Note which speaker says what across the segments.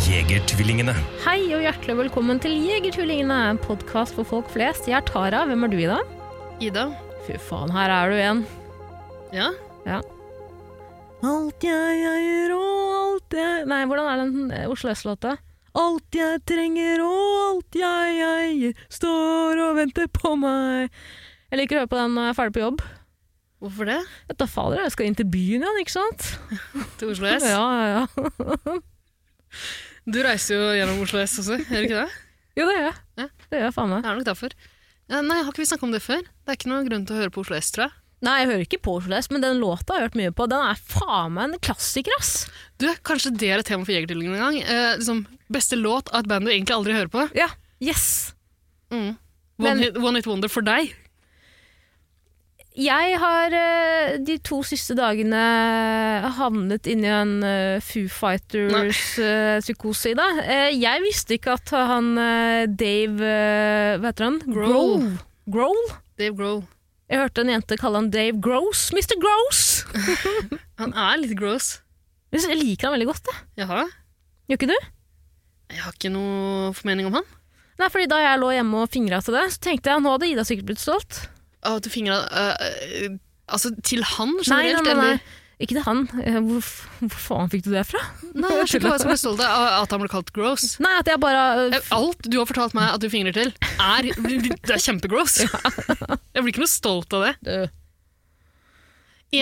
Speaker 1: Jegertvillingene.
Speaker 2: Hei og hjertelig velkommen til Jegertvillingene, en podkast for folk flest. Jeg er Tara. Hvem er du, Ida?
Speaker 3: Ida?
Speaker 2: Fy faen, her er du igjen.
Speaker 3: Ja?
Speaker 2: Ja. Alt jeg eier og alt jeg Nei, hvordan er den eh, Oslo S-låta? Alt jeg trenger og alt jeg eier, står og venter på meg. Jeg liker å høre på den når jeg er ferdig på jobb.
Speaker 3: Hvorfor det?
Speaker 2: Dette faller, jeg skal inn til byen igjen, ikke sant?
Speaker 3: Til Oslo S?
Speaker 2: Ja, ja, ja.
Speaker 3: Du reiser jo gjennom Oslo S også, gjør du ikke det?
Speaker 2: Jo, det gjør jeg.
Speaker 3: Ja.
Speaker 2: Det gjør jeg faen meg.
Speaker 3: Det er nok derfor. Ja, nei, har ikke vi snakket om det før? Det er ikke noen grunn til å høre på Oslo S, tror jeg.
Speaker 2: Nei, jeg hører ikke på Oslo S, men den låta har jeg hørt mye på. Den er faen meg en klassiker, ass!
Speaker 3: Du, kanskje det er et tema for Jegertvillingene en gang? Eh, liksom, beste låt av et band du egentlig aldri hører på?
Speaker 2: Ja, yes!
Speaker 3: Mm. One,
Speaker 2: Men-
Speaker 3: hit, one Hit Wonder for deg?
Speaker 2: Jeg har eh, de to siste dagene havnet inni en eh, Foo Fighters-psykose i dag. Jeg visste ikke at han eh, Dave eh, Hva heter han?
Speaker 3: Grohl.
Speaker 2: Grohl?
Speaker 3: Dave Grohl.
Speaker 2: Jeg hørte en jente kalle han Dave Gross. Mr. Gross!
Speaker 3: Han er litt gross.
Speaker 2: Jeg synes- jeg liker han veldig godt, jeg.
Speaker 3: Jaha.
Speaker 2: Gjør ikke du?
Speaker 3: Jeg har ikke noe formening om han.
Speaker 2: Nei, fordi Da jeg lå hjemme og fingra til det, så tenkte jeg nå hadde Ida sikkert blitt stolt.
Speaker 3: Å, at du fingra eh, eh, Altså, til han
Speaker 2: Nei,
Speaker 3: generelt?
Speaker 2: nei, nei, nei. Ikke til han. Eh, Hvor, f- hvor faen fikk du det fra?
Speaker 3: Eller? nei jeg skjønner ikke hva jeg skal bli stolt av. At han ble kalt gross.
Speaker 2: Nei, at jeg bare eh,
Speaker 3: Alt du har fortalt meg at du fingrer til, er, det er kjempegross. Jeg blir ikke noe stolt av det.
Speaker 2: eh,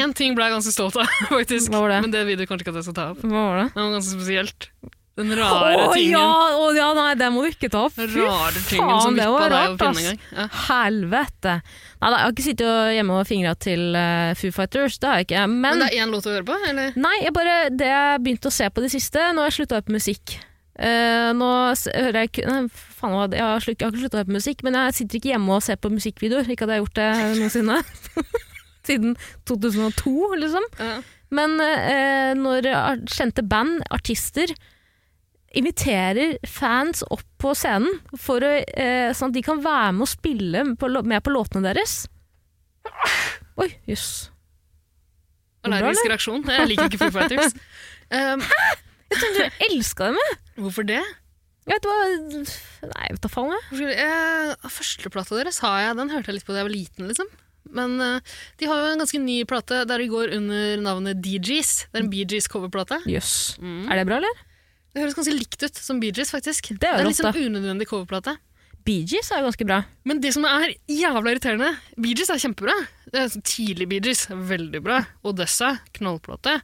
Speaker 3: Én ting ble jeg ganske stolt av, faktisk.
Speaker 2: Hva var det?
Speaker 3: Men det vil du kanskje ikke at jeg skal ta opp.
Speaker 2: Hva var det?
Speaker 3: Det var ganske spesielt. Den rare
Speaker 2: Å,
Speaker 3: tingen.
Speaker 2: Ja, å, ja, nei, det må vi ikke ta opp.
Speaker 3: Den
Speaker 2: Fy
Speaker 3: rare tingen
Speaker 2: faen,
Speaker 3: som
Speaker 2: det
Speaker 3: vippa
Speaker 2: var
Speaker 3: deg
Speaker 2: rart,
Speaker 3: over pinnen en
Speaker 2: ass.
Speaker 3: gang. Ja.
Speaker 2: Helvete. Nei, da, jeg har ikke sittet og- hjemme og fingra til eh, Foo Fighters, det har jeg ikke. Men,
Speaker 3: Men det er én låt å høre på, eller?
Speaker 2: nei, jeg bare, det jeg begynte å se på det siste, nå har jeg slutta på musikk. Eh, nå s hører jeg ikke nei, faen, hva- jeg, har slutt, jeg har ikke slutta på musikk, men jeg sitter ikke hjemme og ser på musikkvideoer. Ikke at jeg har gjort det noensinne. Siden 2002, liksom.
Speaker 3: Ja.
Speaker 2: Men eh, når ar- kjente band, artister, inviterer fans opp på scenen for å, eh, sånn at de kan være med og spille på, lå- med på låtene deres Oi, jøss.
Speaker 3: Allergisk reaksjon. Jeg liker ikke Foo Fighters. Um,
Speaker 2: Jeg elska dem, jeg!
Speaker 3: hvorfor det?
Speaker 2: Vet du hva Nei, jeg vet da faen, jeg.
Speaker 3: Hvorfor skulle- Eh, Førsteplata deres har jeg, den hørte jeg litt på da jeg var liten, liksom. Men eh, de har jo en ganske ny plate der de går under navnet DGs. Det er en Bee Gees coverplate.
Speaker 2: Jøss.
Speaker 3: Mm.
Speaker 2: Er det bra, eller?
Speaker 3: Det høres ganske likt ut som Bee Gees, faktisk.
Speaker 2: Det er
Speaker 3: en
Speaker 2: rått,
Speaker 3: litt sånn unødvendig coverplate.
Speaker 2: Bee Gees er jo ganske bra.
Speaker 3: Men det som er jævla irriterende Bee Gees er kjempebra. Det er sånn tidlig Bee Gees, veldig bra. Odessa, knallplate.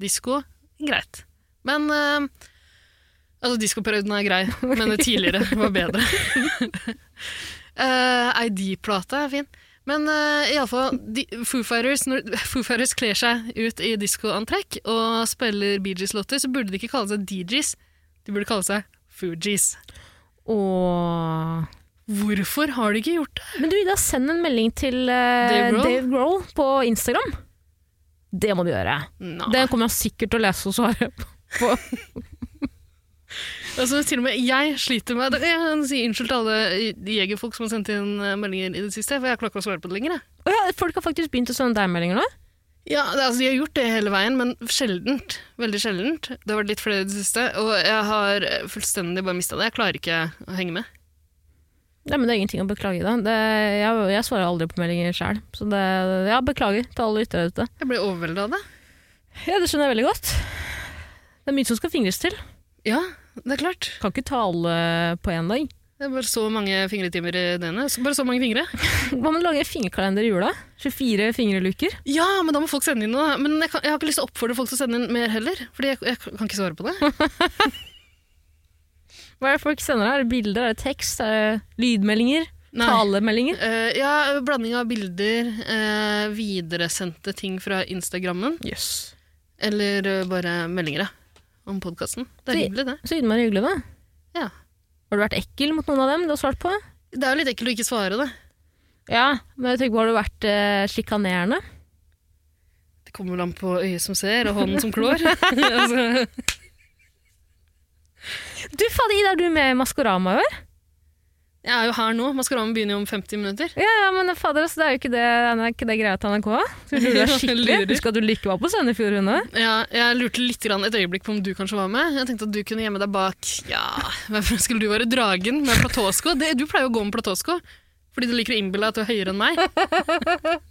Speaker 3: Disko, greit. Men eh, Altså, diskoperioden er grei, men det tidligere var bedre. Eh, ID-plate er fin. Men uh, iallfall, Foo Fighters, når Foo Fighters kler seg ut i diskoantrekk og spiller Bee Gees-låter, så burde de ikke kalle seg DJs, de burde kalle seg Fugees.
Speaker 2: Og
Speaker 3: Hvorfor har de ikke gjort det?
Speaker 2: Men du, Ida, send en melding til eh,
Speaker 3: Dave Grohl?
Speaker 2: Dave Grohl på Instagram. Det må du gjøre.
Speaker 3: Nei.
Speaker 2: Det kommer han sikkert til å lese og svare på.
Speaker 3: Altså, til og med jeg sliter med Jeg kan si unnskyld til alle jegerfolk som har sendt inn eh, meldinger i det siste, for jeg klarer ikke å svare på det lenger. jeg.
Speaker 2: Å ja, folk har faktisk begynt å sende deg meldinger nå?
Speaker 3: Ja, det, altså, De har gjort det hele veien, men sjeldent. Veldig sjeldent. Det har vært litt flere i det siste, og jeg har eh, fullstendig bare mista det. Jeg klarer ikke å henge med.
Speaker 2: Nei, men Det er ingenting å beklage, da. Det, jeg, jeg svarer aldri på meldinger sjøl. Så det, ja, beklager til alle lyttere ute.
Speaker 3: Jeg ble overvelda av det.
Speaker 2: Ja, det skjønner jeg veldig godt. Det er mye som skal fingres til.
Speaker 3: Ja, det er klart.
Speaker 2: Kan ikke ta alle på én dag.
Speaker 3: Det er bare så mange fingretimer i døgnet. Så- Bare så mange fingre.
Speaker 2: Hva med å lage en fingerkalender i jula? 24 fingerluker.
Speaker 3: Ja, men da må folk sende inn noe. da. Men jeg, kan, jeg har ikke lyst til å oppfordre folk til å sende inn mer heller, Fordi jeg, jeg kan ikke svare på det.
Speaker 2: Hva er det folk sender her? Er det Bilder? Er det tekst? Er det lydmeldinger?
Speaker 3: Nei.
Speaker 2: Talemeldinger?
Speaker 3: Eh, ja, blanding av bilder, eh, videresendte ting fra Instagrammen,
Speaker 2: Jøss.
Speaker 3: eller eh, bare meldinger ja, om podkasten. Det er
Speaker 2: Vi-
Speaker 3: hyggelig, det.
Speaker 2: Så innmari hyggelig, da.
Speaker 3: Ja.
Speaker 2: Har du vært ekkel mot noen av dem du har svart på?
Speaker 3: Det er jo litt ekkelt å ikke svare det.
Speaker 2: Ja, men jeg tenker på, har du vært eh, sjikanerende?
Speaker 3: Det kommer vel an på øyet som ser, og hånden som klår. altså,
Speaker 2: Du, faen, Ida, er du med i Maskorama i år?
Speaker 3: jeg er jo her nå. Maskaramen begynner jo om 50 minutter.
Speaker 2: Ja, ja, men fader, altså, det er jo ikke det, det, er ikke det greia til NRK. Skal du lure deg skikkelig?
Speaker 3: Lurer.
Speaker 2: Husk at du like var på Sandefjord hun òg.
Speaker 3: Ja, jeg lurte litt grann et øyeblikk på om du kanskje var med. Jeg tenkte at du kunne gjemme deg bak Ja, hvorfor skulle du være dragen med platåsko? Det, du pleier jo å gå med platåsko fordi du liker å innbille deg at du er høyere enn meg.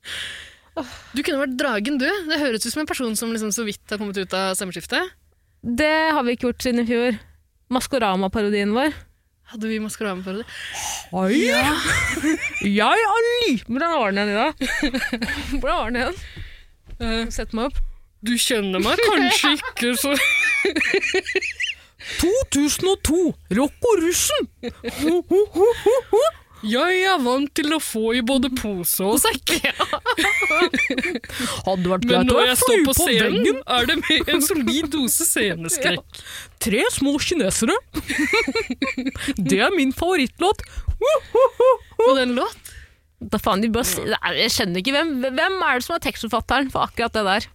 Speaker 3: Du kunne vært dragen, du. Det høres ut som en person som liksom så vidt har kommet ut av stemmeskiftet.
Speaker 2: Det har vi ikke gjort siden i fjor. Maskorama-parodien vår.
Speaker 3: Hadde vi maskorama for det?
Speaker 2: Oi! Jeg er lik Hvordan var den igjen, Ida? Hvordan var den igjen? Sett meg opp.
Speaker 3: Du kjenner meg kanskje ikke så
Speaker 2: 2002! Rock og russen!
Speaker 3: Jeg er vant til å få i både pose og sekk.
Speaker 2: Hadde vært
Speaker 3: Men når jeg står på scenen, er det med en solid dose sceneskrekk.
Speaker 2: Tre små kinesere. det er min favorittlåt.
Speaker 3: Og den låt?
Speaker 2: Da faen, de bare, si- Nei, jeg skjønner ikke hvem, hvem er det som er tekstforfatteren for akkurat det der.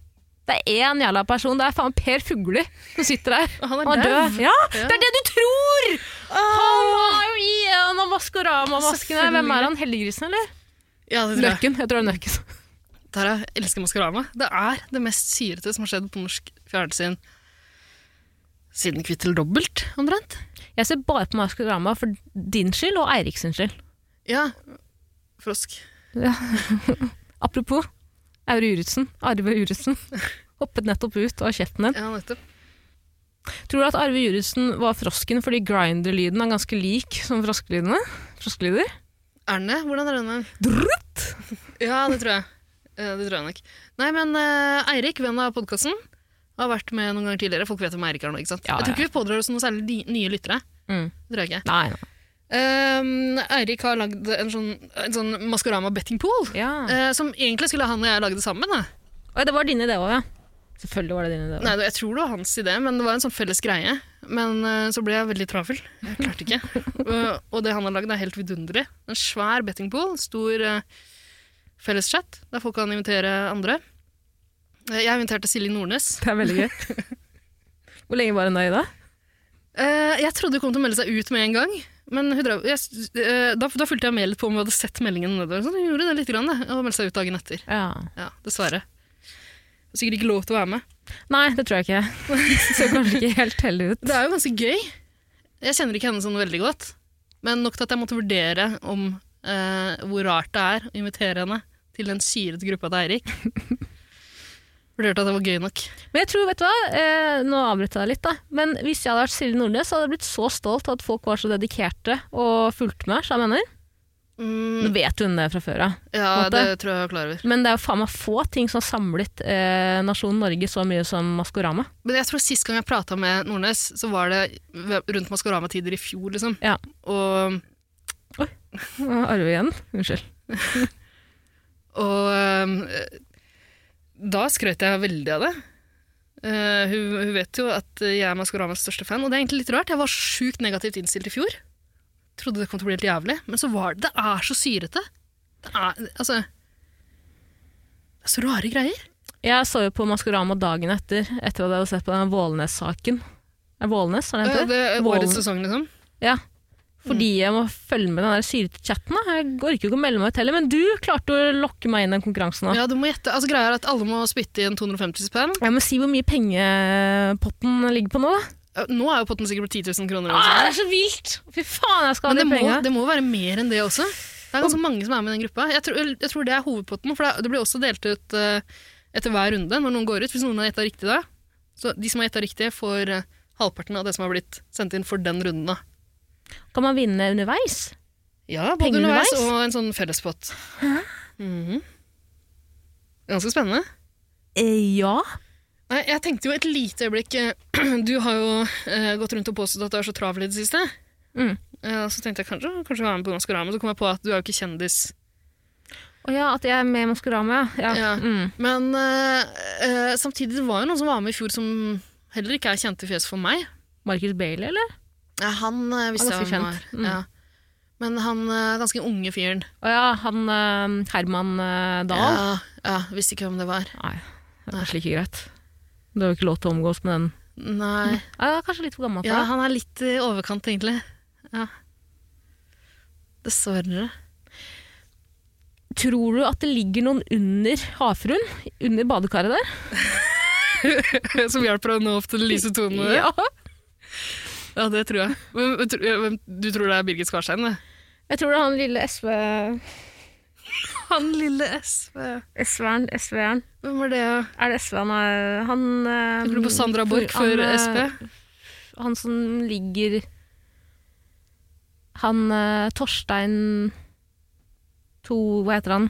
Speaker 2: Det er én jævla person. Det er faen Per Fugli som sitter der.
Speaker 3: Han er
Speaker 2: Han er død.
Speaker 3: døv.
Speaker 2: Ja, det er det du tror! Han var jo i en av Maskorama-maskene. Hvem er han? Heldiggrisen, eller?
Speaker 3: Ja, det tror jeg.
Speaker 2: Nøkken. Jeg tror det er Nøkken.
Speaker 3: Der jeg elsker Maskorama. Det er det mest syrete som har skjedd på norsk fjernsyn siden Kvittel dobbelt, omtrent.
Speaker 2: Jeg ser bare på Maskorama for din skyld og Eirik sin skyld.
Speaker 3: Ja, frosk.
Speaker 2: Apropos Aure Juritzen. Arve Juritzen. Hoppet nettopp ut av kjeften din.
Speaker 3: Ja, nettopp.
Speaker 2: Tror du at Arve Juritzen var frosken fordi grinder-lyden er ganske lik som froskelydene? Froskelyder?
Speaker 3: Erne, hvordan er den? igjen?
Speaker 2: Drutt!
Speaker 3: Ja, det tror jeg. Eh, Det tror jeg nok. Nei, men eh, Eirik, venn av podkasten, har vært med noen ganger tidligere. Folk vet hvem Eirik er nå, ikke sant?
Speaker 2: Ja,
Speaker 3: jeg tror ikke vi pådrar oss noen særlig ni- nye lyttere.
Speaker 2: Mm.
Speaker 3: Det tror jeg ikke.
Speaker 2: Nei, nei.
Speaker 3: Um, Eirik har lagd en sånn, en sånn Maskorama betting pool, eh, som egentlig skulle han og jeg lage det sammen. da.
Speaker 2: Oi, det var din idé òg, ja. Selvfølgelig var det din idé. også.
Speaker 3: Nei, jeg tror det var hans idé, men det var en sånn felles greie. Men eh, så ble jeg veldig travel. Jeg klarte ikke. Og- og det han har lagd, er helt vidunderlig. En svær bettingpool, stor eh, felles chat, der folk kan invitere andre. Eh, Jeg inviterte Silje Nordnes.
Speaker 2: Det er veldig gøy. Hvor lenge var hun der i dag?
Speaker 3: Eh, jeg trodde hun kom til å melde seg ut med en gang. Men hun drev, jeg, eh, da, da fulgte jeg med litt på om hun hadde sett meldingen nedover. Så hun gjorde det litt, grann, da, og meldte seg ut dagen etter.
Speaker 2: Ja.
Speaker 3: Ja, dessverre. Sikkert ikke lov til å være med.
Speaker 2: Nei, det tror jeg ikke. Ser kanskje ikke helt heldig ut.
Speaker 3: Det er jo ganske gøy. Jeg kjenner ikke henne sånn veldig godt. Men nok til at jeg måtte vurdere om eh, hvor rart det er å invitere henne til den syrete gruppa til Eirik. Vurderte at det var gøy nok.
Speaker 2: Men jeg tror, vet du hva, eh, nå avbryter jeg deg litt, da. Men hvis jeg hadde vært Silje Nordnes, så hadde jeg blitt så stolt av at folk var så dedikerte og fulgte med, så jeg mener. Nå
Speaker 3: Mm,
Speaker 2: vet hun det fra før av.
Speaker 3: ja,
Speaker 2: måte.
Speaker 3: det tror jeg jeg er klar over.
Speaker 2: Men det er jo faen meg få ting som har samlet eh, nasjonen Norge så mye som Maskorama.
Speaker 3: Men jeg tror sist gang jeg prata med Nordnes, så var det rundt Maskorama-tider i fjor, liksom.
Speaker 2: Ja.
Speaker 3: Og,
Speaker 2: Å, Arve igjen. Unnskyld.
Speaker 3: og eh, da skrøt jeg veldig av det. Eh, hun, hun vet jo at jeg er Maskoramas største fan, og det er egentlig litt rart. Jeg var sjukt negativt innstilt i fjor. Trodde det kom til å bli helt jævlig, men så var det Det er så syrete. Det er, altså, det er så rare greier.
Speaker 2: Jeg så jo på Maskorama dagen etter, etter at jeg hadde sett på den Vålenes-saken. Er det Vålenes, er det
Speaker 3: Eh,
Speaker 2: den heter?
Speaker 3: det er
Speaker 2: Vålen.
Speaker 3: årets sesong, liksom.
Speaker 2: Ja. Fordi jeg må følge med den der syrete chatten. da. Jeg orker ikke å melde meg ut heller, men du klarte å lokke meg inn i den konkurransen. da.
Speaker 3: Ja, du må gjette. Altså, greia er at alle må spytte i en 250 spenn.
Speaker 2: Jeg må si hvor mye pengepotten ligger på nå, da.
Speaker 3: Eh, Nå er jo potten sikkert på 10 000 kroner. eller noe
Speaker 2: Ah,
Speaker 3: sånt.
Speaker 2: det er så vilt! Fy faen, jeg skal ha
Speaker 3: Men det
Speaker 2: de
Speaker 3: må,
Speaker 2: penga.
Speaker 3: det må være mer enn det også. Det er ganske mange som er med i den gruppa. Jeg tror, jeg tror det er hovedpotten, for det- det blir også delt ut eh, etter hver runde når noen går ut. Hvis noen har gjetta riktig da. Så de som har gjetta riktig, får eh, halvparten av det som har blitt sendt inn for den runden. da.
Speaker 2: Kan man vinne underveis?
Speaker 3: Ja, både
Speaker 2: Penger
Speaker 3: underveis
Speaker 2: underveis?
Speaker 3: og en sånn fellespott. Mhm. Ganske spennende.
Speaker 2: Eh, ja.
Speaker 3: Nei, jeg tenkte jo et lite øyeblikk eh, Du har jo eh, gått rundt og påstått at du er så travel i det siste.
Speaker 2: Mm.
Speaker 3: Eh, så tenkte jeg kanskje kanskje være med på Maskorama, så kom jeg på at du er jo ikke kjendis.
Speaker 2: Å ja, at jeg er med i Maskorama, ja. ja.
Speaker 3: Ja.
Speaker 2: Mm.
Speaker 3: Men eh, eh, samtidig, det var jo noen som var med i fjor som heller ikke er kjente fjes for meg.
Speaker 2: Marcus Bailey, eller?
Speaker 3: Ja, han eh,
Speaker 2: Han er ganske kjent. Mm.
Speaker 3: Ja. Men han eh, ganske unge fyren
Speaker 2: Å ja, han eh, Herman eh, Dahl.
Speaker 3: ja, ja, Visste ikke hvem det var.
Speaker 2: Nei, det er kanskje ikke greit. Du har jo ikke lov til å omgås med den.
Speaker 3: Nei.
Speaker 2: Ja, kanskje litt for gammel for
Speaker 3: Ja,
Speaker 2: det.
Speaker 3: han er litt i overkant, egentlig. Ja. Dessverre.
Speaker 2: Tror du at det ligger noen under havfruen? Under badekaret der?
Speaker 3: Som hjalp deg å nå opp til de lyse tonene?
Speaker 2: Ja.
Speaker 3: Ja, det tror jeg. Hvem, hvem tror- hvem, du tror det er Birgit Skarstein? det?
Speaker 2: Jeg tror det er han lille SV...
Speaker 3: Han lille SV.
Speaker 2: SV-eren. SV-eren.
Speaker 3: Hvem var det? ja?
Speaker 2: Er det SV han er? Han eh,
Speaker 3: Tenker du på Sandra Borch
Speaker 2: han,
Speaker 3: før
Speaker 2: eh,
Speaker 3: SV?
Speaker 2: Han som ligger Han eh, Torstein To Hva heter han?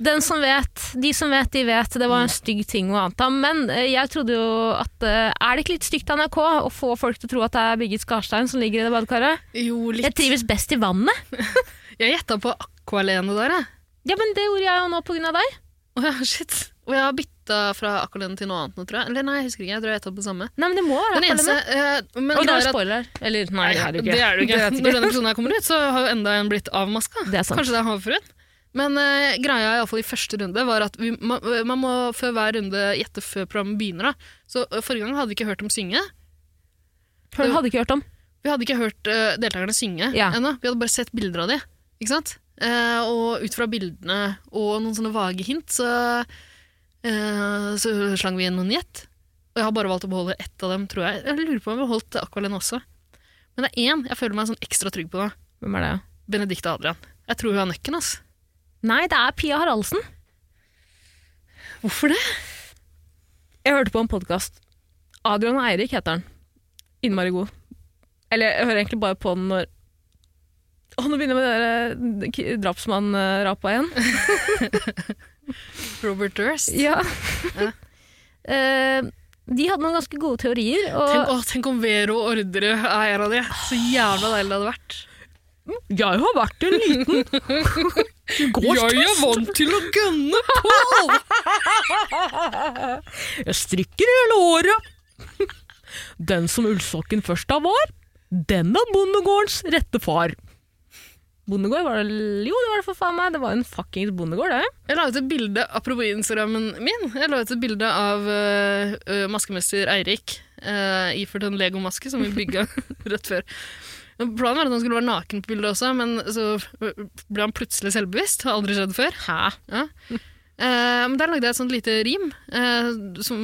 Speaker 2: Den som vet, De som vet, de vet. Det var en stygg ting å anta. Men eh, jeg trodde jo at eh, Er det ikke litt stygt av NRK å få folk til å tro at det er Birgit Skarstein som ligger i det badekaret?
Speaker 3: Jo,
Speaker 2: Jeg
Speaker 3: litt.
Speaker 2: trives best i vannet.
Speaker 3: Jeg gjetta på Aqualene der, jeg.
Speaker 2: Ja, men det gjorde jeg jo nå pga. deg.
Speaker 3: Å ja, shit. Og jeg har bytta fra Aqualene til noe annet nå, tror jeg. Eller nei, jeg husker ikke. Jeg tror jeg gjetta på det samme.
Speaker 2: Nei, men det må være
Speaker 3: Den eneste eh, men
Speaker 2: Og det
Speaker 3: greia
Speaker 2: er
Speaker 3: er at-
Speaker 2: spoiler. Eller, nei, det er det jo ikke.
Speaker 3: Det er
Speaker 2: Det
Speaker 3: det jo ikke.
Speaker 2: vet vi
Speaker 3: Når denne episoden her kommer ut, så har jo enda en blitt avmaska.
Speaker 2: Det er sant.
Speaker 3: Kanskje det er havfruen. Men eh, greia i, alle fall i første runde var at vi, man, man må før hver runde gjette før programmet begynner. Da. Så eh, Forrige gang hadde vi ikke hørt dem synge.
Speaker 2: Hun hadde ikke hørt om.
Speaker 3: Vi hadde ikke hørt eh, deltakerne synge
Speaker 2: Ja.
Speaker 3: ennå. Vi hadde bare sett bilder av dem. Ikke sant? Eh, og ut fra bildene og noen sånne vage hint, så, eh, så slang vi inn noen gjett. Og jeg har bare valgt å beholde ett av dem, tror jeg. Jeg lurer på om vi har holdt Aqualene også. Men det er én jeg føler meg sånn ekstra trygg på. da.
Speaker 2: Hvem er det?
Speaker 3: Benedicte Adrian. Jeg tror hun er nøkken, ass.
Speaker 2: Nei, det er Pia Haraldsen.
Speaker 3: Hvorfor det?
Speaker 2: Jeg hørte på en podkast. Adrian og Eirik heter han. Innmari god. Eller jeg hører egentlig bare på den når Å, nå begynner jeg med det der eh, drapsmann-rapa igjen.
Speaker 3: Robert Durst.
Speaker 2: Ja. Eh, de hadde noen ganske gode teorier.
Speaker 3: Tenk,
Speaker 2: Og
Speaker 3: å, tenk om Vero Orderud er en av de. Så jævla deilig det hadde vært.
Speaker 2: jeg har vært en liten
Speaker 3: vant til å gønne på!
Speaker 2: Jeg strikker i hele året. Den som ullsokken først av var, den er bondegårdens rette far. Bondegård var det Jo, det var det for faen meg. Det var en fuckings bondegård, det.
Speaker 3: Jeg la ut et bilde, apropos Instagrammen min, jeg la ut et bilde av øh, øh, maskemester Eirik øh, iført en Lego-maske som vi bygga rett før. Men Planen var at han skulle være naken på bildet også, men så øh, ble han plutselig selvbevisst. Har aldri skjedd før.
Speaker 2: Hæ?
Speaker 3: Ja. Eh, men der lagde jeg et sånt lite rim, eh, som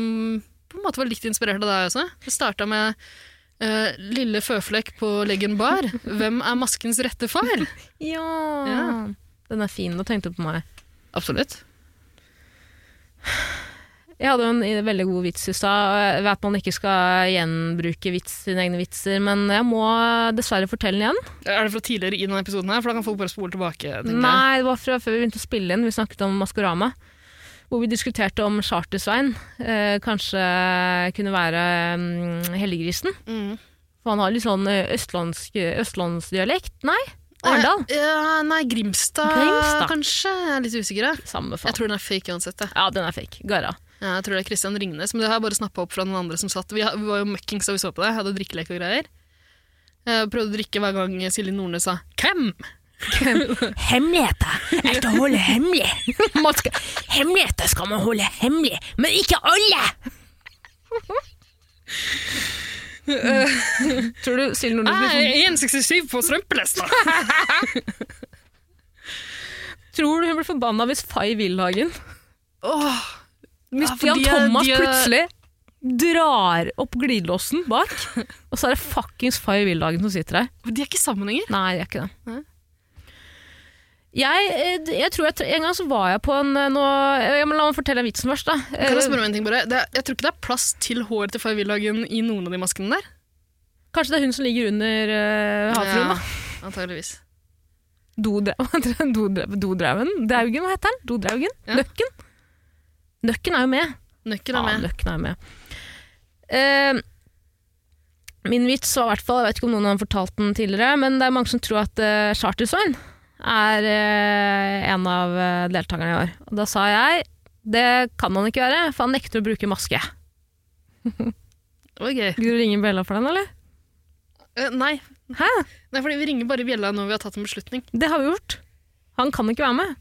Speaker 3: på en måte var litt inspirert av deg også. Det starta med eh, 'Lille føflekk på leggen bar, hvem er maskens rette far?'
Speaker 2: Ja.
Speaker 3: Ja.
Speaker 2: Den er fin. Da tenkte du på meg.
Speaker 3: Absolutt.
Speaker 2: Jeg hadde jo en i- veldig god vits i stad. og Jeg vet man ikke skal gjenbruke vits, sine egne vitser, men jeg må dessverre fortelle den igjen.
Speaker 3: Er det fra tidligere i denne episoden her? For da kan folk bare spole tilbake. tenker jeg.
Speaker 2: Nei, det var fra før vi begynte å spille inn. Vi snakket om Maskorama. Hvor vi diskuterte om Charter-Svein eh, kanskje kunne være mm, Helliggrisen.
Speaker 3: Mm.
Speaker 2: For han har litt sånn eh, østlandsk, østlandsdialekt. Nei, Arendal.
Speaker 3: Eh, ja, nei, Grimstad,
Speaker 2: Grimstad.
Speaker 3: kanskje. Jeg er litt usikker. Jeg,
Speaker 2: Samme
Speaker 3: jeg
Speaker 2: faen.
Speaker 3: tror den er fake uansett. Jeg,
Speaker 2: Ja, den er fake. Garra.
Speaker 3: ja, jeg tror det er Christian Ringnes, men det har jeg bare snappa opp fra den andre som satt. Vi, vi var jo møkkings da vi så på det. Jeg hadde drikkelek og greier. Jeg prøvde å drikke hver gang Silje Nordnes sa 'Hvem?'
Speaker 4: Hemmeligheter er til å holde hemmelig. Man skal, hemmeligheter skal man holde hemmelig, men ikke alle!
Speaker 2: Tror du Silje Nordnes blir sånn-
Speaker 3: Nei, 1,67 på strømpelesta!
Speaker 2: Tror du hun blir forbanna hvis Fay Wilhagen
Speaker 3: Åh,
Speaker 2: Jan Thomas plutselig drar opp glidelåsen bak, og så er det fuckings Fay Wilhagen som sitter der.
Speaker 3: De er ikke sammen lenger.
Speaker 2: Nei, jeg er ikke det.
Speaker 3: Nei.
Speaker 2: Jeg, eh, d- jeg tror jeg, tre- En gang så var jeg på en eh, nå, eh, ja, men La meg fortelle den vitsen først, da. Eh,
Speaker 3: Kan jeg spørre om en ting bare? Det er, jeg tror ikke det er plass til hår til Fay Wilhagen i noen av de maskene der.
Speaker 2: Kanskje det er hun som ligger under uh, havfruen? da?
Speaker 3: Ja, antageligvis.
Speaker 2: Dodra- hva heter den? Dodra- Dodraugen? Draugen, hva heter den? Dodraugen?
Speaker 3: Ja.
Speaker 2: Nøkken? Nøkken er jo med.
Speaker 3: Nøkkel er
Speaker 2: Ja,
Speaker 3: med.
Speaker 2: Løkken er med. Eh, min vits var i hvert fall, jeg vet ikke om noen har fortalt den tidligere, men det er mange som tror at uh, Chartersveien er eh, en av eh, deltakerne i år. Og da sa jeg, det kan han ikke være, for han nekter å bruke maske.
Speaker 3: Det var gøy.
Speaker 2: Skal du ringe Bella for den, eller?
Speaker 3: Eh, nei,
Speaker 2: Hæ?
Speaker 3: Nei, fordi vi ringer bare bjella når vi har tatt en beslutning.
Speaker 2: Det har vi gjort. Han kan ikke være med.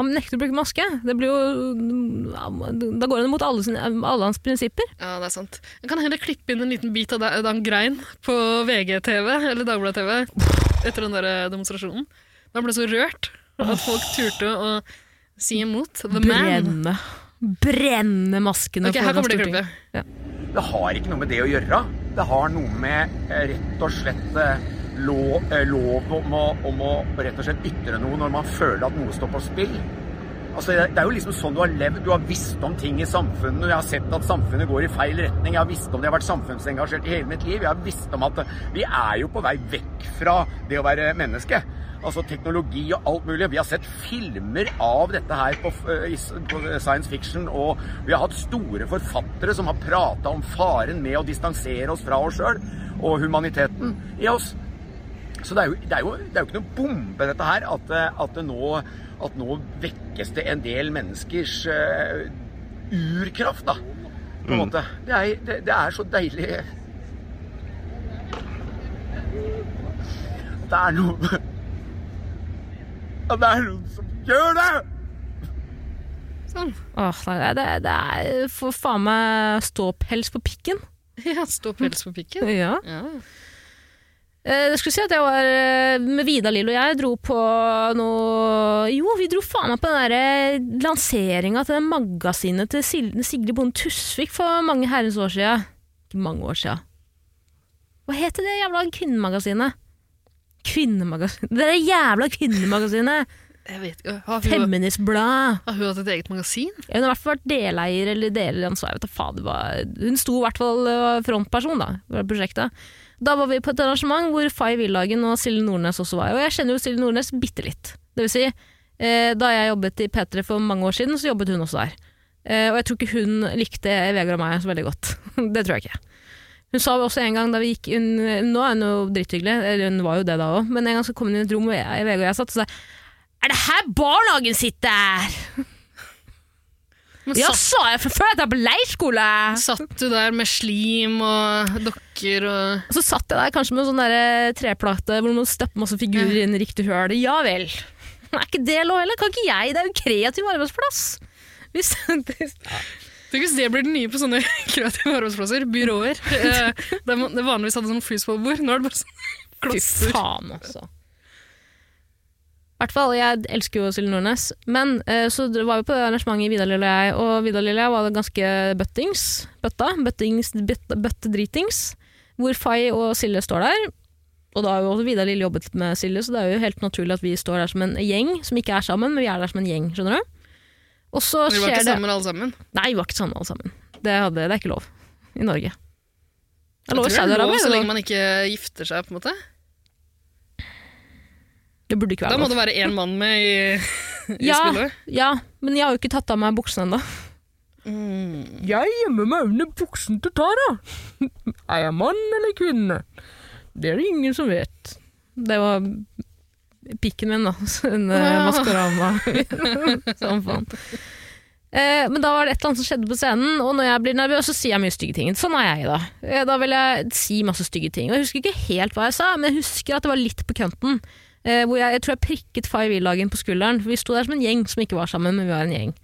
Speaker 2: Han nekter å bruke maske. Det blir jo Da går han mot alle, sine- alle hans prinsipper.
Speaker 3: Ja, det er sant. Jeg kan heller klippe inn en liten bit av da- den grein på VGTV, eller Dagbladet-TV, etter den der eh, demonstrasjonen. Da ble jeg så rørt at folk turte å si imot. The man.
Speaker 2: Brenne. Brenne maskene
Speaker 3: Ok, her
Speaker 2: foran
Speaker 3: kommer det
Speaker 2: Stortinget.
Speaker 3: klippet.
Speaker 5: Det har ikke noe med det å gjøre. Det har noe med eh, rett og slett eh, lov, eh, lov om, å, om å rett og slett ytre noe når man føler at noe står på spill. Altså, det det er jo liksom sånn du har levd. Du har visst om ting i samfunnet. og Jeg har sett at samfunnet går i feil retning. Jeg har visst om det. Jeg har vært samfunnsengasjert i hele mitt liv. Jeg har visst om at eh, vi er jo på vei vekk fra det å være menneske. Altså teknologi og alt mulig. Vi har sett filmer av dette her på, f- eh, i s- på eh, science fiction, og vi har hatt store forfattere som har prata om faren med å distansere oss fra oss sjøl og humaniteten i oss. Så det er, jo, det, er jo, det er jo ikke noe bombe dette her, at, eh, at, det nå, at nå vekkes det en del menneskers eh, urkraft, da. På en måte. Det er, det, det er så deilig Det er noen At det er noen som gjør det!
Speaker 3: Sånn.
Speaker 2: Åh, nei, det, det er for faen meg ståpels på pikken.
Speaker 3: Ja, stå pels på pikken.
Speaker 2: Ja.
Speaker 3: Ja.
Speaker 2: Eh, Jeg skulle si at jeg var eh, med Vidar Lill og jeg dro på noe Jo, vi dro faen meg på den der lanseringa til det magasinet til Sil- Sigrid Bonde Tusvik for mange herrens år siden. Ikke mange år siden. Hva heter det jævla kvinnemagasinet? Kvinnemagasinet Det der jævla kvinnemagasinet!
Speaker 3: Jeg vet ikke. Har hun,
Speaker 2: Feministbladet!
Speaker 3: har hun hatt et eget magasin?
Speaker 2: Ja, Hun har i hvert fall vært deleier eller delansvar. Jeg vet da faen, det var- Hun sto i hvert fall eh, frontperson da, for prosjektet. Da var vi på et arrangement hvor Fay Villagen og Silje Nordnes også var. Og jeg kjenner jo Silje Nordnes bitte litt. Det vil si, eh, da jeg jobbet i P3 for mange år siden, så jobbet hun også der. Eh, og jeg tror ikke hun likte Vegard og meg så veldig godt. det tror jeg ikke. Hun sa også en gang da vi gikk inn, Nå er hun jo dritthyggelig, eller hun var jo det da òg, men en gang så kom hun inn i et rom hvor jeg- Vegard og jeg satt og sa Er det her barnehagen sitter?
Speaker 3: Men
Speaker 2: Ja,
Speaker 3: satt,
Speaker 2: sa jeg for før at jeg er på leirskole!
Speaker 3: satt du der med slim og dokker og
Speaker 2: Og så satt jeg der kanskje med en sånn der treplate hvor man stapper masse figurer inn i riktig høl. Ja vel. Er ikke det lov heller? Kan ikke jeg? Det er jo en kreativ arbeidsplass. Hvis, hvis,
Speaker 3: Tenk hvis det blir det nye på sånne kreative arbeidsplasser, byråer. Eh, der man der vanligvis hadde sånn freezeball-bord. Nå er det bare sånn
Speaker 2: fy
Speaker 3: klosser.
Speaker 2: faen, altså. I hvert fall, jeg elsker jo Silje Nordnes. Men eh, så dr- var vi på det arrangementet i Vidar Lille og jeg, og Vidar Lille og jeg var ganske bøttings. Bøtta. Bøttings, bøtte, bøttedritings. Hvor Fay og Silje står der. Og da har jo også Vidar Lille jobbet litt med Silje, så det er jo helt naturlig at vi står der som en gjeng som ikke er sammen, men vi er der som en gjeng, skjønner du? Og så
Speaker 3: Dere var
Speaker 2: skjer
Speaker 3: ikke
Speaker 2: det
Speaker 3: sammen alle sammen.
Speaker 2: Nei, vi var ikke sammen alle sammen. Det, hadde, det er ikke lov i Norge. Det er
Speaker 3: Jeg
Speaker 2: lov i
Speaker 3: tror det er lov
Speaker 2: Saudi-Arabia.
Speaker 3: så
Speaker 2: er det
Speaker 3: lenge
Speaker 2: lov?
Speaker 3: man ikke gifter seg, på en måte.
Speaker 2: Det burde ikke
Speaker 3: Da
Speaker 2: være
Speaker 3: må
Speaker 2: lov.
Speaker 3: det være én mann med i, i
Speaker 2: Ja.
Speaker 3: spillet.
Speaker 2: Ja, men jeg har jo ikke tatt av meg buksene ennå. Mm.
Speaker 4: Jeg gjemmer meg under buksen til Tara. Er jeg mann eller kvinne? Det er det ingen som vet.
Speaker 2: Det var pikken min, da. så En eh, Maskorama. Sånn faen. Eh, men da var det et eller annet som skjedde på scenen, og når jeg blir nervøs, så sier jeg mye stygge ting. Sånn er jeg, da. Eh, da vil jeg si masse stygge ting. Og jeg husker ikke helt hva jeg sa, men jeg husker at det var litt på kønten. Eh, hvor jeg, jeg tror jeg prikket Fay Villagen på skulderen. For vi sto der som en gjeng som ikke var sammen, men vi var en gjeng.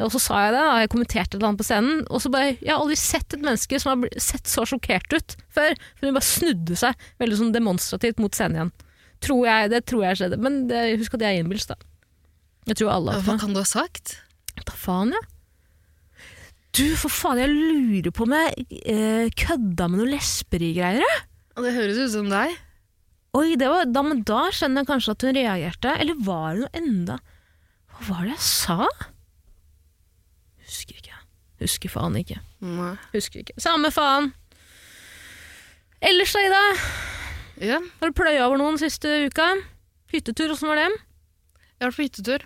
Speaker 2: Og så sa jeg det, da, jeg kommenterte et eller annet på scenen, og så bare Jeg har aldri sett et menneske som har bl- sett så sjokkert ut før. For hun bare snudde seg veldig sånn demonstrativt mot scenen igjen. Tror jeg, det tror jeg skjedde, men det, husk at jeg er innbilsk, da. Jeg tror alle har
Speaker 3: Hva kan du ha sagt?
Speaker 2: Da faen, ja. Du, for faen, jeg lurer på om jeg eh, kødda med noen lesberigreier, jeg.
Speaker 3: Og Det høres ut som deg.
Speaker 2: Oi, det var, da, men da skjønner jeg kanskje at hun reagerte. Eller var det noe enda Hva var det jeg sa? Husker ikke. Husker faen ikke.
Speaker 3: Nei.
Speaker 2: Husker ikke. Samme faen. Ellers da, Ida?
Speaker 3: Ja, jeg
Speaker 2: Har du pløya over noen siste uka? Hyttetur, åssen var det?
Speaker 3: har vært på hyttetur.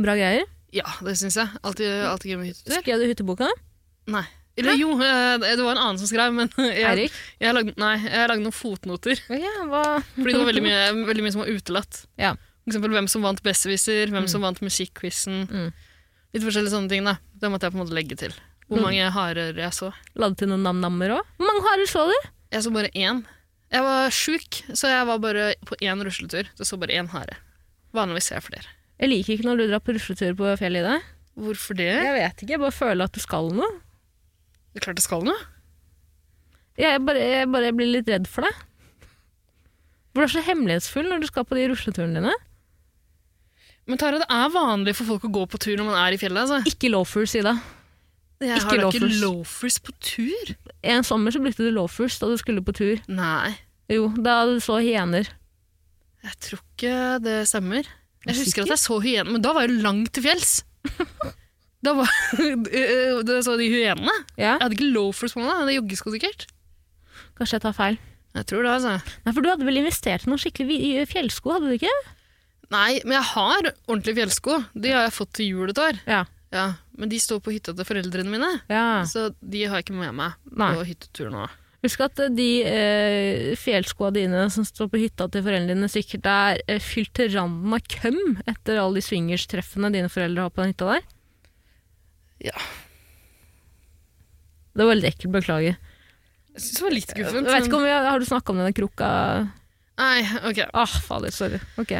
Speaker 2: Bra greier.
Speaker 3: Ja, det syns jeg. Alltid alltid gøy med hyttetur.
Speaker 2: Skrev du hytteboka?
Speaker 3: Nei. Eller jo, eh, det var en annen som skrev, men jeg,
Speaker 2: Eirik?
Speaker 3: jeg, lagde, nei, jeg lagde noen fotnoter.
Speaker 2: Ja, hva
Speaker 3: Fordi det var veldig mye, veldig mye som var utelatt.
Speaker 2: Ja.
Speaker 3: For eksempel hvem som vant Besserwisser, hvem som vant musikkquizen.
Speaker 2: Mm.
Speaker 3: Litt forskjellige sånne ting. da. Det måtte jeg på en måte legge til.
Speaker 2: Mm.
Speaker 3: Hvor mange harer jeg så.
Speaker 2: La du til noen nam-nammer òg? Hvor mange harer så du?
Speaker 3: Jeg så bare én. Jeg var sjuk, så jeg var bare på én rusletur. Det så bare én hare. Vanligvis ser jeg flere.
Speaker 2: Jeg liker ikke når du drar på rusletur på fjellet i dag.
Speaker 3: Hvorfor det?
Speaker 2: Jeg vet ikke, jeg bare føler at du skal noe.
Speaker 3: Det er klart det skal noe.
Speaker 2: Jeg bare, jeg bare blir litt redd for deg. For du er så hemmelighetsfull når du skal på de rusleturene dine.
Speaker 3: Men Tara, det er vanlig for folk å gå på tur når man er i fjellet. Altså.
Speaker 2: Ikke loafers, Ida.
Speaker 3: Jeg
Speaker 2: ikke
Speaker 3: har da
Speaker 2: loafers.
Speaker 3: ikke loafers på tur.
Speaker 2: En sommer så brukte du loafers da du skulle på tur.
Speaker 3: Nei,
Speaker 2: Jo, da du så hyener.
Speaker 3: jeg tror ikke det stemmer. Jeg
Speaker 2: du
Speaker 3: husker at jeg så hyener, men da var jeg jo langt til fjells. da var Da så de hyenene.
Speaker 2: Ja,
Speaker 3: Jeg hadde ikke loafers på meg, da. Jeg hadde joggesko sikkert.
Speaker 2: kanskje jeg tar feil.
Speaker 3: Jeg tror det, altså.
Speaker 2: Nei, for du hadde vel investert i noen skikkelig vi- i fjellsko, hadde du ikke?
Speaker 3: Nei, men jeg har ordentlige fjellsko. De har jeg fått til jul et år.
Speaker 2: Ja.
Speaker 3: Ja, men de står på hytta til foreldrene mine,
Speaker 2: ja.
Speaker 3: så de har jeg ikke med meg på
Speaker 2: Nei.
Speaker 3: hyttetur nå.
Speaker 2: Husk at eh, de eh, fjellskoa dine som står på hytta til foreldrene dine, sikkert er eh, fylt til randen av køm etter alle de swingerstreffene dine foreldre har på den hytta der.
Speaker 3: Ja.
Speaker 2: Det var litt ekkelt, beklager.
Speaker 3: Jeg synes det var litt
Speaker 2: Jeg
Speaker 3: guffent.
Speaker 2: vet ikke
Speaker 3: men-
Speaker 2: om vi har, har du snakka om denne krukka
Speaker 3: Nei, ok.
Speaker 2: Ah, fader, sorry. Ok.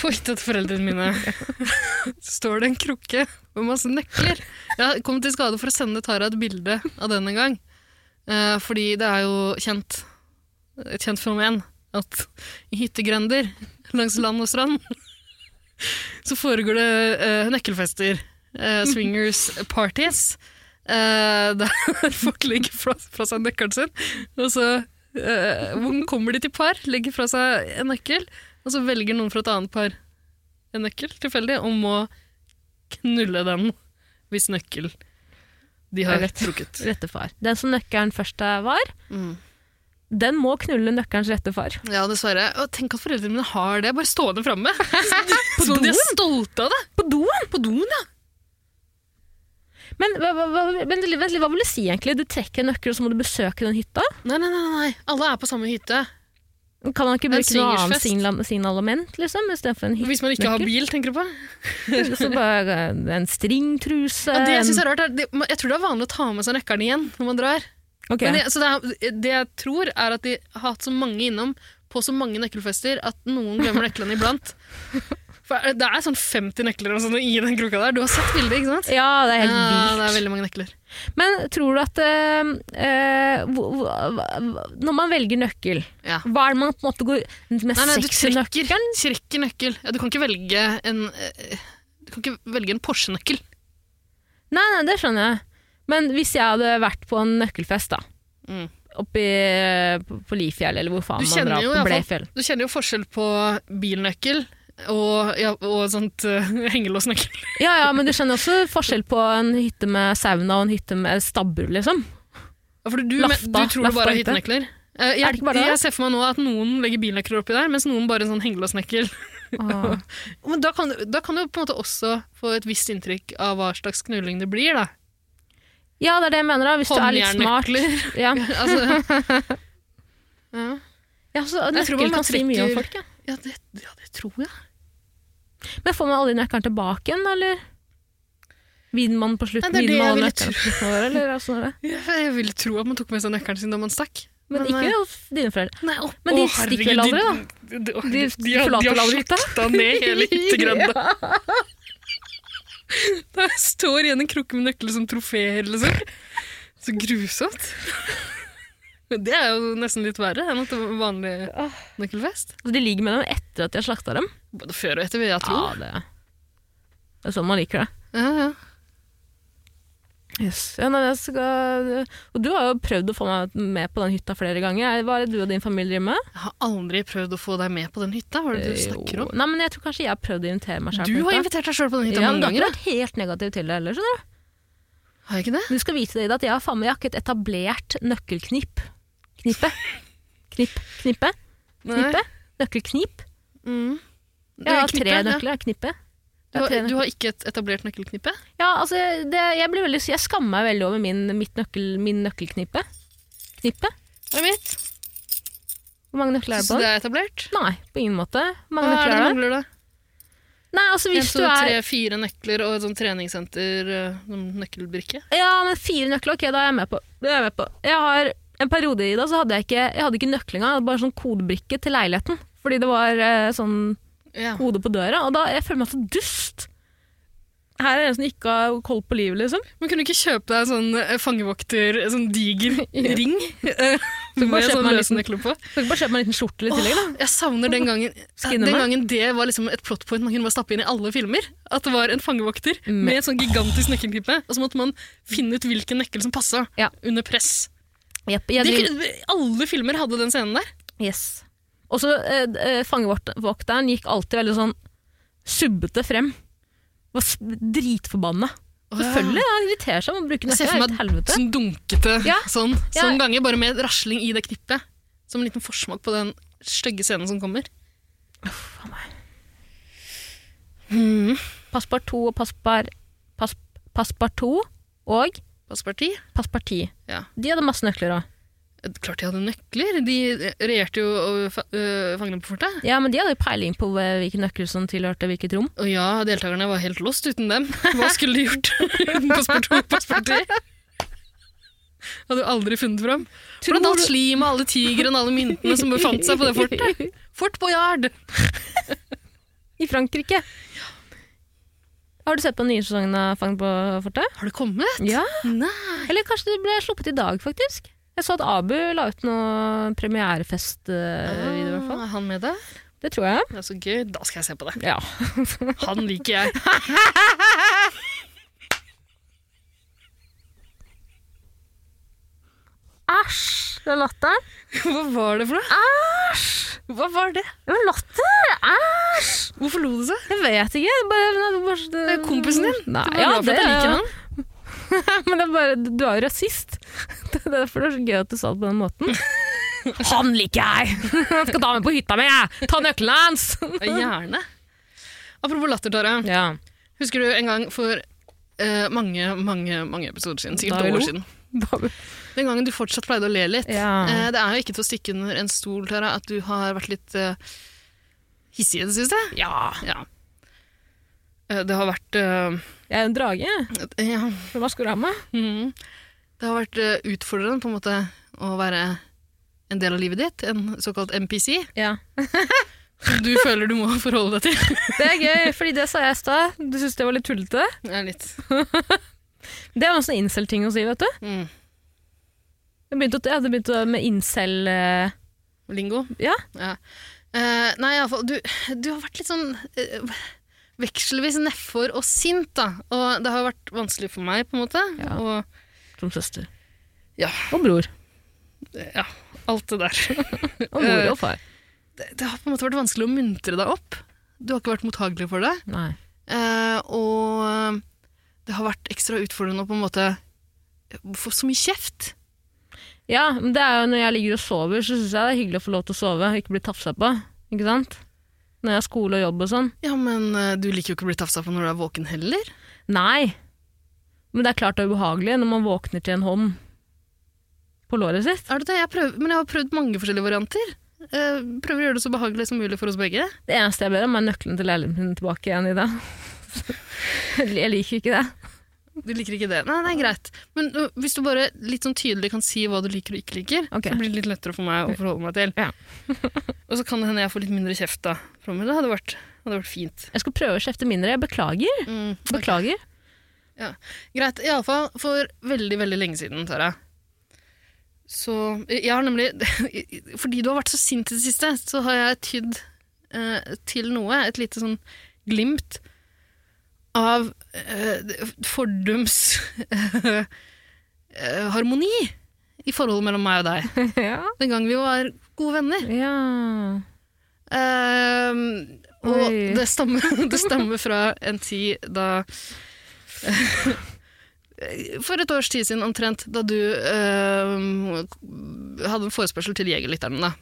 Speaker 3: På hytta til foreldrene mine står det en krukke med masse nøkler. Jeg kom til skade for å sende Tara et bilde av den en gang. Eh, fordi det er jo kjent, et kjent fenomen at i hyttegrender langs land og strand så foregår det eh, nøkkelfester, eh, swingers parties, eh, der folk legger fra, fra seg nøkkelen sin, og så eh, hvor kommer de til par, legger fra seg en nøkkel, og så velger noen fra et annet par en nøkkel tilfeldig, og må knulle den hvis nøkkel de har
Speaker 2: Jeg vet.
Speaker 3: trukket.
Speaker 2: Rette far. Den som nøkkelen først er var,
Speaker 3: Mm.
Speaker 2: den må knulle nøkkelens rette far.
Speaker 3: Ja, dessverre. Og tenk at foreldrene mine har det bare stående framme. Som om de er
Speaker 2: doen?
Speaker 3: stolte av det.
Speaker 2: På doen!
Speaker 3: På doen, ja.
Speaker 2: Men, hva- hva, hva, vent, litt, vent, litt, hva vil du si egentlig? Du trekker en nøkkel, og så må du besøke den hytta?
Speaker 3: Nei, nei, nei. nei. Alle er på samme hytte.
Speaker 2: Kan man ikke
Speaker 3: En
Speaker 2: bruke noe annet
Speaker 3: swingersfest.
Speaker 2: signal signalament, liksom? Istedenfor en
Speaker 3: Hvis man ikke har
Speaker 2: Nøkkel?
Speaker 3: bil, tenker du på.
Speaker 2: hytte, så bare eh, en stringtruse
Speaker 3: Og det jeg
Speaker 2: en-
Speaker 3: synes er rart, er det, jeg tror det er vanlig å ta med seg nøkkelen igjen når man drar.
Speaker 2: Ok.
Speaker 3: Men det, så det, er, det jeg tror, er at de har hatt så mange innom på så mange nøkkelfester at noen glemmer nøklene iblant. For det er sånn 50 nøkler og sånn i den krukka der. Du har sett bildet, ikke sant?
Speaker 2: Ja, det er helt
Speaker 3: Ja,
Speaker 2: vilt.
Speaker 3: det er veldig mange nøkler.
Speaker 2: Men tror du at eh, eh, hvor- hvor- hva- hva- Når man velger nøkkel,
Speaker 3: Ja.
Speaker 2: hva er det man på en måte går Den mest
Speaker 3: Nei, nei, du
Speaker 2: sexy
Speaker 3: trekker,
Speaker 2: nøkkelen?
Speaker 3: trekker nøkkel. Ja, du kan ikke velge en eh, Du kan ikke velge en Porsche-nøkkel.
Speaker 2: Nei, nei, det skjønner jeg. Men hvis jeg hadde vært på en nøkkelfest, da.
Speaker 3: Mm.
Speaker 2: Oppi eh, på- på Lifjell, eller hvor faen
Speaker 3: Du
Speaker 2: man
Speaker 3: kjenner
Speaker 2: drar
Speaker 3: jo i
Speaker 2: på
Speaker 3: hvert fall-
Speaker 2: Blefjell.
Speaker 3: Du kjenner jo forskjell på bilnøkkel og, ja, og sånt eh, hengelåsnøkkel.
Speaker 2: Ja, ja, men du skjønner også forskjell på en hytte med sauna og en hytte med stabbur, liksom.
Speaker 3: Ja, For du,
Speaker 2: Lafta.
Speaker 3: men, du tror du
Speaker 2: Lafta
Speaker 3: bare har
Speaker 2: hytte.
Speaker 3: hyttenøkler? Eh,
Speaker 2: Er det
Speaker 3: jeg,
Speaker 2: ikke bare det?
Speaker 3: jeg ser for meg nå at noen legger bilnøkler oppi der, mens noen bare en sånn hengelåsnøkkel.
Speaker 2: Ah.
Speaker 3: Men da kan, da kan du på en måte også få et visst inntrykk av hva slags knulling det blir, da.
Speaker 2: Ja, det er det jeg mener, da. Hvis du er litt smart.
Speaker 3: Håndjernnøkler.
Speaker 2: Ja.
Speaker 3: altså, ja.
Speaker 2: Ja, så
Speaker 3: Jeg tror man
Speaker 2: nøkkel kan si mye om
Speaker 3: trekker-
Speaker 2: folk, ja.
Speaker 3: Ja, det, ja, det tror jeg.
Speaker 2: Men får man alle de nøkkelen tilbake igjen, da, eller? Vinner man på slutten?
Speaker 3: Nei, det er det
Speaker 2: Vinner man
Speaker 3: jeg
Speaker 2: alle
Speaker 3: ville
Speaker 2: nøkkelen på slutten av året, eller åssen er det?
Speaker 3: Jeg ville tro at man tok med seg nøkkelen sin da man stakk.
Speaker 2: Men ikke hos dine foreldre.
Speaker 3: Nei, opp,
Speaker 2: Men de stikker vel aldri,
Speaker 3: da? De, de,
Speaker 2: De
Speaker 3: de, de, har-
Speaker 2: forlater
Speaker 3: de
Speaker 2: vel
Speaker 3: har
Speaker 2: aldri hytta?
Speaker 3: slakta ned hele hyttegrenda. Der står igjen en krukke med nøkler som trofeer, liksom. Så grusomt. Men det er jo nesten litt verre enn at det var vanlig nøkkelfest.
Speaker 2: Så Altså, de ligger med dem etter at de har slakta dem?
Speaker 3: Både før og etter, vil jeg tro.
Speaker 2: Ja, det er, det er sånn man liker det.
Speaker 3: Ja, ja.
Speaker 2: Yes. Ja, nei, jeg skal... Og du har jo prøvd å få meg med på den hytta flere ganger. Hva er det du og din familie driver med?
Speaker 3: Jeg har aldri prøvd å få deg med på den hytta. Hva er det du snakker om?
Speaker 2: Nei, men jeg tror kanskje jeg har prøvd å invitere meg selv
Speaker 3: Du
Speaker 2: på
Speaker 3: har
Speaker 2: hytta.
Speaker 3: invitert deg sjøl på den hytta
Speaker 2: ja, men
Speaker 3: mange
Speaker 2: du har ikke
Speaker 3: ganger.
Speaker 2: vært helt negativ til det heller, skjønner du.
Speaker 3: da. Har jeg ikke det?
Speaker 2: Men Du skal vite det, Ida, at jeg har faen meg jeg har ikke et etablert nøkkelknipp. Knippe. Knipp. Knippe.
Speaker 3: Nei.
Speaker 2: Knippe. Nøkkelknip.
Speaker 3: Mm.
Speaker 2: Jeg har
Speaker 3: Knippe,
Speaker 2: tre
Speaker 3: ja.
Speaker 2: nøkler. Ja. Knippe.
Speaker 3: Du
Speaker 2: Jeg har
Speaker 3: har,
Speaker 2: tre
Speaker 3: du
Speaker 2: nøkler.
Speaker 3: har ikke et etablert nøkkelknippe?
Speaker 2: Ja, altså, det, jeg, blir veldig, jeg skammer meg veldig over min, mitt nøkkel, min nøkkelknippe. Knippe.
Speaker 3: Det er mitt.
Speaker 2: Hvor mange nøkler er det
Speaker 3: Så
Speaker 2: på den?
Speaker 3: det er etablert?
Speaker 2: Nei, på ingen måte. Hvor
Speaker 3: Hva
Speaker 2: mange nøkler
Speaker 3: er
Speaker 2: er
Speaker 3: det
Speaker 2: det?
Speaker 3: mangler, da?
Speaker 2: Nei, altså
Speaker 3: En,
Speaker 2: hvis
Speaker 3: to,
Speaker 2: du
Speaker 3: tre,
Speaker 2: er
Speaker 3: fire nøkler og et sånt treningssenter, eh, sånn nøkkelbrikke.
Speaker 2: Ja, men fire nøkler, ok, da er jeg med på. Det er jeg med på. Jeg har en periode i det så hadde jeg ikke, jeg hadde ikke nøkkel engang, jeg hadde bare sånn kodebrikke til leiligheten. Fordi det var eh, sånn
Speaker 3: Ja.
Speaker 2: kode på døra, og da jeg føler meg så dust. Her er en som ikke har koll på livet, liksom.
Speaker 3: Men kunne du ikke kjøpe deg sånn eh, fangevokter, en sånn diger ring eh,
Speaker 2: Så bare kjøpe
Speaker 3: med sånn
Speaker 2: meg en liten-
Speaker 3: løsnøkler på?
Speaker 2: Skal ikke bare kjøpe meg en liten skjorte litt i tillegg, da.
Speaker 3: Åh, jeg savner den gangen
Speaker 2: Skinne
Speaker 3: Den
Speaker 2: meg.
Speaker 3: gangen det var liksom et plot point man kunne bare stappe inn i alle filmer. At det var en fangevokter
Speaker 2: Mm.
Speaker 3: med en sånn gigantisk nøkkelknippe, og så måtte man finne ut hvilken nøkkel som passa
Speaker 2: Ja.
Speaker 3: under press.
Speaker 2: Jepp, jeg
Speaker 3: Det,
Speaker 2: driver-
Speaker 3: kunne- alle filmer hadde den scenen der.
Speaker 2: Yes. Og så eh, eh, fangevokteren gikk alltid veldig sånn subbete frem. Var s- dritforbanna. Selvfølgelig, han irriterer seg om å bruke
Speaker 3: Jeg ser
Speaker 2: nøkkelen.
Speaker 3: for
Speaker 2: Det er helt
Speaker 3: meg
Speaker 2: helvete.
Speaker 3: sånn dunkete
Speaker 2: Ja.
Speaker 3: sånn.
Speaker 2: Ja.
Speaker 3: Sånn ganger, bare med rasling i det knippet. Som en liten forsmak på den stygge scenen som kommer. Mm.
Speaker 2: Passpar 2 og passpar pass, Passpar 2 og
Speaker 3: Passeparti.
Speaker 2: passpar 10.
Speaker 3: Ja.
Speaker 2: De hadde masse nøkler òg.
Speaker 3: Eh, Klart de hadde nøkler. De eh, regjerte jo over fa- øh, fangene på fortet.
Speaker 2: Ja, men de hadde jo peiling på eh, hvilke nøkler som tilhørte hvilket rom.
Speaker 3: Og ja, deltakerne var helt lost uten dem. Hva skulle de gjort uten Passport 2 og Passport 3? Hadde jo aldri funnet fram. Blant alt slimet, alle tigrene, alle myntene som befant seg på det fortet. Fort Boyard!
Speaker 2: I Frankrike. Har du sett på den nye sesongen av Fang på fortet?
Speaker 3: Har det kommet?
Speaker 2: Ja.
Speaker 3: Nei.
Speaker 2: Eller kanskje det ble sluppet i dag, faktisk. Jeg så at Abu la ut noe premierefest-video, Eh, i hvert fall.
Speaker 3: Ah, han med det?
Speaker 2: Det tror jeg.
Speaker 3: Det er så gøy. Da skal jeg se på det.
Speaker 2: Ja.
Speaker 3: Han liker jeg.
Speaker 2: Æsj! Det er latteren.
Speaker 3: Hva var det for noe? Hva var det?
Speaker 2: Det var latter! Æsj!
Speaker 3: Hvorfor lo du så?
Speaker 2: Jeg vet ikke. Det er bare, det er bare, det,
Speaker 3: Det er kompisen din.
Speaker 2: Nei,
Speaker 3: Du var
Speaker 2: ja,
Speaker 3: glad for
Speaker 2: det
Speaker 3: at
Speaker 2: er
Speaker 3: jeg liker
Speaker 2: jo-
Speaker 3: han.
Speaker 2: Men det er bare, du er jo rasist. Det er derfor det er så gøy at du sa det på den måten. Han liker jeg! Jeg skal ta med på hytta mi! jeg. Ta nøkkelen hans!
Speaker 3: Ja, Gjerne. Apropos latter, Tara.
Speaker 2: Ja.
Speaker 3: Husker du en gang for eh, mange, mange mange episoder siden,
Speaker 2: Da
Speaker 3: sikkert
Speaker 2: vi
Speaker 3: år
Speaker 2: lo.
Speaker 3: siden, den gangen du fortsatt pleide å le litt
Speaker 2: Ja.
Speaker 3: Eh, Det er jo ikke til å stikke under en stol, Tara, at du har vært litt eh, hissig i det siste.
Speaker 2: ja.
Speaker 3: Ja. Eh, det har vært eh,
Speaker 2: Jeg er en drage.
Speaker 3: et- ja.
Speaker 2: Hva skal du ha med?
Speaker 3: mhm. Det har vært eh, utfordrende på en måte å være en del av livet ditt, en såkalt MPC,
Speaker 2: Ja.
Speaker 3: som du føler du må forholde deg til.
Speaker 2: Det er gøy, fordi det sa jeg i stad. Du syntes det var litt tullete?
Speaker 3: Det er litt.
Speaker 2: Det er jo en sånn incel-ting å si, vet du.
Speaker 3: Mm.
Speaker 2: Jeg begynte, å- jeg hadde begynt å- med incel eh,
Speaker 3: Lingo?
Speaker 2: Ja.
Speaker 3: Eh, nei, iallfall du, du har vært litt sånn eh, vekselvis nedfor og sint, da. Og det har vært vanskelig for meg, på en måte.
Speaker 2: Ja.
Speaker 3: Og
Speaker 2: som søster.
Speaker 3: Ja.
Speaker 2: Og bror.
Speaker 3: eh, ja, alt det der.
Speaker 2: Og mor og far.
Speaker 3: det, det har på en måte vært vanskelig å muntre deg opp. Du har ikke vært mottagelig for det.
Speaker 2: Nei.
Speaker 3: Eh, og eh, det har vært ekstra utfordrende å på en måte få så mye kjeft.
Speaker 2: Ja, men det er jo når jeg ligger og sover, så syns jeg det er hyggelig å få lov til å sove og ikke bli tafsa på. Ikke sant? Når jeg har skole og jobb og sånn.
Speaker 3: Ja, men eh, du liker jo ikke å bli tafsa på når du er våken heller.
Speaker 2: Nei. Men det er klart det er ubehagelig når man våkner til en hånd på låret sitt.
Speaker 3: Er det det? Jeg prøver, men jeg har prøvd mange forskjellige varianter. Eh, prøver å gjøre det så behagelig som mulig for oss begge.
Speaker 2: Det eneste jeg ber om, er nøkkelen til leiligheten min tilbake igjen i dag. Jeg liker ikke det.
Speaker 3: Du liker ikke det? Nei, det er greit. Men ø, hvis du bare litt sånn tydelig kan si hva du liker og ikke liker,
Speaker 2: Ok.
Speaker 3: så blir det litt lettere for meg å forholde meg til.
Speaker 2: Ja.
Speaker 3: og så kan det hende jeg får litt mindre kjeft da. fra meg. Det hadde vært, hadde vært fint.
Speaker 2: Jeg skal prøve å kjefte mindre. Jeg beklager.
Speaker 3: Mm.
Speaker 2: Beklager.
Speaker 3: Greit. Iallfall for veldig, veldig lenge siden, Tara. Så Jeg har nemlig Fordi du har vært så sint i det siste, så har jeg tydd eh, til noe. Et lite sånn glimt av eh, fordums eh, harmoni i forholdet mellom meg og deg.
Speaker 2: Ja.
Speaker 3: Den gang vi var gode venner.
Speaker 2: ja.
Speaker 3: Ehm, og
Speaker 2: Oi.
Speaker 3: det stammer, det stammer fra en tid da eh, For et års tid siden omtrent, da du ehm, hadde en forespørsel til Jegerlytterne. da.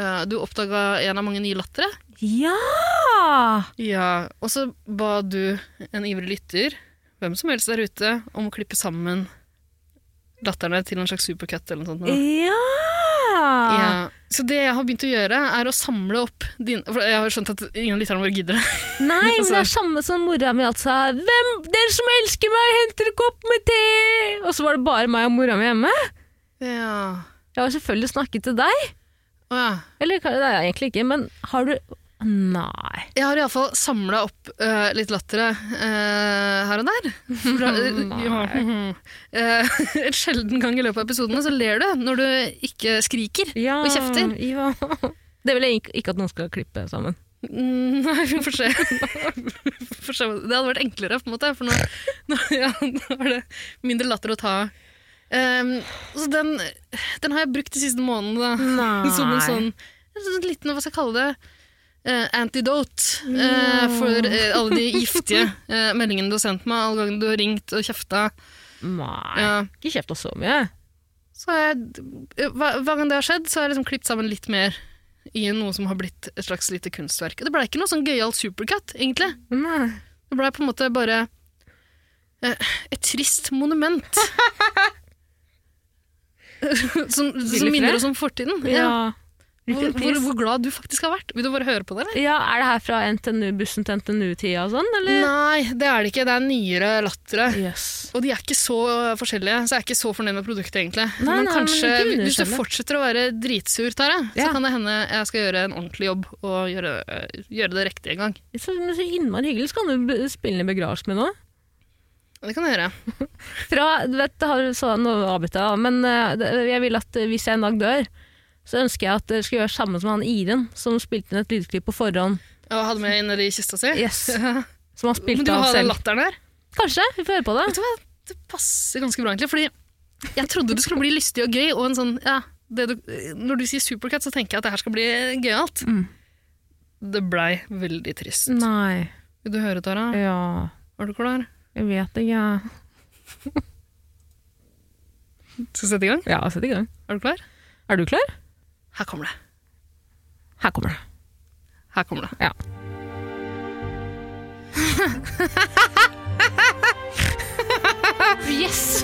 Speaker 3: Eh, du oppdaga en av mange nye lattere.
Speaker 2: Ja!
Speaker 3: Ja, og så ba du en ivrig lytter, hvem som helst der ute, om å klippe sammen latterne til en slags supercut eller noe sånt. nå.
Speaker 2: Ja!
Speaker 3: Ja. Så det jeg har begynt å gjøre, er å samle opp din For jeg har skjønt at ingen av lytterne våre gidder det.
Speaker 2: Nei, men det
Speaker 3: Altså-
Speaker 2: er samme som mora mi alltid sa. Hvem, 'Dere som elsker meg, henter en kopp med te!' Og så var det bare meg og mora mi hjemme.
Speaker 3: Ja.
Speaker 2: Jeg har selvfølgelig snakket til deg.
Speaker 3: Å ja.
Speaker 2: Eller kan- det er jeg egentlig ikke, men har du Nei.
Speaker 3: Jeg har iallfall samla opp eh, litt latter eh, her og der. Fra,
Speaker 2: Nei.
Speaker 3: Eh, en sjelden gang i løpet av episodene så ler du når du ikke skriker
Speaker 2: Ja,
Speaker 3: og kjefter.
Speaker 2: Ja. Det vil jeg ikke, ikke at noen skal klippe sammen.
Speaker 3: Mm, Nei, vi får se. Vi får se. Det hadde vært enklere, på en måte, for nå, nå, ja, nå er det mindre latter å ta av. Ehm, så den, den har jeg brukt de siste månedene. da. Som en sånn en sånn liten, hva skal jeg kalle det, Eh, antidote eh, for eh, alle de giftige eh, meldingene du har sendt meg, alle gangene du har ringt og kjefta.
Speaker 2: Nei,
Speaker 3: Ja.
Speaker 2: ikke kjeft oss så mye.
Speaker 3: Så har jeg, eh, hver hver gang det har skjedd, så har jeg liksom klippet sammen litt mer i noe som har blitt et slags lite kunstverk. Og det ble ikke noe sånn gøyal supercut, egentlig.
Speaker 2: Nei.
Speaker 3: Det ble på en måte bare eh, et trist monument. som som
Speaker 2: Willy
Speaker 3: minner
Speaker 2: Frey?
Speaker 3: oss om fortiden. Ja.
Speaker 2: Ja.
Speaker 3: Hvor, hvor, hvor glad du faktisk har vært. Vil du bare høre på det? eller?
Speaker 2: ja, Er det her fra NTNU, bussen til NTNU-tida og sånn, eller?
Speaker 3: Nei, det er det ikke. Det er nyere lattere.
Speaker 2: Yes.
Speaker 3: Og de er ikke så forskjellige, så jeg er ikke så fornøyd med produktet, egentlig.
Speaker 2: Nei,
Speaker 3: men
Speaker 2: nei, men
Speaker 3: kanskje,
Speaker 2: ikke underskjell
Speaker 3: hvis du
Speaker 2: det.
Speaker 3: fortsetter å være dritsur, Tara,
Speaker 2: Ja.
Speaker 3: så kan det hende jeg skal gjøre en ordentlig jobb og gjøre, eh, gjøre det riktig en gang.
Speaker 2: Så, men så innmari hyggelig. Så kan du b- spille inn i begravelsen min nå.
Speaker 3: Det kan jeg gjøre.
Speaker 2: Fra, du vet, det har, så, nå avbryter jeg, da, men eh, det- jeg vil at eh, hvis jeg en dag dør, så ønsker jeg at dere skal gjøre samme som han Iren, som spilte inn et lydklipp på forhånd.
Speaker 3: Og hadde med inn i kista si.
Speaker 2: Yes.
Speaker 3: men
Speaker 2: Som han
Speaker 3: du
Speaker 2: spilte av
Speaker 3: har den
Speaker 2: selv.
Speaker 3: latteren der.
Speaker 2: Kanskje, vi får høre på det.
Speaker 3: Vet du hva? Det passer ganske bra, egentlig. Fordi jeg trodde det skulle bli lystig og gøy. Og en sånn, ja, det du, når du sier Supercat, så tenker jeg at det her skal bli gøyalt.
Speaker 2: Mm.
Speaker 3: Det blei veldig trist.
Speaker 2: Nei,
Speaker 3: Vil du høre, Tara?
Speaker 2: ja,
Speaker 3: Er du klar?
Speaker 2: jeg vet ikke.
Speaker 3: Skal vi sette i gang?
Speaker 2: Ja, sett i gang.
Speaker 3: Er du klar?
Speaker 2: Er du klar?
Speaker 3: Her kommer det.
Speaker 2: Her kommer det.
Speaker 3: Her kommer det.
Speaker 2: Ja. yes!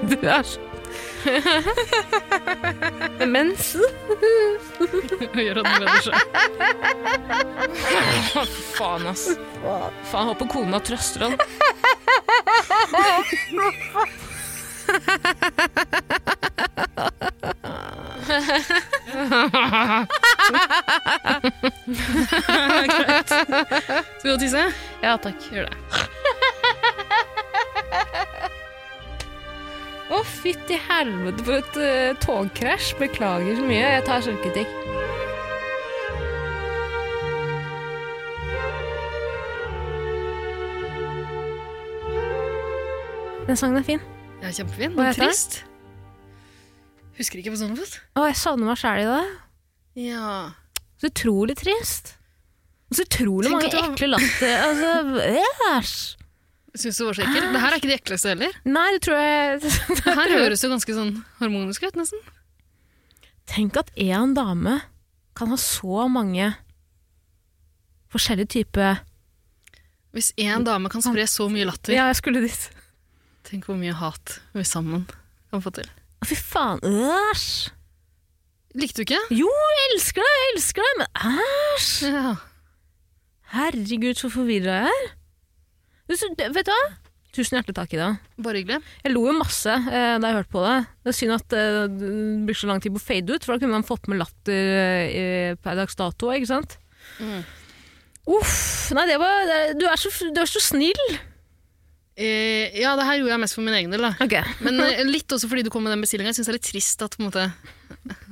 Speaker 2: Du er så Mens
Speaker 3: Gjør at den gleder seg.
Speaker 6: Faen, ass. Faen, håper kona trøster han.
Speaker 3: Skal du tisse?
Speaker 6: Ja, takk.
Speaker 3: Gjør det.
Speaker 2: Å, fytti helvete for et eh, togkrasj. Beklager så mye. Jeg tar selvkritikk. Den sangen er fin.
Speaker 3: Det er kjempefin.
Speaker 2: Hva
Speaker 3: Men
Speaker 2: heter den?
Speaker 3: trist. Husker ikke på sånn fot.
Speaker 2: Å, jeg savner meg sjæl i dag.
Speaker 3: Ja.
Speaker 2: Så utrolig trist. Og Så utrolig
Speaker 3: Tenk
Speaker 2: mange
Speaker 3: at du har-
Speaker 2: ekle latter. Altså, æsj!
Speaker 3: Syns du det var så ekkelt? Det her er ikke de ekleste heller.
Speaker 2: Nei, det tror jeg
Speaker 3: Det her høres jo ganske sånn harmonisk ut, nesten.
Speaker 2: Tenk at én dame kan ha så mange forskjellige typer
Speaker 3: Hvis én dame kan spre så mye latter
Speaker 2: Ja, jeg skulle dit.
Speaker 3: Tenk hvor mye hat vi sammen kan få til.
Speaker 2: Å, Fy faen, æsj!
Speaker 3: Likte du ikke?
Speaker 2: Jo, jeg elsker deg, jeg elsker deg, men æsj!
Speaker 3: Ja.
Speaker 2: Herregud, så forvirra jeg er. Du, så- det- Vet du hva? Tusen hjertelig takk i dag.
Speaker 3: Bare hyggelig.
Speaker 2: Jeg lo jo masse eh, da jeg hørte på det. Det er synd at eh, det bruker så lang tid på å fade ut, for da kunne man fått med latter eh, i- per dags dato, ikke sant?
Speaker 3: Mm.
Speaker 2: Uff, nei det var det- Du er så, du er så snill!
Speaker 3: Eh, ja, det her gjorde jeg mest for min egen del, da.
Speaker 2: Ok.
Speaker 3: Men eh, litt også fordi du kom med den bestillinga. Jeg syns det er litt trist at på en måte,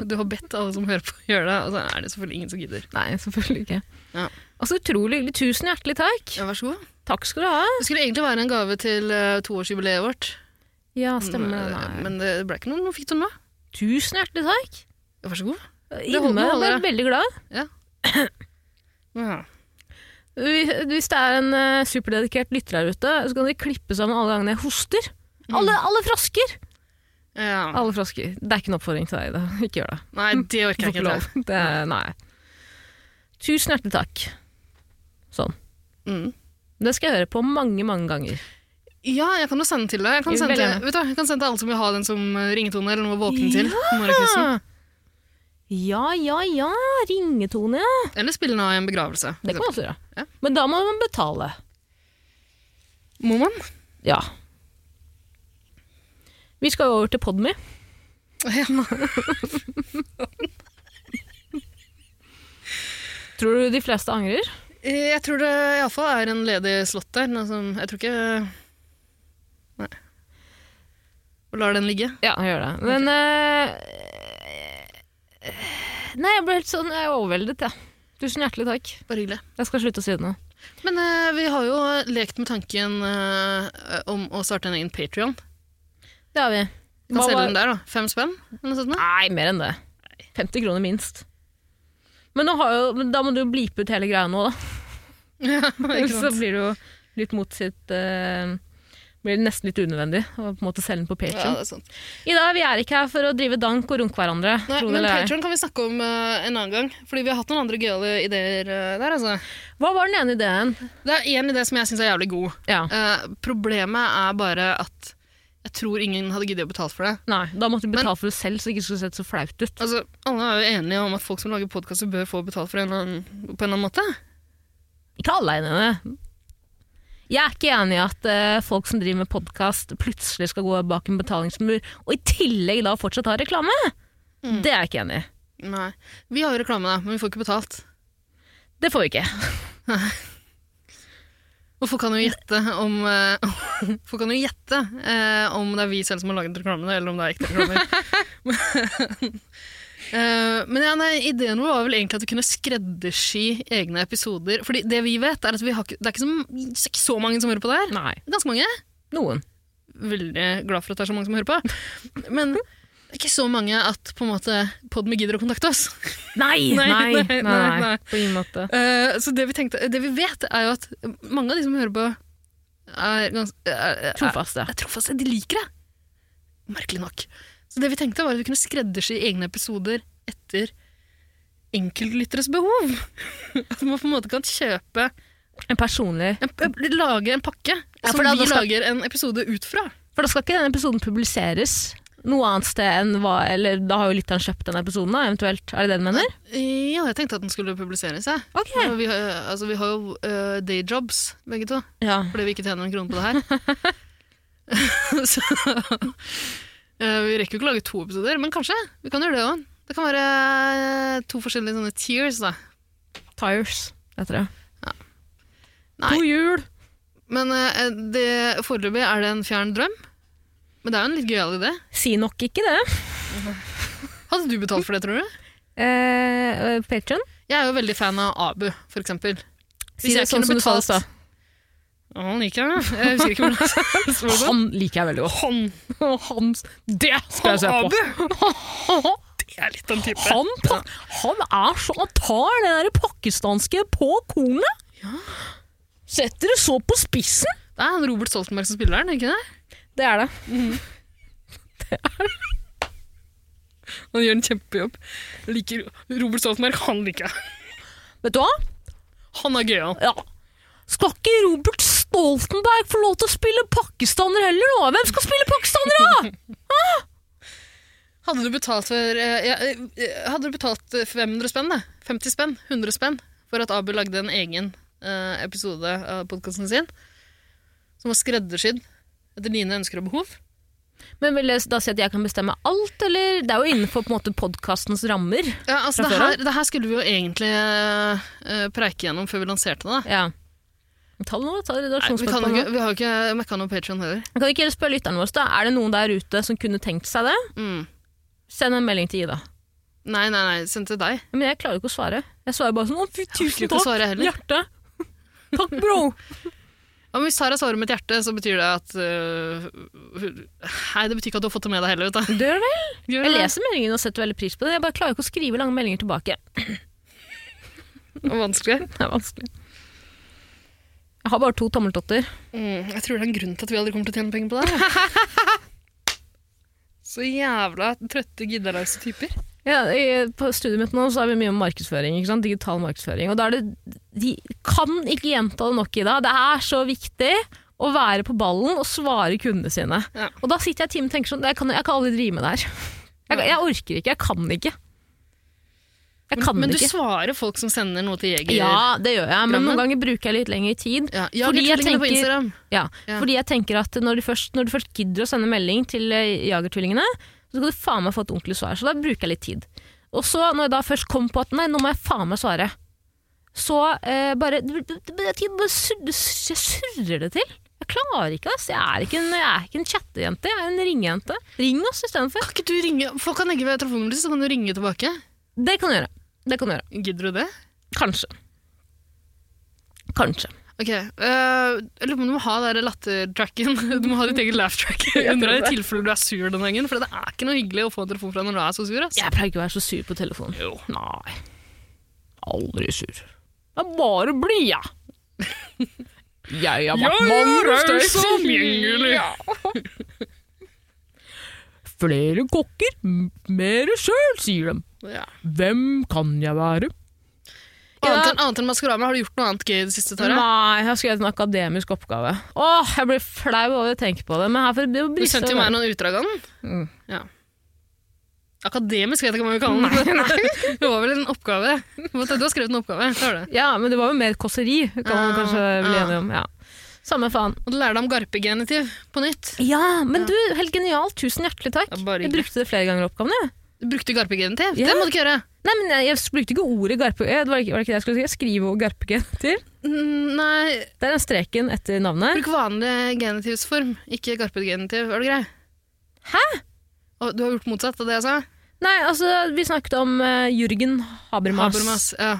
Speaker 3: du har bedt alle som hører på, å gjøre det, og så er det selvfølgelig ingen som gidder.
Speaker 2: Nei, selvfølgelig ikke.
Speaker 3: Ja.
Speaker 2: Altså, utrolig hyggelig. Tusen hjertelig takk.
Speaker 3: Ja, vær så god.
Speaker 2: Takk skal du ha.
Speaker 3: Det skulle egentlig være en gave til eh, toårsjubileet vårt,
Speaker 2: Ja, stemmer det.
Speaker 3: Mm, men, eh,
Speaker 2: Nei.
Speaker 3: men det ble ikke noe. Nå fikk du den nå.
Speaker 2: Tusen hjertelig takk.
Speaker 3: Ja, Vær så god. holder
Speaker 2: Irme
Speaker 3: med
Speaker 2: ble
Speaker 3: alle.
Speaker 2: veldig glad.
Speaker 3: Ja.
Speaker 2: Hvis hvis det er en eh, superdedikert lytter her ute, så kan de klippe sammen alle gangene jeg hoster.
Speaker 3: Mm.
Speaker 2: Alle, alle frosker!
Speaker 3: Ja.
Speaker 2: Alle frosker. Det er ikke en oppfordring til deg. Da. Ikke gjør det.
Speaker 3: Nei, det
Speaker 2: Du
Speaker 3: orker
Speaker 2: får
Speaker 3: jeg
Speaker 2: ikke
Speaker 3: ikke.
Speaker 2: lov. Det, er- nei. Tusen hjertelig takk.
Speaker 3: til. Mm.
Speaker 2: Det skal jeg høre på mange, mange ganger.
Speaker 3: Ja, jeg kan jo sende til deg. Jeg kan,
Speaker 2: Jo,
Speaker 3: sende,
Speaker 2: veldig gjerne.
Speaker 3: vet du, hva, jeg kan sende til alle som vil ha den som eh, ringetone eller noe å våkne til. på morgenkvisten.
Speaker 2: Ja, ja, ja. Ringetone, ja.
Speaker 3: Eller spille den av i en begravelse.
Speaker 2: Det kan man også gjøre.
Speaker 3: Ja.
Speaker 2: Men da må man betale.
Speaker 3: Må man?
Speaker 2: Ja. Vi skal jo over til Podmy.
Speaker 3: Ja.
Speaker 2: Tror du de fleste angrer?
Speaker 3: Eh, Jeg tror det iallfall er en ledig slott der. noe som- jeg tror ikke Nei. Og lar den ligge.
Speaker 2: Ja, gjør det. Men eh, Nei, jeg ble helt sånn Jeg er overveldet, jeg. Tusen hjertelig takk.
Speaker 3: Bare hyggelig.
Speaker 2: Jeg skal slutte å si det nå.
Speaker 3: Men eh, vi har jo lekt med tanken eh, om å starte en egen Patrion.
Speaker 2: Det har vi.
Speaker 3: Kan
Speaker 2: Hva
Speaker 3: selge
Speaker 2: var-
Speaker 3: den der, da. Fem spenn? Eller noe sånt. da.
Speaker 2: Nei, mer enn det. 50 kroner minst. Men, nå har jo, men da må du jo blipe ut hele greia nå, da.
Speaker 3: Ikke
Speaker 2: Ellers så
Speaker 3: sant?
Speaker 2: blir det jo litt mot sitt eh, Blir det nesten litt unødvendig å på en måte selge den på
Speaker 3: Ja,
Speaker 2: Patreon.
Speaker 3: det er sant.
Speaker 2: Ida, vi er ikke her for å drive dank og runke hverandre.
Speaker 3: Nei,
Speaker 2: tror det
Speaker 3: men
Speaker 2: eller ei.
Speaker 3: Patreon kan vi snakke om eh, en annen gang. Fordi vi har hatt noen andre gøyale ideer eh, der, altså.
Speaker 2: Hva var den ene ideen?
Speaker 3: Det er én idé som jeg syns er jævlig god.
Speaker 2: Ja,
Speaker 3: Eh, problemet er bare at jeg tror ingen hadde giddet å betale for det.
Speaker 2: nei, Da måtte vi
Speaker 3: Men-
Speaker 2: betale for det selv, så det ikke skulle sett så flaut ut.
Speaker 3: Altså, Alle er jo enige om at folk som lager podkaster, bør få betalt for en eller annen, på en eller annen måte.
Speaker 2: Ikke alle er enige i det. Jeg er ikke enig i at eh, folk som driver med podkast, plutselig skal gå bak en betalingsmur, og i tillegg da fortsatt ha reklame. Det er jeg ikke enig i.
Speaker 3: Nei. Vi har jo reklame, da, men vi får ikke betalt.
Speaker 2: Det får vi ikke.
Speaker 3: Og folk kan jo gjette om eh, Folk kan jo gjette eh, om det er vi selv som har laget reklamene, eller om det er ekte reklamer. Eh, men ja, nei, ideen vår var vel egentlig at vi kunne skreddersy egne episoder. Fordi det vi vet, er at vi har ikke, det er ikke så, det er ikke så mange som hører på det her.
Speaker 2: Nei.
Speaker 3: Ganske mange.
Speaker 2: Noen.
Speaker 3: Veldig glad for at det er så mange som hører på. Men det er ikke så mange at på en måte Podme gidder å kontakte oss.
Speaker 2: Nei! Nei,
Speaker 3: Nei,
Speaker 2: nei,
Speaker 3: nei, nei, nei.
Speaker 2: På ingen måte.
Speaker 3: Eh, så det vi, tenkte, det vi vet, er jo at mange av de som hører på, er ganske er- er-
Speaker 2: Trofaste.
Speaker 3: Jeg tror faktisk at de liker det. Merkelig nok. Så det vi tenkte var at vi kunne skreddersy egne episoder etter enkeltlytteres behov. At man på en måte kan kjøpe
Speaker 2: En personlig
Speaker 3: en, p- Lage en pakke
Speaker 2: Ja,
Speaker 3: som
Speaker 2: for da-
Speaker 3: vi
Speaker 2: da skal-
Speaker 3: lager en episode ut fra.
Speaker 2: For da skal ikke denne episoden publiseres noe annet sted enn hva Eller da har jo lytteren kjøpt den episoden, da, eventuelt. Er det det du mener?
Speaker 3: Ja, jeg tenkte at den skulle publiseres, jeg.
Speaker 2: Ok.
Speaker 3: Og Vi, har- altså, vi har jo eh, dayjobs, begge to.
Speaker 2: Ja.
Speaker 3: fordi vi ikke tjener en krone på det her. så eh, vi rekker jo ikke å lage to episoder, men kanskje. Vi kan gjøre det òg. Det kan være eh, to forskjellige sånne tiers, da.
Speaker 2: Tires heter det.
Speaker 3: Nei.
Speaker 2: God jul!
Speaker 3: Men eh, det, foreløpig er det en fjern drøm. Men det er jo en litt gøyal idé.
Speaker 2: Si nok ikke det.
Speaker 3: Hadde du betalt for det, tror du?
Speaker 2: Eh, Patreon.
Speaker 3: Jeg er jo veldig fan av Abu, for eksempel.
Speaker 2: Si det
Speaker 3: jeg
Speaker 2: sånn som
Speaker 3: kunne
Speaker 2: du sa det i
Speaker 3: betalt-
Speaker 2: stad.
Speaker 3: Å, han liker jeg. Jeg husker ikke hvordan det var.
Speaker 2: Han Mm, liker jeg veldig godt.
Speaker 3: Han,
Speaker 2: Og Hans Det skal jeg se på!
Speaker 3: det er litt den type.
Speaker 2: Han, pa- han er så Han tar det der pakistanske på kornet! Setter det så på spissen!
Speaker 3: Det er han Robert Stoltenberg som spiller den, ikke det?
Speaker 2: Det er det.
Speaker 3: Han gjør en kjempejobb. Jeg Liker Robert Stoltenberg, han liker jeg.
Speaker 2: Vet du hva?
Speaker 3: Han er gøyal.
Speaker 2: Ja. Skal ikke Robert Stoltenberg få lov til å spille pakistaner heller nå? Hvem skal spille pakistaner, da?
Speaker 3: Hadde du betalt for eh, ja, eh, Hadde du betalt eh, 500 spenn, da? 50 spenn? 100 spenn? For at Abu lagde en egen eh, episode av podkasten sin som var skreddersydd etter dine ønsker og behov?
Speaker 2: Men vil det da si at jeg kan bestemme alt, eller? Det er jo innenfor på en måte podkastens rammer.
Speaker 3: Ja, altså,
Speaker 2: Fra
Speaker 3: det
Speaker 2: før
Speaker 3: her, det her skulle vi jo egentlig eh, preike gjennom før vi lanserte det. da.
Speaker 2: Ja. Ta det nå, ta
Speaker 3: Nei, vi, kan jo
Speaker 2: redaksjonsspørsmålet nå.
Speaker 3: ikke, vi har jo ikke mekka noe Patreon heller.
Speaker 2: Kan vi ikke heller spørre lytterne våre, da? Er det noen der ute som kunne tenkt seg det?
Speaker 3: Mm.
Speaker 2: Send en melding til Ida.
Speaker 3: Nei, nei, nei, send til deg.
Speaker 2: Men jeg klarer jo ikke å svare. Jeg svarer bare sånn 'Å, fy,
Speaker 3: orker
Speaker 2: tusen
Speaker 3: ikke å svare
Speaker 2: takk,
Speaker 3: heller.»
Speaker 2: hjerte'. Takk, bro!
Speaker 3: Ja, men hvis Sara svarer med et hjerte, så betyr det at eh, Nei, det betyr ikke at du har fått det med deg heller. Vet du.
Speaker 2: Dør vel?
Speaker 3: Gjør
Speaker 2: Jeg
Speaker 3: det.
Speaker 2: leser meldingen og setter veldig pris på det. Jeg bare klarer ikke å skrive lange meldinger tilbake.
Speaker 3: Det var Vanskelig.
Speaker 2: Det er vanskelig. Jeg har bare to tommeltotter.
Speaker 3: Mm, jeg tror det er en grunn til at vi aldri kommer til å tjene penger på det. her, jeg. Så jævla trøtte, giddaløse typer.
Speaker 2: Ja, i, på studiet mitt nå så har vi mye om markedsføring, ikke sant? digital markedsføring. Og da er det, De kan ikke gjenta det nok, Ida. Det er så viktig å være på ballen og svare kundene sine.
Speaker 3: Ja.
Speaker 2: Og da sitter jeg i timen og tenker sånn, jeg kan, jeg kan aldri drive med det her. Jeg, jeg orker ikke, jeg kan ikke. Jeg kan
Speaker 3: men
Speaker 2: det
Speaker 3: du
Speaker 2: ikke.
Speaker 3: svarer folk som sender noe til Jeger.
Speaker 2: Ja, det gjør jeg, men
Speaker 3: Grammen?
Speaker 2: noen ganger bruker jeg litt lengre tid.
Speaker 3: Ja, jeg
Speaker 2: Fordi jeg
Speaker 3: på
Speaker 2: tenker-
Speaker 3: Instagram.
Speaker 2: Ja,
Speaker 3: Ja.
Speaker 2: Fordi jeg tenker at når du, først, når du først gidder å sende melding til eh, Jagertvillingene, så skal du faen meg få et ordentlig svar. Så da bruker jeg litt tid. Og så, når jeg da først kom på at nei, nå må jeg faen meg svare, så eh, bare det- det- det- det- Jeg bare sur- det- jeg surrer det til. Jeg klarer ikke, ass. Jeg er ikke en, jeg er ikke en chattejente, jeg er en ringejente. Ring oss istedenfor.
Speaker 3: Kan ikke du ringe? Folk kan legge ved telefonnummeret ditt, så kan du ringe tilbake.
Speaker 2: Det kan du gjøre. Det kan du gjøre.
Speaker 3: Gidder du det?
Speaker 2: Kanskje. Kanskje.
Speaker 3: Ok, øh, jeg lurer på om du må ha den latter-tracken. Du må ha ditt eget laugh-track under deg i tilfelle du er sur den gangen. For det er ikke noe hyggelig å få en telefon fra når du er så sur. Ass.
Speaker 2: Jeg pleier ikke å være så sur på telefonen. Jo. Nei. Aldri sur. Jeg er bare blid, jeg. Jeg har vært mange steder.
Speaker 4: Flere kokker, m- mer søl, sier de.
Speaker 3: Ja.
Speaker 4: Hvem kan jeg være?
Speaker 3: Annet enn annet enn Maskorama, har du gjort noe annet gøy i det siste, Tara?
Speaker 2: Nei, jeg har skrevet en akademisk oppgave. Åh, jeg blir flau over å tenke på det. Men her for det er jo
Speaker 3: Du
Speaker 2: brist-
Speaker 3: sendte jo meg noen utdrag av den.
Speaker 2: Mm.
Speaker 3: Ja. Akademisk vet jeg ikke hva vi kaller den. det var vel en oppgave. Du har skrevet en oppgave. det har du.
Speaker 2: Ja, men det var jo mer kåseri, kan man
Speaker 3: Ah,
Speaker 2: kanskje bli
Speaker 3: ah.
Speaker 2: enig om. Ja. Samme faen.
Speaker 3: Og du lærte om garpegenitiv på nytt.
Speaker 2: Ja, men du, helt genialt. Tusen hjertelig takk.
Speaker 3: Ja, bare
Speaker 2: Jeg
Speaker 3: hyggelig.
Speaker 2: brukte det flere ganger i oppgaven, jeg.
Speaker 3: Du brukte garpegenitiv.
Speaker 2: Ja.
Speaker 3: Det må du ikke gjøre.
Speaker 2: Nei, men jeg, jeg brukte ikke ordet garpe... eh, Det var ikke, var det ikke det jeg skulle si? Jeg skriver ordet garpegenter.
Speaker 3: Mm, Nei,
Speaker 2: Det er den streken etter navnet.
Speaker 3: Bruk vanlig genitivsform, ikke garpet genitiv. Er du grei?
Speaker 2: Hæ?
Speaker 3: Å, du har gjort motsatt av det jeg sa.
Speaker 2: Nei, altså, vi snakket om eh, Jørgen Habermas.
Speaker 3: Habermas. Ja.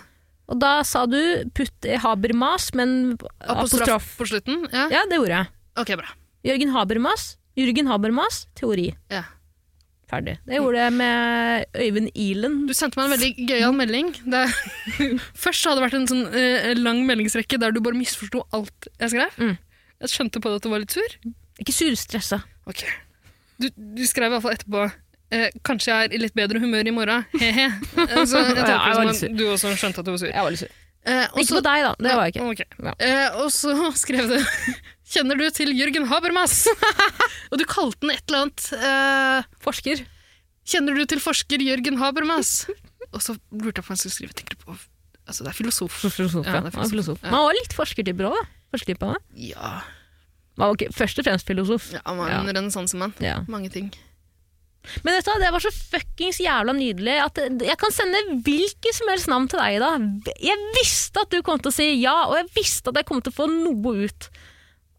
Speaker 2: Og da sa du putt i Habermas, men
Speaker 3: Apostrof,
Speaker 2: apostrof.
Speaker 3: på slutten. Ja.
Speaker 2: Ja, det gjorde jeg.
Speaker 3: Ok, bra.
Speaker 2: Jørgen Habermas, Jørgen Habermas, teori.
Speaker 3: Ja.
Speaker 2: Ferdig. Det gjorde jeg med Øyvind Ilen.
Speaker 3: Du sendte meg en veldig gøyal melding. Der, først så hadde det vært en sånn eh, lang meldingsrekke der du bare misforsto alt jeg skrev.
Speaker 2: Mm.
Speaker 3: Jeg skjønte på det at du var litt sur.
Speaker 2: Ikke surstressa.
Speaker 3: Ok. Du, du skrev i hvert fall etterpå eh, kanskje jeg er i litt bedre humør i morgen. He-he. Altså, jeg
Speaker 2: Ja,
Speaker 3: tolker
Speaker 2: jeg var
Speaker 3: det
Speaker 2: litt
Speaker 3: som at du også skjønte at du var sur.
Speaker 2: Jeg var litt sur.
Speaker 3: Eh, og
Speaker 2: Ikke
Speaker 3: så-
Speaker 2: på deg, da. Det var jeg ikke.
Speaker 3: Nei, ok.
Speaker 2: Ja.
Speaker 3: Eh, og så skrev du Kjenner du til Jørgen Habermas? og du kalte den et eller annet eh,
Speaker 2: Forsker.
Speaker 3: Kjenner du til forsker Jørgen Habermas? og så lurte jeg på hva jeg skulle skrive. Tenker du på Altså, det er filosof.
Speaker 2: Filosof,
Speaker 3: Ja,
Speaker 2: ja.
Speaker 3: det er
Speaker 2: Han er
Speaker 3: filosof.
Speaker 2: filosof.
Speaker 3: Ja.
Speaker 2: Men han var litt forskertype òg, da. Forskertype han da.
Speaker 3: Ja,
Speaker 2: Han var ikke- Først og fremst filosof.
Speaker 3: ja han var en renessansemann.
Speaker 2: Ja.
Speaker 3: Mange ting.
Speaker 2: Men vet du, hva, det var så fuckings jævla nydelig at jeg kan sende hvilket som helst navn til deg i dag. Jeg visste at du kom til å si ja, og jeg visste at jeg kom til å få noe ut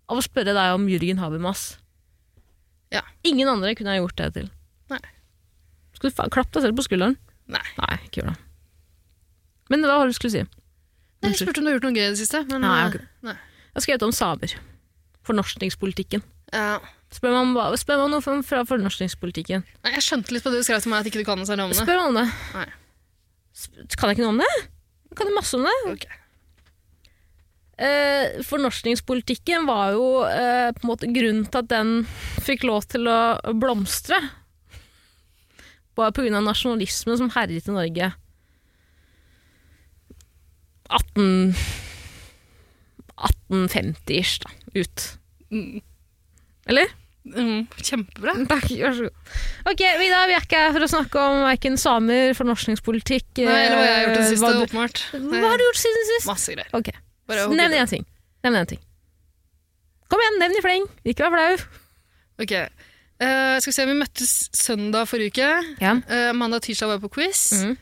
Speaker 2: av å spørre deg om Jørgen Habermas.
Speaker 3: Ja.
Speaker 2: Ingen andre kunne jeg gjort det til.
Speaker 3: Nei.
Speaker 2: Skal du fa- klappe deg selv på skulderen?
Speaker 3: Nei.
Speaker 2: Nei, ikke gjør det. Men hva var det du skulle si?
Speaker 3: Nei, jeg spurte om du har gjort noe gøy i det siste. Men,
Speaker 2: Nei,
Speaker 3: eh,
Speaker 2: ok.
Speaker 3: nei.
Speaker 2: Jeg har skrevet om samer. Fornorskningspolitikken.
Speaker 3: Ja.
Speaker 2: Spør meg om, hva- spør meg om noe fra- fra fornorskningspolitikken.
Speaker 3: Nei, jeg skjønte litt på det du skrev til meg, at ikke du kan disse navnene.
Speaker 2: Spør meg om det.
Speaker 3: Nei.
Speaker 2: Sp- Kan jeg ikke noe om det? Jeg Kan jeg masse om det?
Speaker 3: Ok.
Speaker 2: Eh, fornorskningspolitikken var jo eh, på en måte grunnen til at den fikk lov til å blomstre. Bare pga. nasjonalismen som herjet i Norge. 18 1850-ish, da. Ut.
Speaker 3: Mm.
Speaker 2: Eller?
Speaker 3: Mm, kjempebra.
Speaker 2: Takk, vær så god. Ok, Vida, vi er ikke her for å snakke om verken samer, fornorskningspolitikk
Speaker 3: Nei, eller hva jeg har gjort i det
Speaker 2: eh,
Speaker 3: siste,
Speaker 2: hva du-
Speaker 3: åpenbart.
Speaker 2: Hva har du gjort siden sist?
Speaker 3: Masse greier.
Speaker 2: Ok.
Speaker 3: Bare hopp i
Speaker 2: Nevn
Speaker 3: det.
Speaker 2: én ting. Nevn en ting. Kom igjen, nevn i fleng. Ikke vær flau.
Speaker 3: Ok. Eh, skal vi se, vi møttes søndag forrige uke. Eh, mandag og tirsdag var jeg på quiz.
Speaker 2: Mm.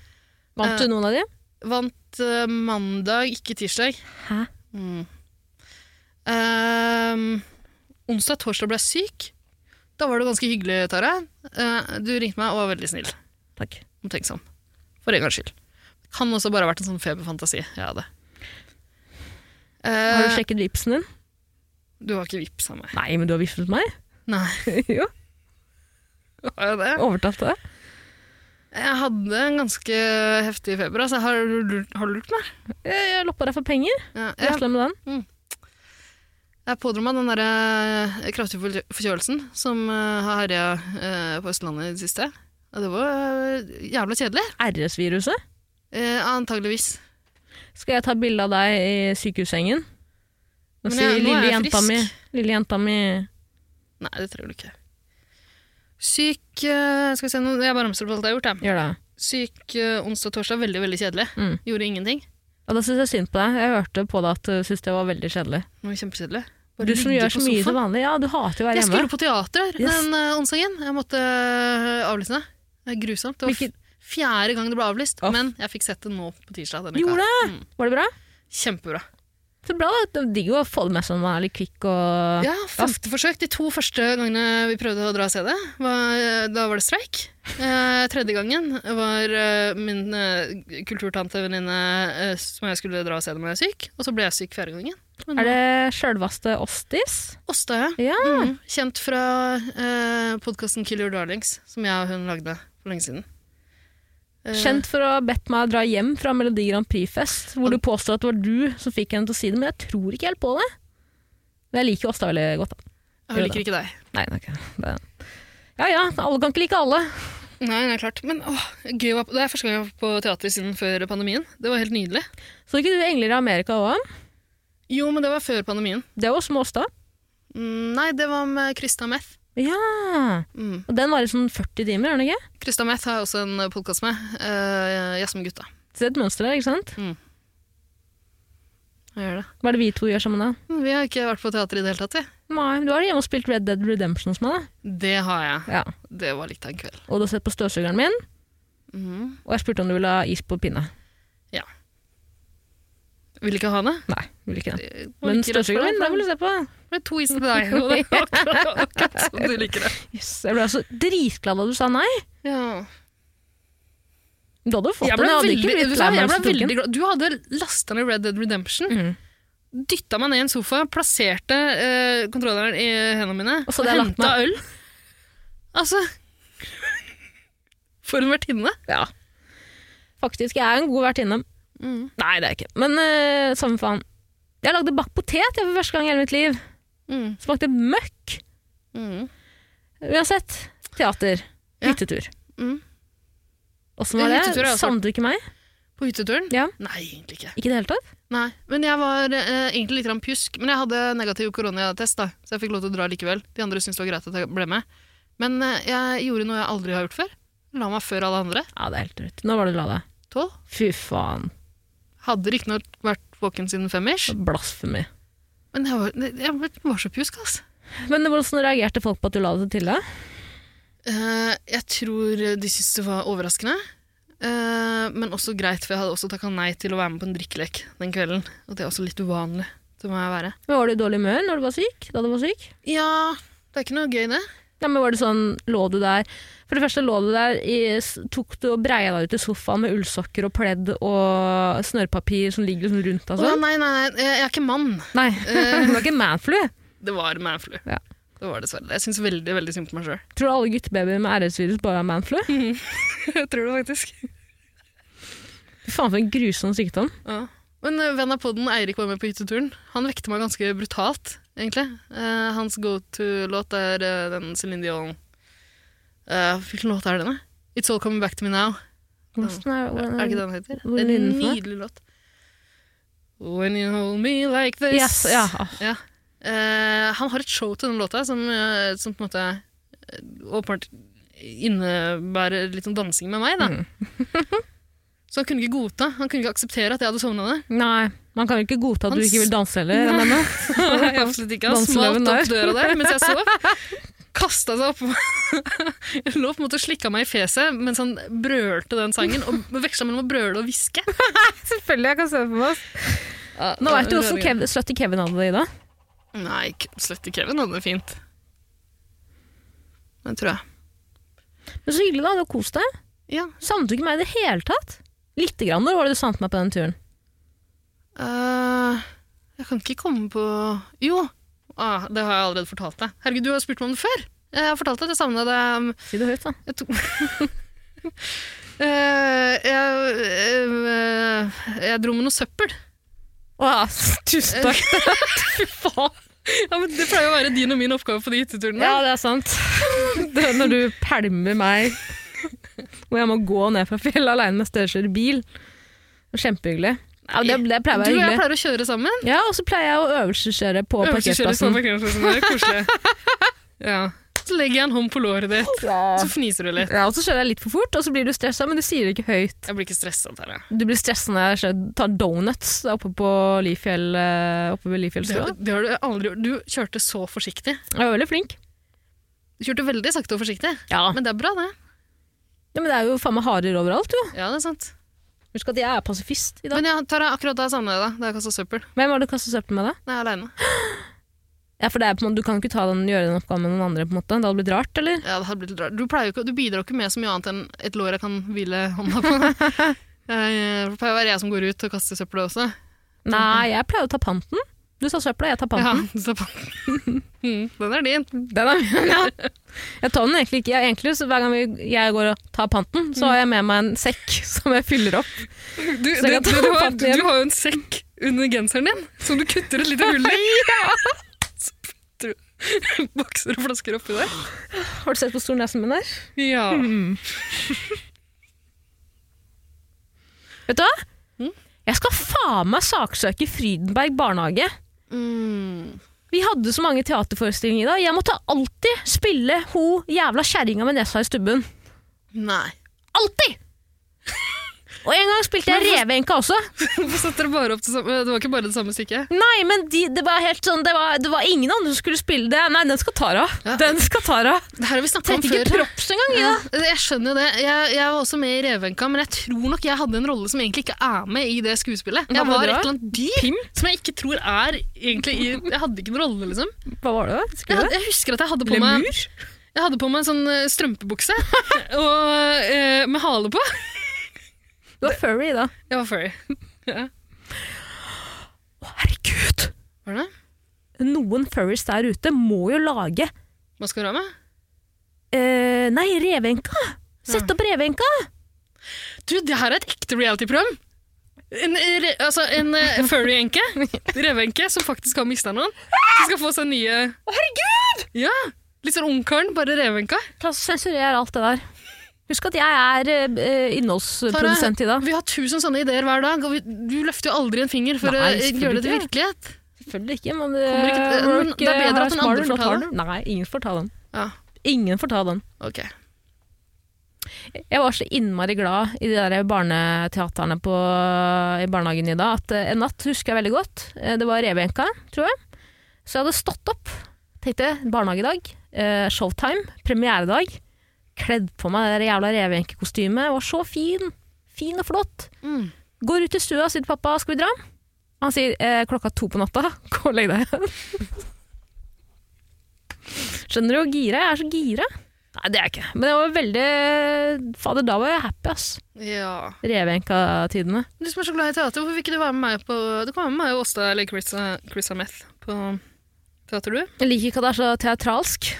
Speaker 2: Vant
Speaker 3: Eh.
Speaker 2: du noen av de?
Speaker 3: Vant eh, mandag, ikke tirsdag.
Speaker 2: Hæ?
Speaker 3: Mm. Eh, onsdag og torsdag ble jeg syk. Da var det ganske hyggelig, Tara. Eh, du ringte meg og var veldig snill.
Speaker 2: Takk.
Speaker 3: Omtenksom. For en gangs skyld. Det kan også bare ha vært en sånn feberfantasi jeg hadde. Eh,
Speaker 2: Har du sjekket vipsen din?
Speaker 3: du har ikke vips av meg.
Speaker 2: Nei, men du har vipset meg.
Speaker 3: Nei,
Speaker 2: jo,
Speaker 3: har jeg det?
Speaker 2: overtatt deg.
Speaker 3: Jeg hadde en ganske heftig feber. Altså, har, du lurt, har du lurt meg?
Speaker 2: Jeg, jeg loppa deg for penger.
Speaker 3: Ja, jeg,
Speaker 2: Vesla med den.
Speaker 3: jeg pådro meg den der eh, kraftige forkjø- forkjølelsen som eh, har herja eh, på Østlandet i det siste. Eh, Ja, det var øh, jævla kjedelig.
Speaker 2: RS-viruset?
Speaker 3: Eh, antageligvis.
Speaker 2: Skal jeg ta bilde av deg i sykehussengen? Og
Speaker 3: Men
Speaker 2: si
Speaker 3: jeg- nå er
Speaker 2: lille
Speaker 3: jeg
Speaker 2: jenta,
Speaker 3: frisk.»
Speaker 2: mi, 'Lille jenta mi
Speaker 3: Nei, det trenger du ikke. Syk eh, Skal vi se, nå- jeg bare ramser opp alt jeg har gjort. Jeg.
Speaker 2: Gjør det.
Speaker 3: Syk eh, onsdag og torsdag, veldig veldig kjedelig.
Speaker 2: Mm.
Speaker 3: Gjorde ingenting.
Speaker 2: Og da syns jeg synd på deg. Jeg hørte på deg at du syntes det var veldig kjedelig.
Speaker 3: Det var kjempekjedelig.
Speaker 2: Du som gjør så mye til vanlig. Ja, du hater jo å være
Speaker 3: Jeg
Speaker 2: hjemme.
Speaker 3: skulle på teater
Speaker 2: Yes.
Speaker 3: den eh, onsdagen. Jeg måtte eh, avlyse det. Det er grusomt. Det var
Speaker 2: Hvilken-
Speaker 3: f- fjerde gang det ble avlyst,
Speaker 2: Åh.
Speaker 3: men jeg fikk sett det nå på tirsdag. denne uka.
Speaker 2: Gjorde det?
Speaker 3: Mm.
Speaker 2: Var det bra?
Speaker 3: Kjempebra.
Speaker 2: Så bra, da. Det er Digg å få det med seg når man er litt kvikk og
Speaker 3: Ja, Femte forsøk. De to første gangene vi prøvde å dra CD, var, da var det streik. Eh, tredje gangen var eh, min eh, kulturtantevenninne eh, som jeg skulle dra CD med, syk. Og så ble jeg syk fjerde gangen. Men
Speaker 2: Er det sjølvaste Ostis?
Speaker 3: Åsta, ja.
Speaker 2: Ja.
Speaker 3: Mm, kjent fra eh, podkasten Kill Your Darlings, som jeg og hun lagde for lenge siden. Eh,
Speaker 2: Kjent for å ha bedt meg dra hjem fra Melodi Grand Prix-fest, hvor du påstår at det var du som fikk henne til å si det, men jeg tror ikke helt på det. Men jeg liker jo Åsta veldig godt. Da.
Speaker 3: Jeg liker ikke deg.
Speaker 2: Nei, det er ikke det. Ja ja, alle kan ikke like alle.
Speaker 3: Nei, nei, klart. Men åh, gøy å være på- Det er første gang jeg har vært på teater siden før pandemien. Det var helt nydelig.
Speaker 2: Så ikke du Engler i Amerika òg?
Speaker 3: Jo, men det var før pandemien.
Speaker 2: Det var også med Åsta.
Speaker 3: Mm, nei, det var med Krista Meth.
Speaker 2: Ja.
Speaker 3: Mm.
Speaker 2: Og den varer sånn 40 timer, er den ikke?
Speaker 3: Krista Meth har jeg også en podkast med. Uh, Jazz med gutta.
Speaker 2: Se et mønster der, ikke sant?
Speaker 3: Jeg gjør det.
Speaker 2: Hva er det vi to gjør sammen da?
Speaker 3: Mm, Vi har ikke vært på teater i det hele tatt. vi.
Speaker 2: Nei, du har hjemme og spilt Red Dead Redemption hos meg,
Speaker 3: Det har jeg.
Speaker 2: da. Ja.
Speaker 3: Det var litt av en kveld.
Speaker 2: Og du har sett på støvsugeren min,
Speaker 3: Mhm.
Speaker 2: og jeg spurte om du ville ha is på pinne.
Speaker 3: Vil ikke ha det?
Speaker 2: Nei, vil ikke det.
Speaker 3: Det var
Speaker 2: Men
Speaker 3: ikke rart for
Speaker 2: støvsugeren min,
Speaker 3: deg.
Speaker 2: den vil du se på.
Speaker 3: Det ble to is til deg. og det var akkurat- Akkurat som du liker det.
Speaker 2: Yes, jeg ble altså dritglad da du sa nei.
Speaker 3: Ja.
Speaker 2: Du hadde jo fått den,
Speaker 3: Jeg ble
Speaker 2: jeg hadde
Speaker 3: veldig,
Speaker 2: ikke
Speaker 3: vet
Speaker 2: blitt
Speaker 3: du hva,
Speaker 2: lei meg hvis du
Speaker 3: jeg ble
Speaker 2: tok
Speaker 3: veldig
Speaker 2: den.
Speaker 3: glad. Du hadde lasta ned Red Dead Redemption.
Speaker 2: Mm.
Speaker 3: Dytta meg ned i en sofa, plasserte eh, kontrolleren i hendene mine
Speaker 2: Og så hadde jeg lagt
Speaker 3: henta
Speaker 2: meg.
Speaker 3: øl. Altså For en vertinne.
Speaker 2: Ja. Faktisk, jeg er en god vertinne.
Speaker 3: Mm.
Speaker 2: Nei, det er jeg ikke. Men eh, samme faen. Jeg lagde bakt potet jeg, for første gang i hele mitt liv.
Speaker 3: Mm.
Speaker 2: Smakte møkk.
Speaker 3: Mm.
Speaker 2: Uansett, teater.
Speaker 3: Ja.
Speaker 2: Hyttetur.
Speaker 3: Mm.
Speaker 2: Åssen var
Speaker 3: Hyttetur er
Speaker 2: det?
Speaker 3: også-
Speaker 2: Savnet du ikke meg?
Speaker 3: På hytteturen?
Speaker 2: Ja.
Speaker 3: Nei, egentlig ikke.
Speaker 2: Ikke i det hele tatt?
Speaker 3: Nei, men jeg var eh, egentlig litt grann pjusk. Men jeg hadde negativ koronatest, da, så jeg fikk lov til å dra likevel. De andre syntes det var greit at jeg ble med. Men eh, jeg gjorde noe jeg aldri har gjort før. La meg før alle andre.
Speaker 2: Ja, det er helt drøyt. Nå var du glad, da.
Speaker 3: Tolv.
Speaker 2: Fy faen.
Speaker 3: Hadde riktignok vært våken siden femmers.
Speaker 2: Blasfemi.
Speaker 3: Men jeg var, jeg var så pjusk, altså.
Speaker 2: Men hvordan reagerte folk på at du la det til deg?
Speaker 3: Eh, jeg tror de syntes det var overraskende. Eh, men også greit, for jeg hadde også takka nei til å være med på en drikkelek den kvelden. Og det er også litt uvanlig. Det må jeg være.
Speaker 2: Men Var du i dårlig humør når du var syk? Da du var syk?
Speaker 3: Ja, det er ikke noe gøy, det.
Speaker 2: Ja, men var det sånn, lå du der For det første lå du der, i, s- tok du og breia deg ut i sofaen med ullsokker og pledd og snørrpapir som ligger liksom rundt deg
Speaker 3: Å,
Speaker 2: sånn?
Speaker 3: nei, nei, nei, jeg jeg er ikke mann.
Speaker 2: Nei,
Speaker 3: Eh.
Speaker 2: det var ikke manflu.
Speaker 3: Det var manflu.
Speaker 2: Ja.
Speaker 3: Det var dessverre. det. Jeg syns veldig veldig synd på meg sjøl.
Speaker 2: Tror du alle guttebabyer med RS-virus bare er manflu?
Speaker 3: Jeg tror det faktisk.
Speaker 2: Fy faen for en grusom sykdom.
Speaker 3: Ja. Men eh, venn av podden, Eirik, var med på hytteturen. Han vekte meg ganske brutalt, egentlig. Eh, hans go to-låt er eh, den Céline Dion Eh, Hvilken låt er det, da? It's All Coming Back To Me Now.
Speaker 2: Hvordan er,
Speaker 3: Er det ikke
Speaker 2: hvordan
Speaker 3: det
Speaker 2: er,
Speaker 3: den heter?
Speaker 2: Mm. Hvor
Speaker 3: Det er en
Speaker 2: lyden for?
Speaker 3: nydelig låt. When you hold me like this
Speaker 2: yes, ja. ah,
Speaker 3: Ja. Eh, han har et show til den låta som, eh, som på en måte eh, åpenbart innebærer litt sånn dansing med meg, da.
Speaker 2: Mm.
Speaker 3: Så han kunne ikke godta, han kunne ikke akseptere at jeg hadde sovna der.
Speaker 2: Nei, man kan jo ikke godta at du
Speaker 3: Han
Speaker 2: ikke vil danse heller.
Speaker 3: Nei.
Speaker 2: Anne.
Speaker 3: Nei, absolutt ikke. Han
Speaker 2: Danseløven
Speaker 3: smalt
Speaker 2: der.
Speaker 3: opp døra der mens jeg sov. Kasta seg oppå Jeg lå på en måte og slikka meg i fjeset mens han brølte den sangen. Og veksla mellom å brøle og hviske.
Speaker 2: Selvfølgelig, jeg kan se for meg. Nå veit du åssen Kevin- støtte Kevin hadde det, Ida.
Speaker 3: Nei, k- slett ikke Kevin hadde det fint. Det tror jeg.
Speaker 2: Men så hyggelig, da. Du har kost deg.
Speaker 3: Ja.
Speaker 2: Savnet du ikke meg i det hele tatt? Lite grann. Når var det du savnet meg på den turen?
Speaker 3: Eh, jeg kan ikke komme på Jo! Ah, det har jeg allerede fortalt deg. Herregud, du har spurt meg om det før! Jeg har fortalt deg at jeg savna deg um,
Speaker 2: Si det høyt, da.
Speaker 3: Jeg tok Eh, jeg, eh, jeg dro med noe søppel.
Speaker 2: Å, tusen takk. Fy faen.
Speaker 3: Ja, men det pleier å være din og min oppgave på de hytteturene.
Speaker 2: Ja, det er sant. Det, er når du pælmer meg Hvor jeg må gå ned fra fjellet alene med større bil. Kjempehyggelig. Ja, det, det
Speaker 3: Du
Speaker 2: pleier å være
Speaker 3: og jeg
Speaker 2: hyggelig.
Speaker 3: pleier å kjøre sammen.
Speaker 2: Ja, og så pleier jeg å øvelseskjøre sånn på
Speaker 3: Øvelseskjører på
Speaker 2: parkeringsplassen.
Speaker 3: parkeringsplassen. Det er koselig. Ja. Så legger jeg en hånd på låret ditt, så fniser du litt.
Speaker 2: Ja, og så kjører jeg litt for fort, og så blir du stressa, men du sier det ikke høyt.
Speaker 3: Jeg blir ikke stressa av det.
Speaker 2: Du blir stressa når jeg kjører, tar donuts oppe på Lifjell, eh, oppe ved
Speaker 3: Det,
Speaker 2: Lifjellstua.
Speaker 3: det har du aldri gjort. Du kjørte så forsiktig.
Speaker 2: Jeg var veldig flink.
Speaker 3: Du kjørte veldig sakte og forsiktig.
Speaker 2: Ja.
Speaker 3: Men det er bra, det.
Speaker 2: Ja, men det er jo faen meg harer overalt, jo.
Speaker 3: Ja, det er sant.
Speaker 2: Husk at jeg er pasifist i dag.
Speaker 3: Men ja, Tara, akkurat da savner jeg deg. Da jeg kasta søppel.
Speaker 2: Hvem har du kastet søppel med, da?
Speaker 3: Nå er jeg aleine.
Speaker 2: Ja, for det er på en måte, Du kan ikke ta den, gjøre den oppgaven med noen andre, på en måte. Det hadde blitt rart, eller?
Speaker 3: Ja, det hadde blitt litt rart. Du, pleier jo ikke, du bidrar jo ikke med så mye annet enn et lår jeg kan hvile hånda på. Jeg- eh, Det pleier å være jeg som går ut og kaster søppelet også.
Speaker 2: Nei, jeg pleier å ta panten. Du sa søpla, jeg tar
Speaker 3: Ja,
Speaker 2: panten.
Speaker 3: så på. Mm, Den er din.
Speaker 2: Den er min, ja. Jeg tar den egentlig ikke. Jeg, egentlig, så hver gang vi, jeg går og tar panten, så har jeg med meg en sekk som jeg fyller opp.
Speaker 3: Du,
Speaker 2: Så jeg kan
Speaker 3: du,
Speaker 2: ta
Speaker 3: du, har,
Speaker 2: fatt i en.
Speaker 3: du har jo en sekk under genseren din som du kutter et lite hull i. Så putter du bokser og flasker oppi der. Mm.
Speaker 2: Har du sett hvor stor nesen min er?
Speaker 3: Ja.
Speaker 2: Vet du hva? Jeg skal faen meg saksøke Frydenberg barnehage.
Speaker 3: Mm.
Speaker 2: Vi hadde så mange teaterforestillinger i dag. Jeg måtte alltid spille ho jævla kjerringa med nesa i stubben.
Speaker 3: Nei.
Speaker 2: Alltid! Og en gang spilte jeg Revenka også.
Speaker 3: Hvorfor satte dere bare opp det samme? Det var ikke bare det samme stykket?
Speaker 2: Nei, men de, det var helt sånn det var, det var ingen andre som skulle spille det. Nei, den skal Tara. Den skal Tara.
Speaker 3: Det her har vi snakka om
Speaker 2: Trengte
Speaker 3: før.
Speaker 2: ikke props engang.
Speaker 3: Ja,
Speaker 2: Ida.
Speaker 3: jeg skjønner jo det. Jeg, jeg var også med i Revenka, men jeg tror nok jeg hadde en rolle som egentlig ikke er med i det skuespillet. Jeg
Speaker 2: Hva var det
Speaker 3: var et
Speaker 2: da?
Speaker 3: eller annet dyr som jeg ikke tror er egentlig i Jeg hadde ikke noen rolle, liksom.
Speaker 2: Hva var det? da?
Speaker 3: Jeg,
Speaker 2: Skulle
Speaker 3: hadde,
Speaker 2: det?
Speaker 3: jeg husker at jeg hadde på meg Jeg hadde på meg en sånn eh, strømpebukse og, eh, med hale på.
Speaker 2: Det var furry, da.
Speaker 3: Jeg var furry. Ja.
Speaker 2: Å, herregud!
Speaker 3: Var det det?
Speaker 2: Noen furries der ute må jo lage
Speaker 3: Hva skal du ha med?
Speaker 2: eh, Nei, Revenka! Sett opp Revenka!
Speaker 3: Du, det her er et ekte reality-program! En, eh, re, altså, en eh, furry-enke, revenke, som faktisk har mista noen. Som skal få seg nye
Speaker 2: Å, herregud!
Speaker 3: Ja! Litt sånn ungkaren, bare revenka.
Speaker 2: Ta og Sensurer alt det der. Husk at jeg er eh, innholdsprodusent i dag.
Speaker 3: Vi har tusen sånne ideer hver dag, og vi, du løfter jo aldri en finger for
Speaker 2: Nei,
Speaker 3: å eh,
Speaker 2: selvfølgelig
Speaker 3: gjøre det til
Speaker 2: ikke.
Speaker 3: virkelighet.
Speaker 2: Selvfølgelig ikke, men eh,
Speaker 3: Kommer ikke til- men det er bedre at den andre får ta
Speaker 2: den. Nei, ingen får ta den.
Speaker 3: Ja,
Speaker 2: Ingen får ta den.
Speaker 3: ok.
Speaker 2: Jeg var så innmari glad i de der barneteaterne på, i barnehagen i dag, at eh, en natt husker jeg veldig godt. Eh, Det var Revenka, tror jeg. Så jeg hadde stått opp. Tenkte barnehagedag, eh, showtime, premieredag. Kledd på meg det der jævla revenkekostymet. Var så fin. Fin og flott.
Speaker 3: Mm.
Speaker 2: Går ut i stua og sier til pappa 'skal vi dra'? Han sier eh, klokka to på natta. Gå og legg deg igjen. Skjønner du hvor gira jeg er? Så gira. Nei, det er jeg ikke. Men jeg var veldig Fader, da var jeg happy, ass.
Speaker 3: Ja.
Speaker 2: Revenka-tidene.
Speaker 3: Du som er så glad i teater, hvorfor vil ikke du være med meg på Du kan være med meg og Åsta eller Chris, eh, Chris Ameth på teater, du?
Speaker 2: Jeg liker ikke at det er så teatralsk.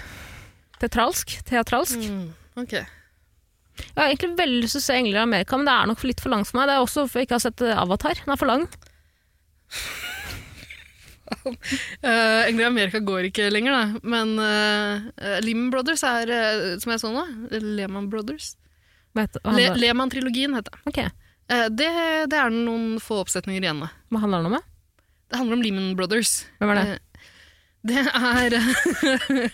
Speaker 2: Teatralsk? Teatralsk.
Speaker 3: Mm. Ok.
Speaker 2: Jeg har egentlig veldig lyst til å se 'Engler i Amerika', men det er nok for litt for langt for meg. Det er også for jeg ikke har sett eh, 'Avatar'. Den er for lang.
Speaker 3: Uh, Engler i Amerika går ikke lenger, da. Men uh, Lehman Brothers er, eh, som jeg så nå, Lehman Brothers.
Speaker 2: Vet, hva
Speaker 3: Le
Speaker 2: handler,
Speaker 3: Lehman-trilogien heter det.
Speaker 2: Ok,
Speaker 3: Eh, det. Det er noen få oppsetninger igjen, da.
Speaker 2: Hva handler den om? da?
Speaker 3: Det handler om Lehman Brothers.
Speaker 2: Hvem er det?
Speaker 3: Det er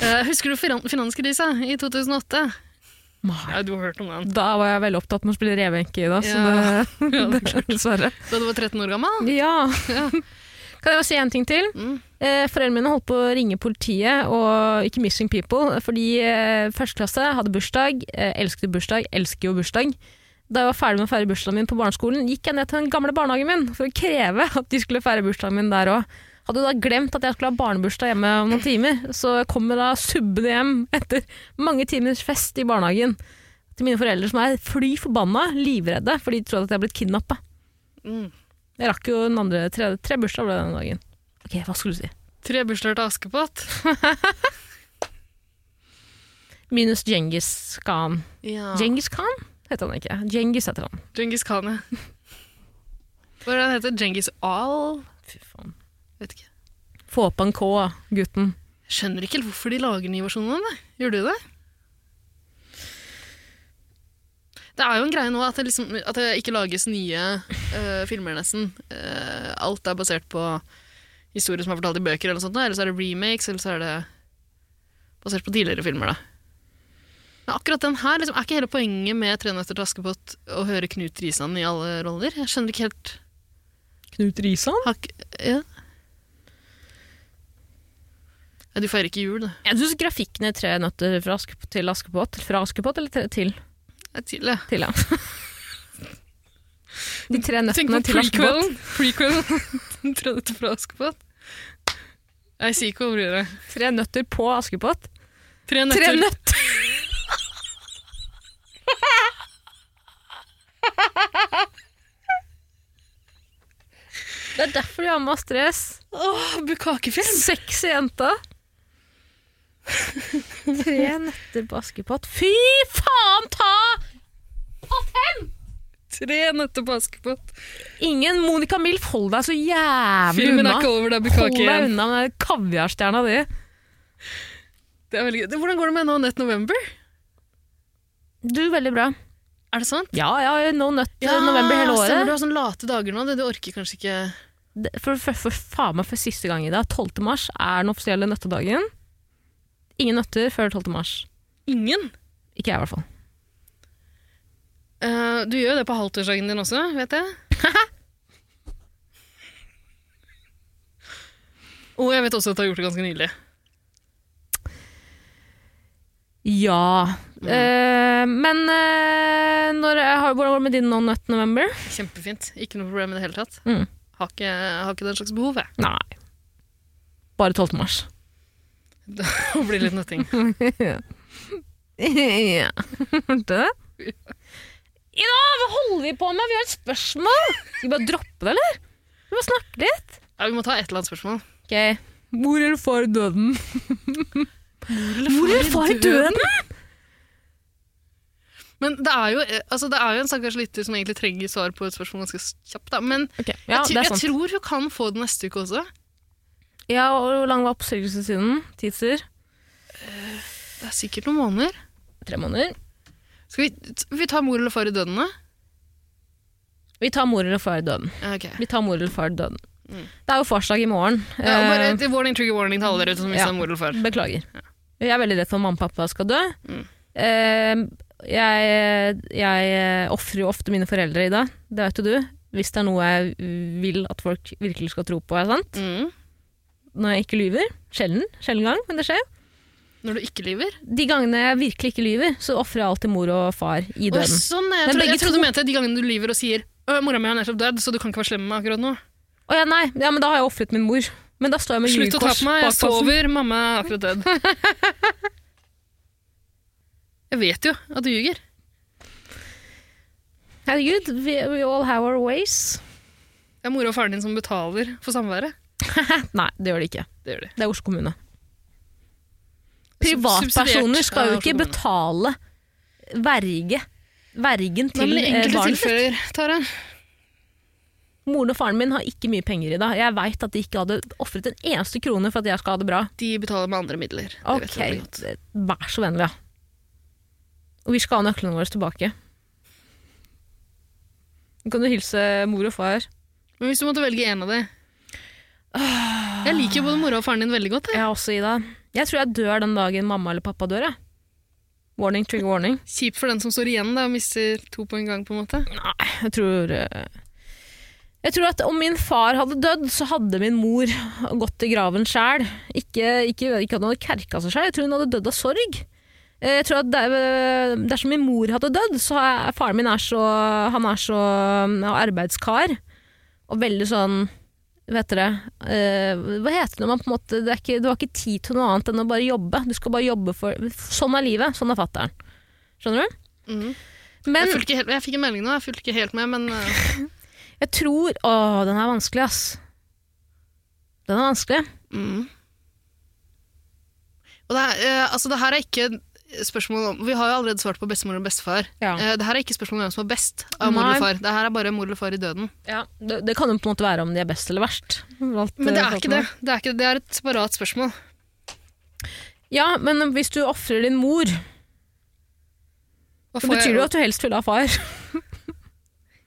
Speaker 3: Eh, Husker du finan- finanskrisa i 2008?
Speaker 2: Nei.
Speaker 3: Nei, du har hørt om den.
Speaker 2: Da var jeg veldig opptatt med å spille revenke i dag, så
Speaker 3: Ja.
Speaker 2: det,
Speaker 3: Ja, det er
Speaker 2: dessverre.
Speaker 3: Da du var 13 år gammel?
Speaker 2: Ja. Kan jeg bare si en ting til?
Speaker 3: Mm.
Speaker 2: Eh, foreldrene mine holdt på å ringe politiet, og ikke Missing People, fordi eh, førsteklasse hadde bursdag, eh, elsket bursdag, elsker jo bursdag. Da jeg var ferdig med å feire bursdagen min på barneskolen, gikk jeg ned til den gamle barnehagen min for å kreve at de skulle feire bursdagen min der òg. Hadde da glemt at jeg skulle ha barnebursdag hjemme om noen timer, så jeg kommer da subbende hjem etter mange timers fest i barnehagen til mine foreldre som er fly forbanna, livredde, for de trodde at jeg er blitt kidnappa.
Speaker 3: Mm.
Speaker 2: Jeg rakk jo den andre tre, tre bursdag ble det den dagen. Ok, hva skulle du si?
Speaker 3: Tre bursdager til Askepott?
Speaker 2: Minus Djengis Khan.
Speaker 3: Ja.
Speaker 2: Djengis Khan heter han ikke. Djengis heter han.
Speaker 3: Djengis Khan, ja. Hva er det han heter Djengis Al?
Speaker 2: Fy faen.
Speaker 3: Vet ikke.
Speaker 2: Få på en K, gutten.
Speaker 3: Skjønner ikke hvorfor de lager nye versjoner av det. Gjør du det? Det er jo en greie nå at det, liksom, at det ikke lages nye eh, filmer, nesten. Eh, alt er basert på historier som er fortalt i bøker, eller noe sånt. Eller så er det remakes, eller så er det basert på tidligere filmer. da. Men akkurat den her liksom, er ikke hele poenget med 'Tre nøtter til Askepott' å høre Knut Risan i alle roller. Jeg skjønner ikke helt
Speaker 4: Knut Risan?
Speaker 3: har ikke, ja. ja, Du feirer ikke jul, da.
Speaker 2: Jeg syns grafikken i 'Tre nøtter fra Askepott til Askepott' Fra Askepott eller tre, til?
Speaker 3: Det er tidlig.
Speaker 2: Til, ja. De tre
Speaker 3: Tenk
Speaker 2: nøttene
Speaker 3: på
Speaker 2: til Askepott.
Speaker 3: prequelen. Prequelen. Den trodde det fra Askepott. Nei, si ikke hva blir det.
Speaker 2: Tre nøtter på Askepott. Tre
Speaker 3: Tre nøtter.
Speaker 2: nøtter! Det er derfor de har med stress.
Speaker 3: Åh, bukakefilm!
Speaker 2: Sexy jenta. Tre nøtter på Askepott. Fy faen ta!
Speaker 3: Tre nøtter på Askepott.
Speaker 2: Ingen Monica Milf, hold deg så jævlig
Speaker 3: Filmen er
Speaker 2: unna.
Speaker 3: ikke over, det er
Speaker 2: Hold
Speaker 3: bukake
Speaker 2: deg
Speaker 3: igjen.
Speaker 2: unna med den kaviarstjerna di.
Speaker 3: Det er veldig gøy. Hvordan går det med No Net November?
Speaker 2: Du, veldig bra.
Speaker 3: Er det sant?
Speaker 2: Ja, ja, No Nut eh, november hele året.
Speaker 3: Stemmer, du har sånne late dager nå. det- Du orker kanskje ikke
Speaker 2: Det- For, for, for faen meg for siste gang i dag, 12. mars er den offisielle nøttedagen. Ingen nøtter før 12. mars.
Speaker 3: Ingen.
Speaker 2: Ikke jeg, i hvert fall.
Speaker 3: Eh, du gjør jo det på halvtårsdagen din også, vet jeg. Og jeg vet også at du har gjort det ganske nydelig.
Speaker 2: Ja. Eh, men eh, når, jeg har- hvordan går det med din No Nut November?
Speaker 3: Kjempefint. Ikke noe problem i det hele tatt.
Speaker 2: Mm.
Speaker 3: Har, ikke, har ikke den slags behov, jeg.
Speaker 2: Nei. Bare 12. mars.
Speaker 3: Å bli litt nøtting.
Speaker 2: ja. Hørte du det? I dag, hva holder vi på med? Vi har et spørsmål! Skal vi bare droppe det, eller? Vi må snakke litt.
Speaker 3: Ja, vi må ta et eller annet spørsmål.
Speaker 2: Ok. Mor eller far i døden? Mor eller far i døden?
Speaker 3: Men det er jo, eh, altså, det er jo en stakkars lytter som egentlig trenger svar på et spørsmål ganske kjapt. Da. Men
Speaker 2: Ok, Ja,
Speaker 3: jeg,
Speaker 2: det
Speaker 3: tr-
Speaker 2: er sånn.
Speaker 3: jeg
Speaker 2: sant.
Speaker 3: tror hun kan få det neste uke også.
Speaker 2: Ja, og hvor lang var oppsigelsestiden? Tidser?
Speaker 3: Det er sikkert noen måneder.
Speaker 2: Tre måneder.
Speaker 3: Skal vi, t- vi ta mor eller far i døden, da?
Speaker 2: Vi tar mor eller far i døden.
Speaker 3: Ja, ok.
Speaker 2: Vi tar mor eller far i døden. Det er jo farsdag i morgen.
Speaker 3: Ja, og bare
Speaker 2: Eh,
Speaker 3: et warning, trigger warning til alle dere som
Speaker 2: ja.
Speaker 3: mister mor eller far.
Speaker 2: Beklager. Jeg er veldig redd for at mamma og pappa skal dø.
Speaker 3: Mm.
Speaker 2: Eh, jeg jeg ofrer jo ofte mine foreldre i det, det vet jo du. Hvis det er noe jeg vil at folk virkelig skal tro på, er sant?
Speaker 3: Mm.
Speaker 2: Når jeg ikke lyver. Sjelden. Sjelden gang, men det skjer.
Speaker 3: Når du ikke lyver.
Speaker 2: De gangene jeg virkelig ikke lyver, så ofrer jeg alltid mor og far i
Speaker 3: Å,
Speaker 2: døden.
Speaker 3: sånn, jeg,
Speaker 2: Men
Speaker 3: trodde,
Speaker 2: begge
Speaker 3: jeg trodde
Speaker 2: to-
Speaker 3: du mente de gangene du lyver og sier «Øh, 'mora mi er nettopp dødd, så du kan ikke være slem med meg akkurat nå'.
Speaker 2: Å ja, nei. Ja, men da har jeg ofret min mor. Men da står jeg med
Speaker 3: Slutt å ta
Speaker 2: lyvkors
Speaker 3: på meg, jeg
Speaker 2: bak halsen.
Speaker 3: sover, mamma er akkurat død. Jeg vet jo at du ljuger.
Speaker 2: Herregud, we, we all have our ways.
Speaker 3: Det er mora og faren din som betaler for samværet.
Speaker 2: Nei, det gjør de ikke.
Speaker 3: Det gjør de.
Speaker 2: Det er Oslo kommune. Privatpersoner skal jo ikke betale verge. Vergen
Speaker 3: til
Speaker 2: til eh,
Speaker 3: enkelte
Speaker 2: barnet sitt.
Speaker 3: tilfeller, Tara.
Speaker 2: Moren og faren min har ikke mye penger i dag. Jeg veit at de ikke hadde ofret en eneste krone for at jeg skal ha det bra.
Speaker 3: De betaler med andre midler. Det vet
Speaker 2: Ok,
Speaker 3: du veldig godt.
Speaker 2: Vær så vennlig, ja. Og vi skal ha nøklene våre tilbake. Nå Kan du hilse mor og far?
Speaker 3: Men hvis du måtte velge en av de Jeg liker jo både mora og faren din veldig godt. Jeg.
Speaker 2: Jeg også, Ida. Jeg tror jeg dør den dagen mamma eller pappa dør, jeg. Warning, trigger warning.
Speaker 3: Kjipt for den som står igjen da, og mister to på en gang. på en måte.
Speaker 2: Jeg tror eh, Jeg tror at om min far hadde dødd, så hadde min mor gått i graven sjæl. Ikke, ikke, ikke at hun hadde kerka seg sjæl, jeg tror hun hadde dødd av sorg. Eh, Jeg tror at der- eh, Dersom min mor hadde dødd, så er faren min er så, han er så mm, arbeidskar og veldig sånn Vet dere, eh, hva heter det når man på en måte det er ikke, Du har ikke tid til noe annet enn å bare jobbe. Du skal bare jobbe for Sånn er livet. Sånn er fatter'n. Skjønner du?
Speaker 3: Mhm.
Speaker 2: Men
Speaker 3: Jeg, fulgte ikke helt, jeg fikk en melding nå, jeg fulgte ikke helt med, men eh,
Speaker 2: Jeg tror Å, den er vanskelig, ass. Den er vanskelig.
Speaker 3: Mm. Og det, er, eh, altså, det her er ikke spørsmål om Vi har jo allerede svart på bestemor og bestefar.
Speaker 2: Ja.
Speaker 3: Eh, det her er ikke spørsmål om hvem som er best av mor
Speaker 2: Nei.
Speaker 3: eller far. Det her er bare mor eller far i døden.
Speaker 2: Det, det kan jo på en måte være om de er best eller verst. Alt,
Speaker 3: Men det
Speaker 2: eh,
Speaker 3: er ikke det. Det er, ikke, det er et separat spørsmål.
Speaker 2: Ja, men hvis du ofrer din mor
Speaker 3: Hva
Speaker 2: Det
Speaker 3: får
Speaker 2: betyr
Speaker 3: jeg-
Speaker 2: jo at du helst vil ha far.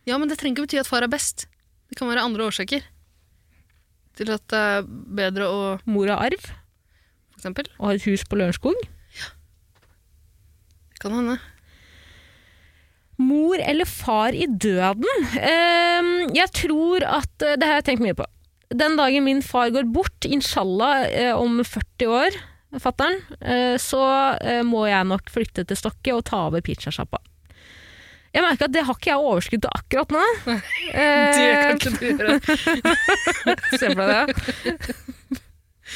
Speaker 3: Ja, men det trenger ikke bety at far er best. Det kan være andre årsaker til at det er bedre å
Speaker 2: Mor har arv
Speaker 3: For eksempel.
Speaker 2: og har et hus på Lørenskog.
Speaker 3: Det kan hende.
Speaker 2: Mor eller far i døden? Ehm, jeg tror at eh, Det har jeg tenkt mye på. Den dagen min far går bort, inshallah eh, om 40 år, fatter'n, eh, så eh, må jeg nok flytte til Stokke og ta over pizzasjappa. Jeg merker at det har ikke jeg overskudd til akkurat nå. Eh,
Speaker 3: Det kan ikke du gjøre.
Speaker 2: Se for deg det.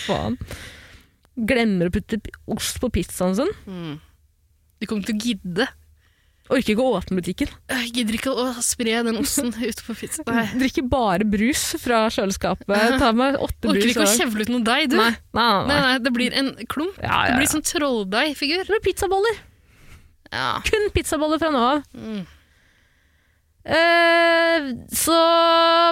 Speaker 2: Faen. Glemmer å putte p- ost på pizzaen sin.
Speaker 3: Mm. Du kommer til å gidde.
Speaker 2: Orker ikke å åpne butikken.
Speaker 3: Jeg gidder ikke å spre den osten ute på pizza. Nei.
Speaker 2: Drikker bare brus fra kjøleskapet. Tar meg åtte brus.
Speaker 3: Orker ikke å
Speaker 2: hver dag.
Speaker 3: kjevle ut noe deig, du. Nei.
Speaker 2: Nei, nei,
Speaker 3: Nei,
Speaker 2: nei.
Speaker 3: det blir en klump.
Speaker 2: Ja,
Speaker 3: Det
Speaker 2: ja,
Speaker 3: blir
Speaker 2: ja.
Speaker 3: sånn trolldeigfigur.
Speaker 2: Eller pizzaboller.
Speaker 3: Ja.
Speaker 2: Kun pizzaboller fra nå av.
Speaker 3: Mm.
Speaker 2: Eh, så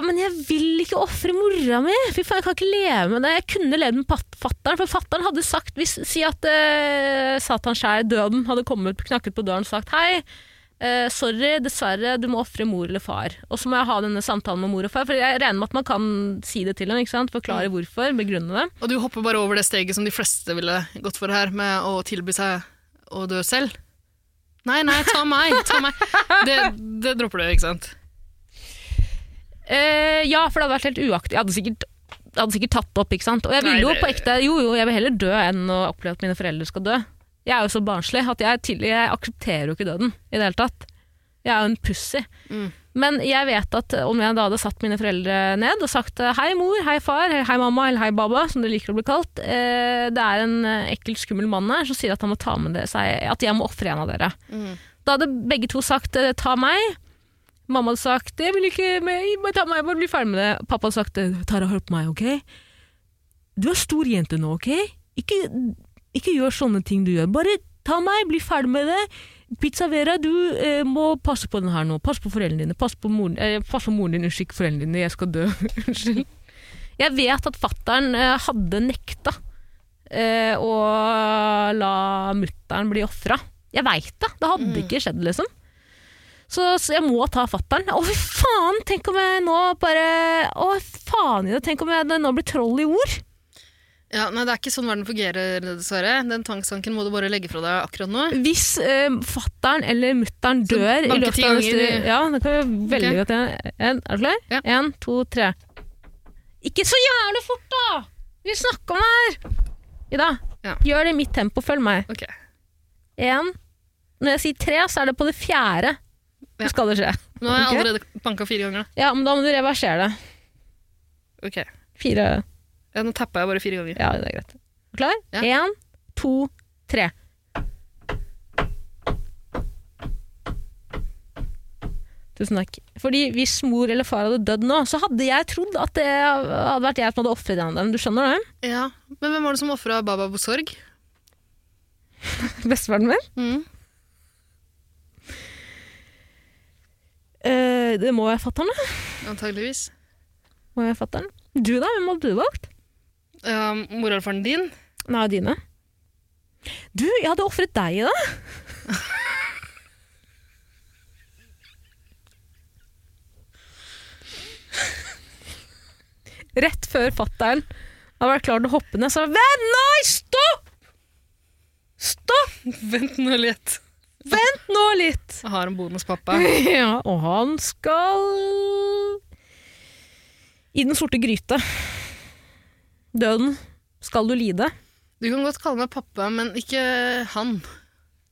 Speaker 2: Men jeg vil ikke ofre mora mi! Fy faen, Jeg kan ikke leve med det. Jeg kunne levd med pat- fatteren, for fatteren hadde sagt hvis, Si at eh, Satan sjæl, døden, hadde kommet knakket på døren og sagt hei. eh, sorry, dessverre, du må ofre mor eller far. Og så må jeg ha denne samtalen med mor og far. For jeg regner med at man kan si det til dem. ikke sant? Forklare hvorfor, begrunne det.
Speaker 3: Og du hopper bare over det steget som de fleste ville gått for her, med å tilby seg å dø selv. Nei, nei, ta meg! ta meg. Det, det dropper du, ikke sant?
Speaker 2: Eh, ja, for det hadde vært helt uaktig. Jeg hadde sikkert, jeg hadde sikkert tatt det opp, ikke sant? Og jeg
Speaker 3: Nei,
Speaker 2: ville jo
Speaker 3: det-
Speaker 2: på ekte Jo, jo, jeg vil heller dø enn å oppleve at mine foreldre skal dø. Jeg er jo så barnslig at jeg, tidlig, jeg aksepterer jo ikke døden i det hele tatt. Jeg er jo en pussy.
Speaker 3: Mm.
Speaker 2: Men jeg vet at om jeg da hadde satt mine foreldre ned og sagt eh, hei mor, hei far, hei mamma eller hei baba, som det liker å bli kalt, eh, det er en eh, ekkel, skummel mann her som sier at han må ta med det seg, at jeg må ofre en av dere.
Speaker 3: Mm.
Speaker 2: Da hadde begge to sagt eh, ta meg. Mamma hadde sagt jeg vil ikke med, men ta meg, jeg må bli ferdig med det. Pappa hadde sagt eh, Tara, hør på meg, ok? Du er stor jente nå, ok? Ikke, ikke gjør sånne ting du gjør. Bare ta meg, bli ferdig med det. Pizza Vera, du eh, må passe på den her nå. Pass på foreldrene dine. Pass på moren, eh, pass på moren din, unnskyld, ikke foreldrene dine. Jeg skal dø. Unnskyld. Jeg vet at fattern eh, hadde nekta eh, å la mutter'n bli ofra. Jeg veit det. Det hadde ikke skjedd, liksom. Så, så jeg må ta fattern. Å, fy faen! Tenk om jeg nå bare Å, faen i det! Tenk om jeg det nå blir troll i ord!
Speaker 3: Ja, nei, Det er ikke sånn verden fungerer, dessverre. Den tvangstanken må du bare legge fra deg akkurat nå.
Speaker 2: Hvis eh, fattern eller mutter'n dør i
Speaker 3: banke
Speaker 2: løpet
Speaker 3: ti
Speaker 2: av
Speaker 3: ganger
Speaker 2: neste
Speaker 3: i-
Speaker 2: Ja, det kan jeg veldig
Speaker 3: Ok.
Speaker 2: godt gjøre. En- Er du klar?
Speaker 3: Ja.
Speaker 2: Én, to, tre. Ikke så jævlig fort, da! Vi snakker om det her! Ida,
Speaker 3: Ja.
Speaker 2: gjør det i mitt tempo. Følg meg.
Speaker 3: Ok.
Speaker 2: Én. Når jeg sier tre, så er det på det fjerde.
Speaker 3: Ja.
Speaker 2: Skal det skje.
Speaker 3: Nå har jeg
Speaker 2: Ok.
Speaker 3: allerede banka fire ganger. da.
Speaker 2: Ja, men da må du reversere det.
Speaker 3: Ok,
Speaker 2: Fire
Speaker 3: ja, Nå tappa jeg bare fire ganger.
Speaker 2: Ja, det er greit. Er du Klar?
Speaker 3: Ja.
Speaker 2: Én, to, tre. Tusen takk. Fordi Hvis mor eller far hadde dødd nå, så hadde jeg trodd at det hadde vært jeg som hadde ofret en av dem. Du skjønner det?
Speaker 3: Ja, Men hvem var det som ofra Baba Bosorg?
Speaker 2: Bestefaren min?
Speaker 3: Mm.
Speaker 2: Eh, det må jeg fatter'n, da.
Speaker 3: Antageligvis.
Speaker 2: Må jeg fatter'n. Du, da? Hvem hadde du valgt?
Speaker 3: Ja, Mora eller faren din?
Speaker 2: Nei, dine. Du, jeg hadde ofret deg i det. Rett før fatteren hadde vært klar til å hoppe ned, så Vent, nei, stopp! Stopp!
Speaker 3: Vent nå litt.
Speaker 2: Vent nå litt!
Speaker 3: Jeg har en bonuspappa.
Speaker 2: Ja, og han skal I den sorte gryte. Døden skal du lide.
Speaker 3: Du kan godt kalle meg pappa, men ikke han.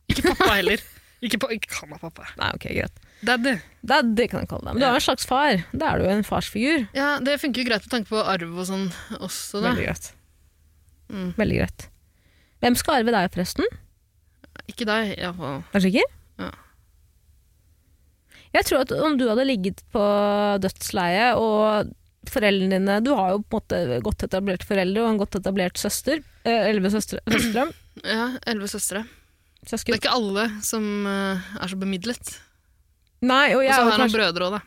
Speaker 3: Ikke pappa heller. Ikke, pa ikke kall meg pappa.
Speaker 2: Nei, ok, greit.
Speaker 3: Daddy.
Speaker 2: Det, det kan jeg kalle deg. Men du er jo en slags far. Da er du jo en farsfigur.
Speaker 3: Ja, Det funker jo greit med tanke på arv og sånn også, da.
Speaker 2: Veldig greit.
Speaker 3: Mm.
Speaker 2: Veldig greit. Hvem skal arve deg, forresten?
Speaker 3: Ikke deg, iallfall.
Speaker 2: Er du sikker?
Speaker 3: Ja.
Speaker 2: Jeg tror at om du hadde ligget på dødsleiet, og foreldrene dine Du har jo på en måte godt etablerte foreldre og en godt etablert søster. Eh, Elleve søstre. søstre.
Speaker 3: Ja, elleve søstre. Det er
Speaker 2: Søsken.
Speaker 3: ikke alle som eh, er så bemidlet.
Speaker 2: Nei, og
Speaker 3: Og
Speaker 2: jeg
Speaker 3: så
Speaker 2: er jo
Speaker 3: har han
Speaker 2: kanskje
Speaker 3: brødre òg, da.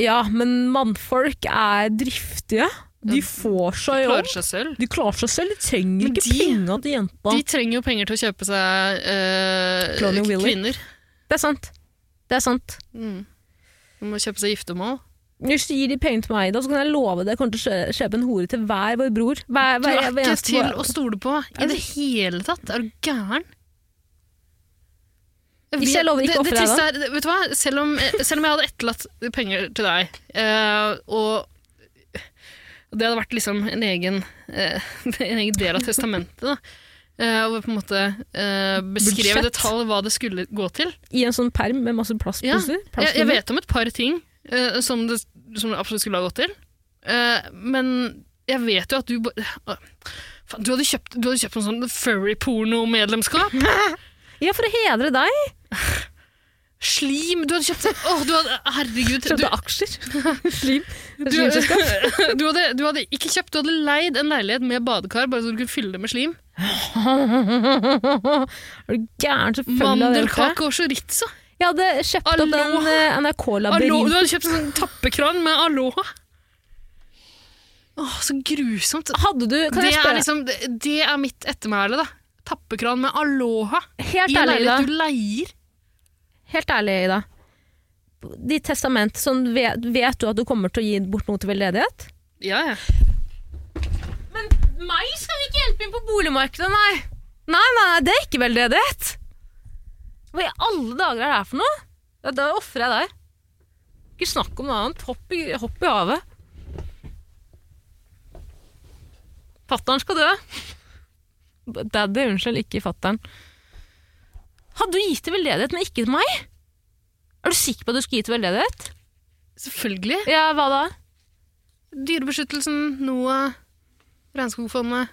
Speaker 2: Ja, men mannfolk er driftige.
Speaker 3: Ja,
Speaker 4: De får seg jobb.
Speaker 3: Klarer seg selv.
Speaker 4: De klarer seg selv. De trenger
Speaker 3: Men
Speaker 4: ikke
Speaker 3: de-
Speaker 4: penga til jenta.
Speaker 3: De trenger jo penger til å kjøpe seg eh,
Speaker 4: Cloney Willy.
Speaker 3: kvinner.
Speaker 2: Det er sant. Det er sant.
Speaker 3: Mm. De må kjøpe seg giftermål.
Speaker 2: Hvis du gir de pengene til meg, da, så kan jeg love deg jeg kommer til å kjø- kjøpe en hore til hver vår bror. Hver,
Speaker 3: Du
Speaker 2: hver,
Speaker 3: er
Speaker 2: hver
Speaker 3: ikke
Speaker 2: eneste
Speaker 3: til
Speaker 2: vår-
Speaker 3: å stole på i det hele tatt. Er du gæren? Jeg
Speaker 2: Hvis
Speaker 3: vet-
Speaker 2: jeg lover ikke å
Speaker 3: det- det
Speaker 2: ofre deg,
Speaker 3: triste er- det- Vet du hva? Selv om, eh, selv om jeg hadde etterlatt penger til deg, eh, og det hadde vært liksom en egen, eh, en egen del av testamentet, da. eh, og på en måte eh, beskrev i
Speaker 2: Budsjett.
Speaker 3: detalj hva det skulle gå til.
Speaker 2: I en sånn perm med masse
Speaker 3: Ja,
Speaker 2: plastposer.
Speaker 3: jeg, jeg
Speaker 2: plastposer.
Speaker 3: vet om et par ting eh, som, det, som det absolutt skulle ha gått til. Eh, men jeg vet jo at du ba- Åh, faen, du, hadde kjøpt, du hadde kjøpt en sånn furry-porno-medlemskap.
Speaker 2: Ja, for å hedre deg.
Speaker 3: Slim! Du hadde kjøpt Åh, du hadde, Herregud.
Speaker 2: Kjøpte
Speaker 3: Du,
Speaker 2: aksjer. Slim.
Speaker 3: du, du, hadde, du hadde ikke kjøpt, du hadde leid en leilighet med badekar bare så du kunne fylle det med slim.
Speaker 2: Er du gæren? Selvfølgelig. hadde jeg gjort det.
Speaker 3: Mandelkake og chorizo.
Speaker 2: Jeg hadde kjøpt opp
Speaker 3: Aloha.
Speaker 2: den eh,
Speaker 3: Alo, du
Speaker 2: NRK-labyrinten.
Speaker 3: hadde kjøpt en sånn tappekran med aloha. Åh, så grusomt.
Speaker 2: Hadde du, kan
Speaker 3: det,
Speaker 2: jeg
Speaker 3: er
Speaker 2: spørre,
Speaker 3: liksom, det, det er mitt ettermæle, da. Tappekran med aloha i
Speaker 2: helt
Speaker 3: en
Speaker 2: ærlig, Ida,
Speaker 3: leilighet du leier.
Speaker 2: helt ærlig, Ida. Ditt testament, sånn, vet, vet du at du kommer til å gi bort noe til veldedighet?
Speaker 3: Ja, ja.
Speaker 2: Meg skal vi ikke hjelpe inn på boligmarkedet, nei. Nei, nei, nei, det er ikke veldedighet. Hva i alle dager er det her for noe? Ja, da ofrer jeg deg. Ikke snakk om noe annet. Hopp i, hopp i havet. Fatteren skal dø. Daddy, unnskyld, ikke fatteren. Hadde du gitt til veldedighet, men ikke til meg? Er du sikker på at du skulle gi til veldedighet?
Speaker 3: Selvfølgelig.
Speaker 2: Ja, hva da?
Speaker 3: Dyrebeskyttelsen, NOAH, Regnskogfondet,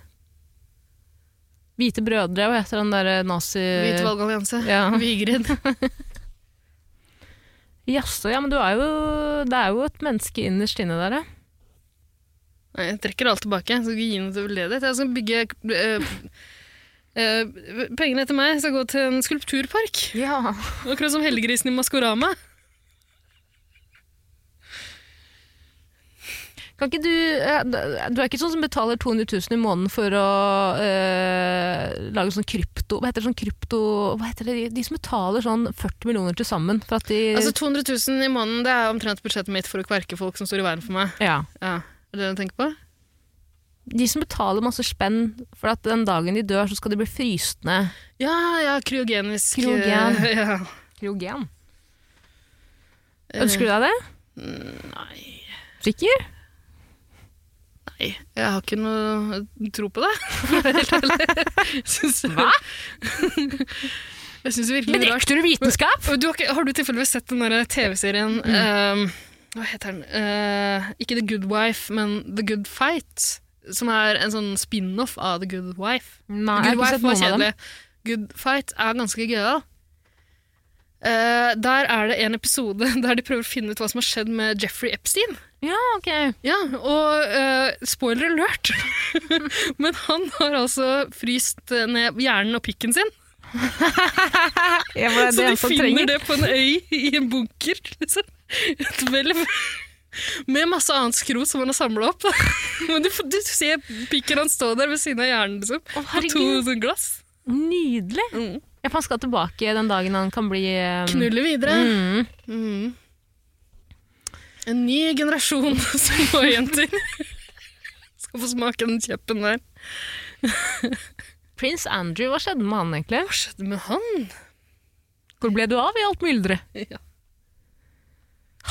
Speaker 2: Hvite brødre, hva heter den der nazi...
Speaker 3: Hvit valgallianse,
Speaker 2: Ja.
Speaker 3: Vigrid.
Speaker 2: Jaså, ja, men du er jo, det er jo et menneske innerst inne der, ja.
Speaker 3: Nei, jeg trekker alt tilbake. Jeg skal ikke gi noe til veldedighet. Jeg skal bygge eh, eh, Pengene etter meg skal gå til en skulpturpark.
Speaker 2: Ja.
Speaker 3: Akkurat som hellegrisen i Maskorama.
Speaker 2: Eh. Kan ikke du, eh, du er ikke sånn som betaler 200 000 i måneden for å eh, lage sånn krypto, hva heter det sånn krypto, hva heter det, de som betaler sånn 40 millioner til sammen, for at de,
Speaker 3: Altså 200 000 i måneden, det er omtrent budsjettet mitt for å kverke folk som står i veien for meg.
Speaker 2: ja,
Speaker 3: Ja, Er det det du tenker på?
Speaker 2: de som betaler masse spenn, for at den dagen de dør så skal de bli fryst ned.
Speaker 3: Ja, ja, kryogenisk
Speaker 2: Kryogen.
Speaker 3: eh, ja.
Speaker 2: Kryogen. Ønsker du deg det?
Speaker 3: Nei,
Speaker 2: Sikker?
Speaker 3: nei, jeg har ikke noe tro på det. for å være Helt ærlig. Syns-
Speaker 2: Hva?
Speaker 3: Jeg syns virkelig det er rart.
Speaker 2: Bedrekter du vitenskap?
Speaker 3: Og Du har, ikke, har du tilfeldigvis sett den der
Speaker 2: Mm.
Speaker 3: TV-serien ehm, Hva heter den? Eh, ikke The Good Wife, men The Good Fight. Som er en sånn spin-off av The Good Wife.
Speaker 2: Nei, jeg
Speaker 3: Good
Speaker 2: har ikke
Speaker 3: Wife
Speaker 2: sett
Speaker 3: var
Speaker 2: noen av dem.
Speaker 3: kjedelig. Good Fight er ganske gøyal. Eh, der er det en episode der de prøver å finne ut hva som har skjedd med Jeffrey Epstein.
Speaker 2: Ja, ok.
Speaker 3: Ja, og eh, spoiler alert! Men han har altså fryst ned hjernen og pikken sin.
Speaker 2: Jeg var
Speaker 3: Så
Speaker 2: det
Speaker 3: de
Speaker 2: en som
Speaker 3: finner
Speaker 2: trenger.
Speaker 3: det på en øy i en bunker. Liksom. Et hvelv. Med masse annet skrot som han har samla opp. da. Men du, får- du ser pikken hans stå der ved siden av hjernen, liksom.
Speaker 2: Å,
Speaker 3: På to
Speaker 2: herregud.
Speaker 3: sånn glass.
Speaker 2: Nydelig.
Speaker 3: Mm.
Speaker 2: Jeg fant skal tilbake den dagen han kan bli eh,
Speaker 3: Knuller videre.
Speaker 2: Mm.
Speaker 3: Mm. En ny generasjon småjenter skal få smake den kjeppen der.
Speaker 2: Prins Andrew, hva skjedde med han egentlig?
Speaker 3: Hva skjedde med han?
Speaker 2: Hvor ble du av i alt mylderet?
Speaker 3: Ja.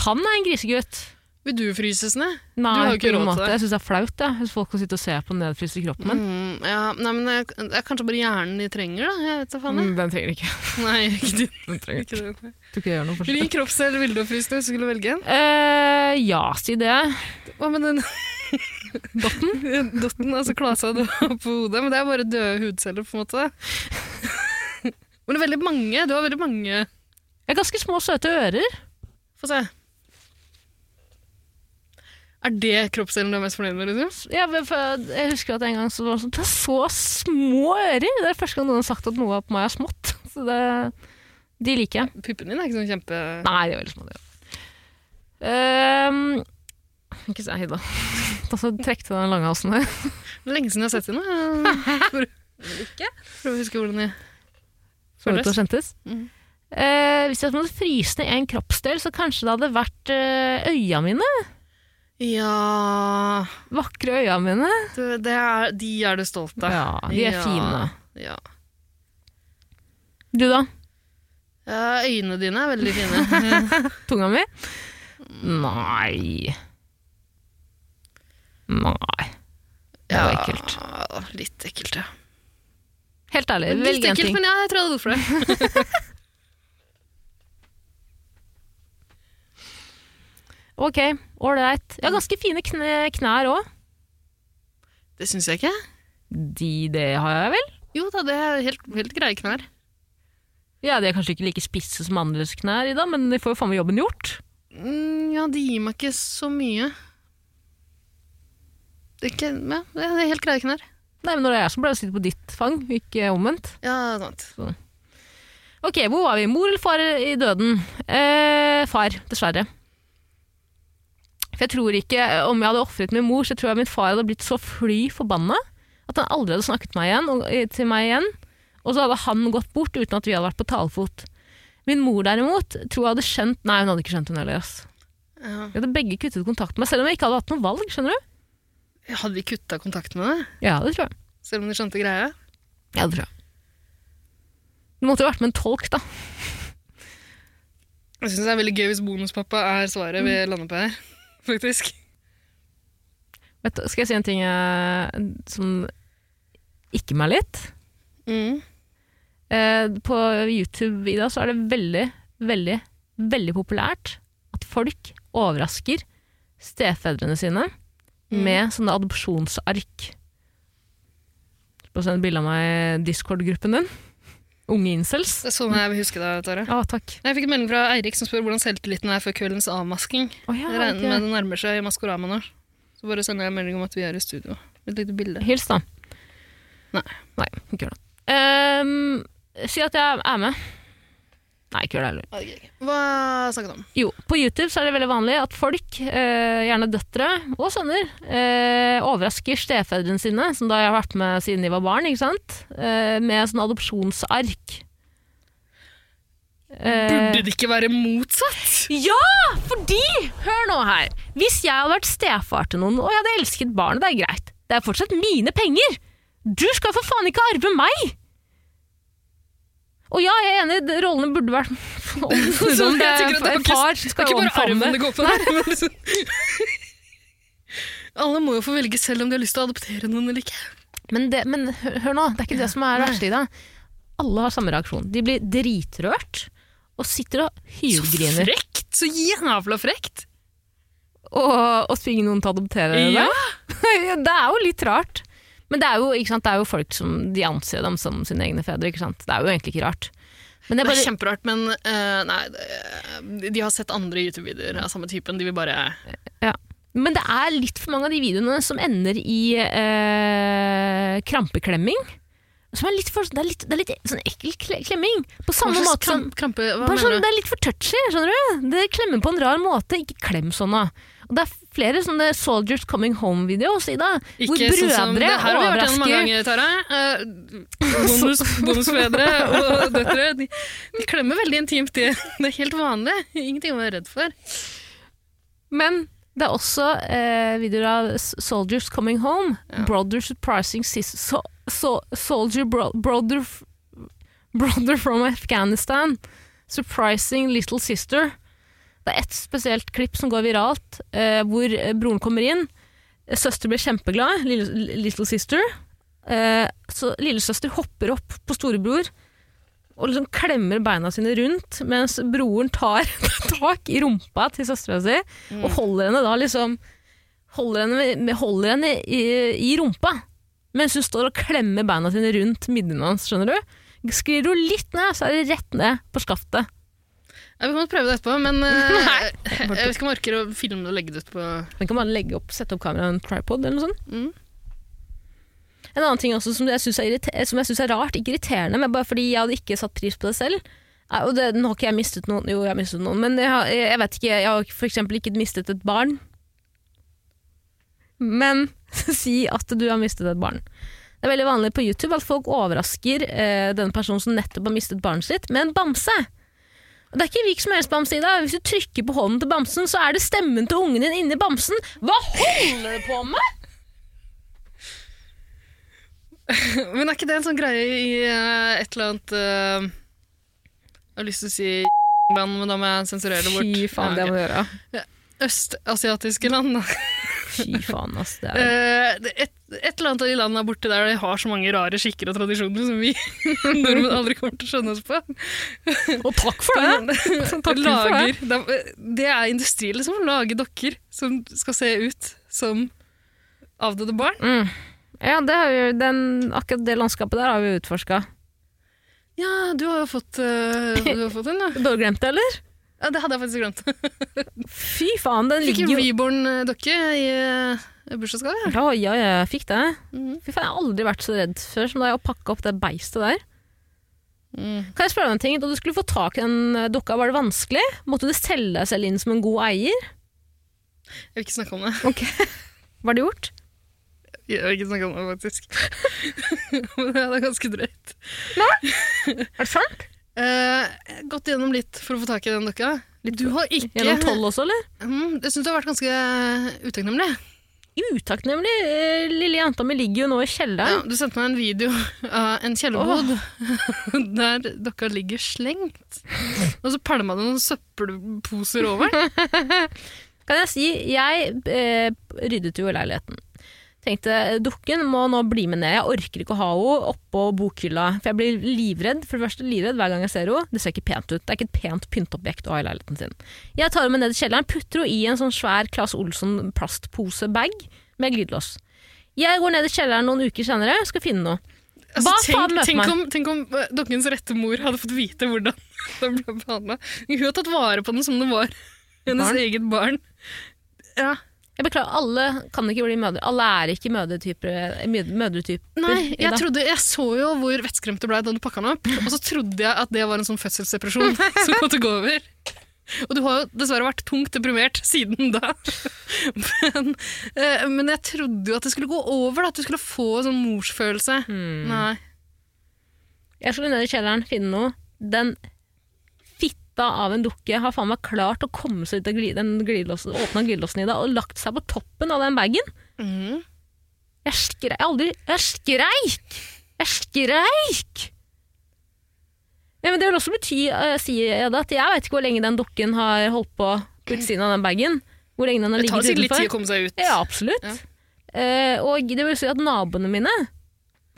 Speaker 2: Han er en grisegutt.
Speaker 3: Vil du fryses ned?
Speaker 2: Nei,
Speaker 3: har jo
Speaker 2: på
Speaker 3: ikke
Speaker 2: ingen
Speaker 3: råd til
Speaker 2: måte.
Speaker 3: det.
Speaker 2: Jeg syns det er flaut jeg, hvis folk kan sitte og se på den nedfryste kroppen min.
Speaker 3: Mm, ja, nei, men det er- det er kanskje bare hjernen de trenger, da. Jeg vet da faen. jeg.
Speaker 2: Mm, den trenger ikke.
Speaker 3: Nei, ikke du.
Speaker 2: Den trenger
Speaker 3: Ikke du.
Speaker 2: Tror ikke det gjør noe
Speaker 3: Hvilken
Speaker 2: forskjell.
Speaker 3: kroppsdel ville du fryst ned hvis du skulle velge en?
Speaker 2: Eh, ja, si det.
Speaker 3: Hva med den dotten? dotten, altså klasa du har på hodet. Men det er bare døde hudceller, på en måte. Men det er veldig mange. Du har veldig mange.
Speaker 2: Jeg har ganske små, søte ører.
Speaker 3: Få se. Er det kroppsdelen du er mest fornøyd med? Liksom?
Speaker 2: Jeg, jeg husker at en gang så var det sånn Det er så små ører! Det er første gang noen har sagt at noe på meg er smått. Så det, de liker jeg.
Speaker 3: Puppene dine er ikke sånn kjempe...
Speaker 2: Nei, de er veldig små. de også. Ehm, Ikke si da. Da så trekk til den langhalsen der.
Speaker 3: Det er lenge siden jeg har sett henne. For, for å huske hvordan jeg
Speaker 2: Så ut og kjentes. Eh, hvis jeg måtte fryse ned en kroppsdel, så kanskje det hadde vært eh, øya mine.
Speaker 3: Ja
Speaker 2: Vakre øya mine.
Speaker 3: du, det er, De er du stolt av.
Speaker 2: Ja, de er
Speaker 3: Ja.
Speaker 2: fine.
Speaker 3: Ja.
Speaker 2: Du da?
Speaker 3: Ja, øynene dine er veldig fine.
Speaker 2: Tunga mi? Nei. Nei. Det var ekkelt. Eh,
Speaker 3: Ja, litt ekkelt, ja.
Speaker 2: Helt ærlig,
Speaker 3: Litt
Speaker 2: velg en
Speaker 3: ekkelt,
Speaker 2: ting.
Speaker 3: men ja, jeg tror jeg hadde gått for det.
Speaker 2: Ok, ålreit. Jeg har ganske fine kne, knær òg.
Speaker 3: Det syns jeg ikke.
Speaker 2: De, det har jeg vel?
Speaker 3: Jo da, det er helt, helt greie knær.
Speaker 2: Ja, De er kanskje ikke like spisse som andres knær, i dag, men de får jo faen meg jobben gjort.
Speaker 3: Mm, Ja, de gir meg ikke så mye. Det er, ikke, ja, det er helt greie knær.
Speaker 2: Nei, men Når det er jeg som pleier å sitte på ditt fang, ikke omvendt.
Speaker 3: Ja, sant.
Speaker 2: Ok, Hvor var vi? Mor eller far i døden? Eh, far, dessverre. For jeg tror ikke, Om jeg hadde ofret min mor, så tror jeg min far hadde blitt så fly forbanna at han aldri hadde snakket meg igjen, og, eh, til meg igjen. Og så hadde han gått bort uten at vi hadde vært på talefot. Min mor derimot tror jeg hadde skjønt Nei, hun hadde ikke skjønt hun heller. ass.
Speaker 3: Ja.
Speaker 2: Vi hadde begge kuttet kontakt med meg, selv om jeg ikke hadde hatt noe valg. skjønner du?
Speaker 3: Hadde de kutta kontakt med deg,
Speaker 2: Ja, det tror jeg.
Speaker 3: selv om de skjønte greia?
Speaker 2: Ja, det tror jeg. Det måtte jo vært med en tolk, da.
Speaker 3: Jeg syns det er veldig gøy hvis bonuspappa er svaret
Speaker 2: Mm.
Speaker 3: vi lander på her, faktisk.
Speaker 2: Vet, du, skal jeg si en ting eh, som ikke meg litt? Mm. Eh, på YouTube i dag så er det veldig, veldig, veldig populært at folk overrasker stefedrene sine med sånne adopsjonsark. Bare send et bilde av meg i Discord-gruppen din. Unge incels.
Speaker 3: Det er sånn jeg vil huske deg, Tara.
Speaker 2: Ja, takk.
Speaker 3: Jeg fikk en melding fra Eirik som spør hvordan selvtilliten er før kveldens avmasking.
Speaker 2: Å ja,
Speaker 3: Jeg regner
Speaker 2: Ah, ok.
Speaker 3: med det nærmer seg Maskorama nå. Så bare sender jeg en melding om at vi er i studio. Et lite bilde.
Speaker 2: Hils, da.
Speaker 3: Nei.
Speaker 2: Nei, ikke gjør det. Ehm, si at jeg er med. Nei, ikke gjør Ah, det heller.
Speaker 3: Hva snakket du om?
Speaker 2: Jo, på YouTube så er det veldig vanlig at folk, eh, gjerne døtre og sønner, eh, overrasker stefedrene sine, som da jeg har vært med siden de var barn, ikke sant? Eh, med sånn adopsjonsark. Eh,
Speaker 3: Burde det ikke være motsatt?
Speaker 2: ja, fordi Hør nå her. Hvis jeg hadde vært stefar til noen, og jeg hadde elsket barnet, det er greit. Det er fortsatt mine penger. Du skal for faen ikke arve meg! Og ja, jeg er enig, de- rollene burde vært omformet.
Speaker 3: Så jeg tenker at det
Speaker 2: En
Speaker 3: faktisk-
Speaker 2: far
Speaker 3: Det
Speaker 2: skal
Speaker 3: er
Speaker 2: jo
Speaker 3: ikke bare
Speaker 2: omfavne.
Speaker 3: armen det går på. men liksom- Alle må jo få velge selv om de har lyst til å adoptere noen eller ikke.
Speaker 2: Men, det, men hør, hør nå, det er ikke det som er verst i det. Alle har samme reaksjon. De blir dritrørt og sitter og
Speaker 3: Så
Speaker 2: hylgriner.
Speaker 3: frekt! Så jævla frekt!
Speaker 2: Og, og tvinger noen til å adoptere det.
Speaker 3: Ja.
Speaker 2: det er jo litt rart. Men det er jo, ikke sant, det er jo folk som de anser dem som sine egne fedre. Ikke sant? Det er jo egentlig ikke rart. Men jeg
Speaker 3: Det
Speaker 2: bare,
Speaker 3: er kjemperart, men eh, nei, det- eh, de har sett andre YouTube-videoer av samme typen. De vil bare
Speaker 2: ja. men det er litt for mange av de videoene som ender i eh, krampeklemming. Som er litt for, det er litt, det er litt sånn ekkel kle- klemming. På
Speaker 3: Hva
Speaker 2: samme
Speaker 3: slags
Speaker 2: måte som
Speaker 3: kramp- krampe, Hva
Speaker 2: Bare sånn,
Speaker 3: mener du?
Speaker 2: det er litt for touchy, skjønner du? Det klemmer på en rar måte, ikke klem sånn da. Og det er flere sånne Soldiers Coming Home-videoer i dag, hvor
Speaker 3: Ikke sånn som det
Speaker 2: brødre
Speaker 3: her har vi vært gjennom mange
Speaker 2: overrasker.
Speaker 3: ganger, Tara. Eh, bonus, bonusfedre og døtre de, de klemmer veldig intimt. Det, det er helt vanlig. Ingenting å være redd for.
Speaker 2: Men det er også eh, videoer av S- Soldiers Coming Home, Brother Surprising Sis, so, so, Soldier bro, brother, f- brother from Afghanistan, Surprising Little Sister. Det er ett spesielt klipp som går viralt, eh, hvor eh, broren kommer inn. Søster blir kjempeglad, lille, Little Sister. Eh, så lillesøster hopper opp på storebror og liksom klemmer beina sine rundt, mens broren tar tak i rumpa til søstera si og holder henne da liksom Holder henne, holder henne i, i rumpa mens hun står og klemmer beina sine rundt midjen hans, skjønner du? Sklir du litt ned, så er det rett ned på skaftet.
Speaker 3: Ja, vi kan godt prøve det etterpå, men eh, jeg vet ikke om jeg orker å filme det og legge det ut på
Speaker 2: Man kan bare legge opp, sette opp kameraet i en tripod eller noe sånt.
Speaker 3: Mm.
Speaker 2: En annen ting også som jeg syns er, irrite- eh, som jeg synes er rart, ikke irriterende, men bare fordi jeg hadde ikke satt pris på det selv er- og det, Nå har ikke jeg mistet noen, jo jeg har mistet noen, men jeg, har, jeg vet ikke, jeg har for eksempel ikke mistet et barn. men si at du har mistet et barn. Det er veldig vanlig på YouTube at folk overrasker eh, denne personen som nettopp har mistet barnet sitt, med en bamse. Og det er ikke hvilken som helst bamse, Ida. Hvis du trykker på hånden til bamsen, så er det stemmen til ungen din inni bamsen. Hva holder du på med?!
Speaker 3: Men er ikke det en sånn greie i eh, et eller annet eh, Jeg har lyst til å si land, men da må jeg sensurere det bort.
Speaker 2: Fy faen, det
Speaker 3: Ja,
Speaker 2: må du gjøre.
Speaker 3: ok. Østasiatiske land. da.
Speaker 2: Fy faen, ass. Det er
Speaker 3: Eh, det- Et, et eller annet av de landene borti der de har så mange rare skikker og tradisjoner som vi nordmenn aldri kommer til å skjønne oss på.
Speaker 2: Og Eh, takk for det!
Speaker 3: De lager, de, det er industri, liksom. å Lage dokker som skal se ut som avdøde barn.
Speaker 2: Mm. Ja, det har vi, jo- den, akkurat det landskapet der har vi utforska.
Speaker 3: Ja, du har jo fått, eh, du har fått en, da.
Speaker 2: Du har glemt det, eller?
Speaker 3: Ja, det hadde jeg faktisk glemt.
Speaker 2: Fy faen, den
Speaker 3: Fikk en
Speaker 2: ligger jo
Speaker 3: reborn eh, dokke i eh, bursdagsgave.
Speaker 2: Ja, ja, ja, jeg fikk det.
Speaker 3: Mhm.
Speaker 2: Fy faen, Jeg har aldri vært så redd før som da jeg pakka opp det beistet der. Kan jeg spørre deg en ting? Da du skulle få tak i den eh, dokka, var det vanskelig? Måtte du selge deg selv inn som en god eier?
Speaker 3: Jeg vil ikke snakke om det.
Speaker 2: Var det gjort?
Speaker 3: Jeg vil ikke snakke om det, faktisk. Men ja, det er ganske drøyt.
Speaker 2: Er det sant?
Speaker 3: Eh, jeg har gått gjennom litt for å få tak i den dokka. Du har ikke
Speaker 2: Gjennom tolv også, eller?
Speaker 3: Mm, Jeg syns du har vært ganske utakknemlig.
Speaker 2: Utakknemlig. eh, Lille jenta mi ligger jo nå i
Speaker 3: Ja,
Speaker 2: kjelleren.
Speaker 3: du sendte meg en video av en kjellerbod der dokka ligger slengt. Og så pælma du noen søppelposer over Altså, den.
Speaker 2: Kan jeg si, jeg eh, ryddet jo i leiligheten. Tenkte dukken må nå bli med ned. Jeg orker ikke å ha henne oppå bokhylla. For jeg blir livredd for det første livredd hver gang jeg ser henne. Det ser ikke pent ut. Det er ikke et pent pyntobjekt å ha i leiligheten sin. Jeg tar henne med ned i kjelleren, putter henne i en sånn svær Claes Olsson plastpose-bag med glidelås. Jeg går ned i kjelleren noen uker senere skal finne noe.
Speaker 3: Altså,
Speaker 2: Hva faen
Speaker 3: tenk,
Speaker 2: møter
Speaker 3: tenk,
Speaker 2: meg?
Speaker 3: om, tenk om eh, dokkens rette mor hadde fått vite hvordan den ble behandla. Hun har tatt vare på den som det var hennes
Speaker 2: Barn.
Speaker 3: eget barn. Ja.
Speaker 2: Jeg beklager, alle kan ikke bli mødre. Alle er ikke mødretyper. mød- mødretyper
Speaker 3: Nei, jeg,
Speaker 2: Ida.
Speaker 3: trodde, jeg så jo hvor vettskremt du ble da du pakka den opp, og så trodde jeg at det var en sånn fødselsdepresjon som kom til å gå over. Og du har jo dessverre vært tungt deprimert siden da. Men, eh, men jeg trodde jo at det skulle gå over, da, at du skulle få en sånn morsfølelse. Nei.
Speaker 2: Jeg skulle ned i kjelleren, finne noe. Den fitta av en dukke har faen meg klart å komme seg ut av gli- den glidelåsen, åpna glidelåsen i det, og lagt seg på toppen av den bagen.
Speaker 3: Mhm.
Speaker 2: Jeg skreik aldri Jeg skreik! Jeg skreik! Ja, men det vil også bety, eh, sier jeg da, at jeg veit ikke hvor lenge den dukken har holdt på på utsiden av den bagen. Hvor lenge den har
Speaker 3: Det tar
Speaker 2: ligget
Speaker 3: sikkert litt tid å
Speaker 2: utenfor.
Speaker 3: komme seg ut.
Speaker 2: Ja, absolutt.
Speaker 3: Ja.
Speaker 2: Eh, og det vil si at naboene mine,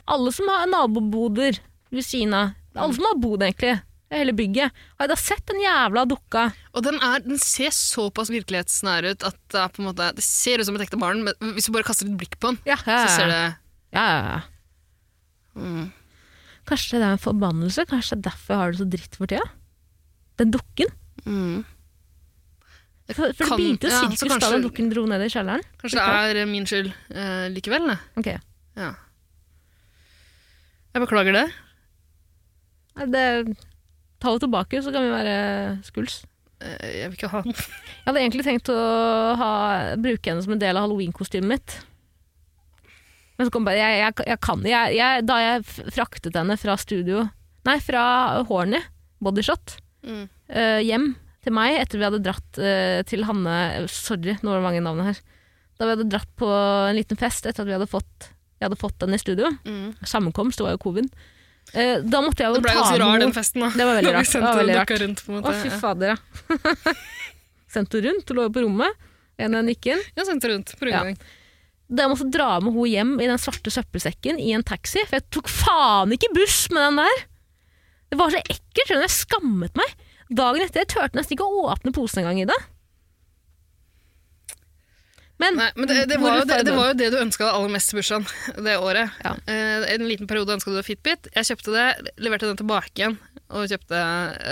Speaker 2: alle som har naboboder ved siden av, alle som har bod egentlig, i hele bygget, har da sett den jævla dukka.
Speaker 3: Og den, er, den ser såpass virkelighetsnær ut at det, er på en måte, det ser ut som et ekte barn, men hvis du bare kaster et blikk på den,
Speaker 2: Ja, ja,
Speaker 3: så ser
Speaker 2: ja.
Speaker 3: det
Speaker 2: Ja, ja, ja.
Speaker 3: mm.
Speaker 2: Kanskje det er en forbannelse? Kanskje det er derfor jeg har det så dritt for tida? Den dukken?
Speaker 3: Mm. Jeg
Speaker 2: For, for
Speaker 3: kan-
Speaker 2: det begynte jo
Speaker 3: ja,
Speaker 2: sirkus
Speaker 3: så
Speaker 2: da
Speaker 3: kanskje-
Speaker 2: den dukken dro ned i kjelleren.
Speaker 3: Kanskje det er min skyld eh, likevel, da.
Speaker 2: Ok.
Speaker 3: Ja. Jeg beklager det.
Speaker 2: Nei, Det, ta det tilbake, så kan vi være skuls.
Speaker 3: Eh, Jeg vil ikke ha den.
Speaker 2: Jeg hadde egentlig tenkt å ha, bruke henne som en del av halloweenkostymet mitt. Men så kom bare Jeg, jeg, jeg kan jeg, jeg, Da jeg f- fraktet henne fra studio Nei, fra Horny, Bodyshot,
Speaker 3: Mm.
Speaker 2: eh, hjem til meg etter vi hadde dratt eh, til Hanne Sorry, nå var det mange navn her. Da vi hadde dratt på en liten fest etter at vi hadde fått, jeg hadde fått den i studio. Sammenkomst, det var jo covid. Eh, da måtte jeg jo
Speaker 3: Mm. Det ble ganske
Speaker 2: med
Speaker 3: rar,
Speaker 2: henne-
Speaker 3: den festen. da.
Speaker 2: Det var veldig
Speaker 3: Da vi
Speaker 2: rart. Det
Speaker 3: sendte
Speaker 2: var veldig
Speaker 3: den
Speaker 2: rart.
Speaker 3: dukka rundt, på en
Speaker 2: Å, fy
Speaker 3: måte.
Speaker 2: fader, ja. Sendte hun rundt, hun lå jo på rommet. En av nikken.
Speaker 3: Ja, Jeg sendte rundt på rundgang.
Speaker 2: Da jeg måtte dra med henne hjem i den svarte søppelsekken i en taxi, for jeg tok faen ikke buss med den der! Det var så ekkelt, skjønner du. Jeg skammet meg. Dagen etter jeg turte nesten ikke å åpne posen engang, Ida. Men,
Speaker 3: Nei, men det, det, var
Speaker 2: hvor
Speaker 3: jo
Speaker 2: er
Speaker 3: det, det
Speaker 2: fargen?
Speaker 3: var jo det du ønska aller mest i bursdagen det året.
Speaker 2: Ja.
Speaker 3: Eh, en liten periode ønska du deg Fitbit. Jeg kjøpte det, leverte den tilbake igjen, og kjøpte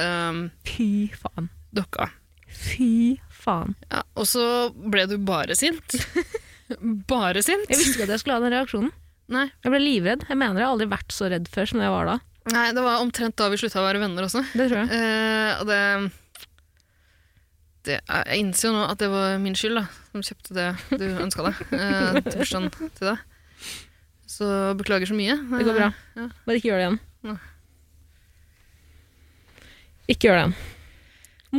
Speaker 3: ehm,
Speaker 2: Fy faen.
Speaker 3: dokka.
Speaker 2: Fy faen.
Speaker 3: Ja, og så ble du bare sint. bare sint?
Speaker 2: Jeg visste ikke at jeg skulle ha den reaksjonen.
Speaker 3: Nei.
Speaker 2: Jeg ble livredd. Jeg mener jeg har aldri vært så redd før som jeg var da.
Speaker 3: Nei, Eh, det var omtrent da vi slutta å være venner også.
Speaker 2: Det tror jeg.
Speaker 3: Eh, og det det er, jeg innser jo nå at det var min skyld, da, som kjøpte det du ønska deg. Eh, til bursdagen til deg. Så beklager så mye.
Speaker 2: Det går bra.
Speaker 3: Ja.
Speaker 2: Bare ikke gjør det igjen.
Speaker 3: Nei.
Speaker 2: Ikke gjør det igjen.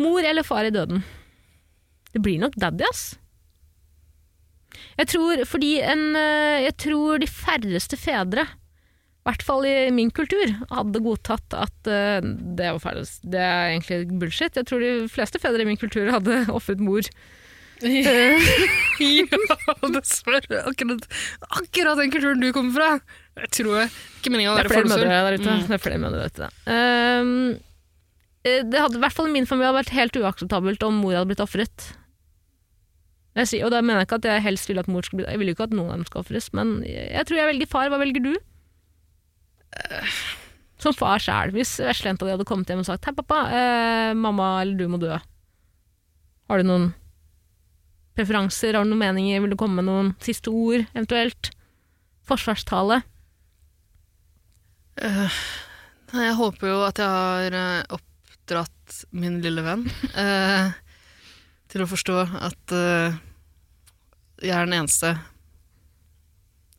Speaker 2: Mor eller far i døden? Det blir nok daddy, ass. Jeg tror, fordi en, eh, jeg tror de færreste fedre, i hvert fall i min kultur, hadde godtatt at eh, det var ferdig. Det er egentlig bullshit. Jeg tror de fleste fedre i min kultur hadde ofret mor.
Speaker 3: Eh, ja, dessverre. Akkurat, akkurat den kulturen du kommer fra. Jeg tror jeg. Ikke meningen å
Speaker 2: Det er Mm.
Speaker 3: være
Speaker 2: flere
Speaker 3: fordomsfull.
Speaker 2: mødre der ute. Det er flere mødre der ute. Ehm, eh, det hadde i hvert fall i min familie hadde vært helt uakseptabelt om mor hadde blitt ofret. Jeg sier, og da mener jeg ikke at jeg helst ville at mor skulle bli Jeg ville jo ikke at noen av dem skal ofres, men jeg jeg tror jeg velger far. Hva velger du? Eh, Som far sjæl. Hvis veslejenta di hadde kommet hjem og sagt 'Hei, pappa, eh, mamma eller du må dø'. Har du noen preferanser? Har du noen meninger? Vil du komme med noen siste ord, eventuelt? Forsvarstale?
Speaker 3: Eh, Nei, Jeg håper jo at jeg har eh, oppdratt min lille venn eh, til å forstå at eh, jeg er den eneste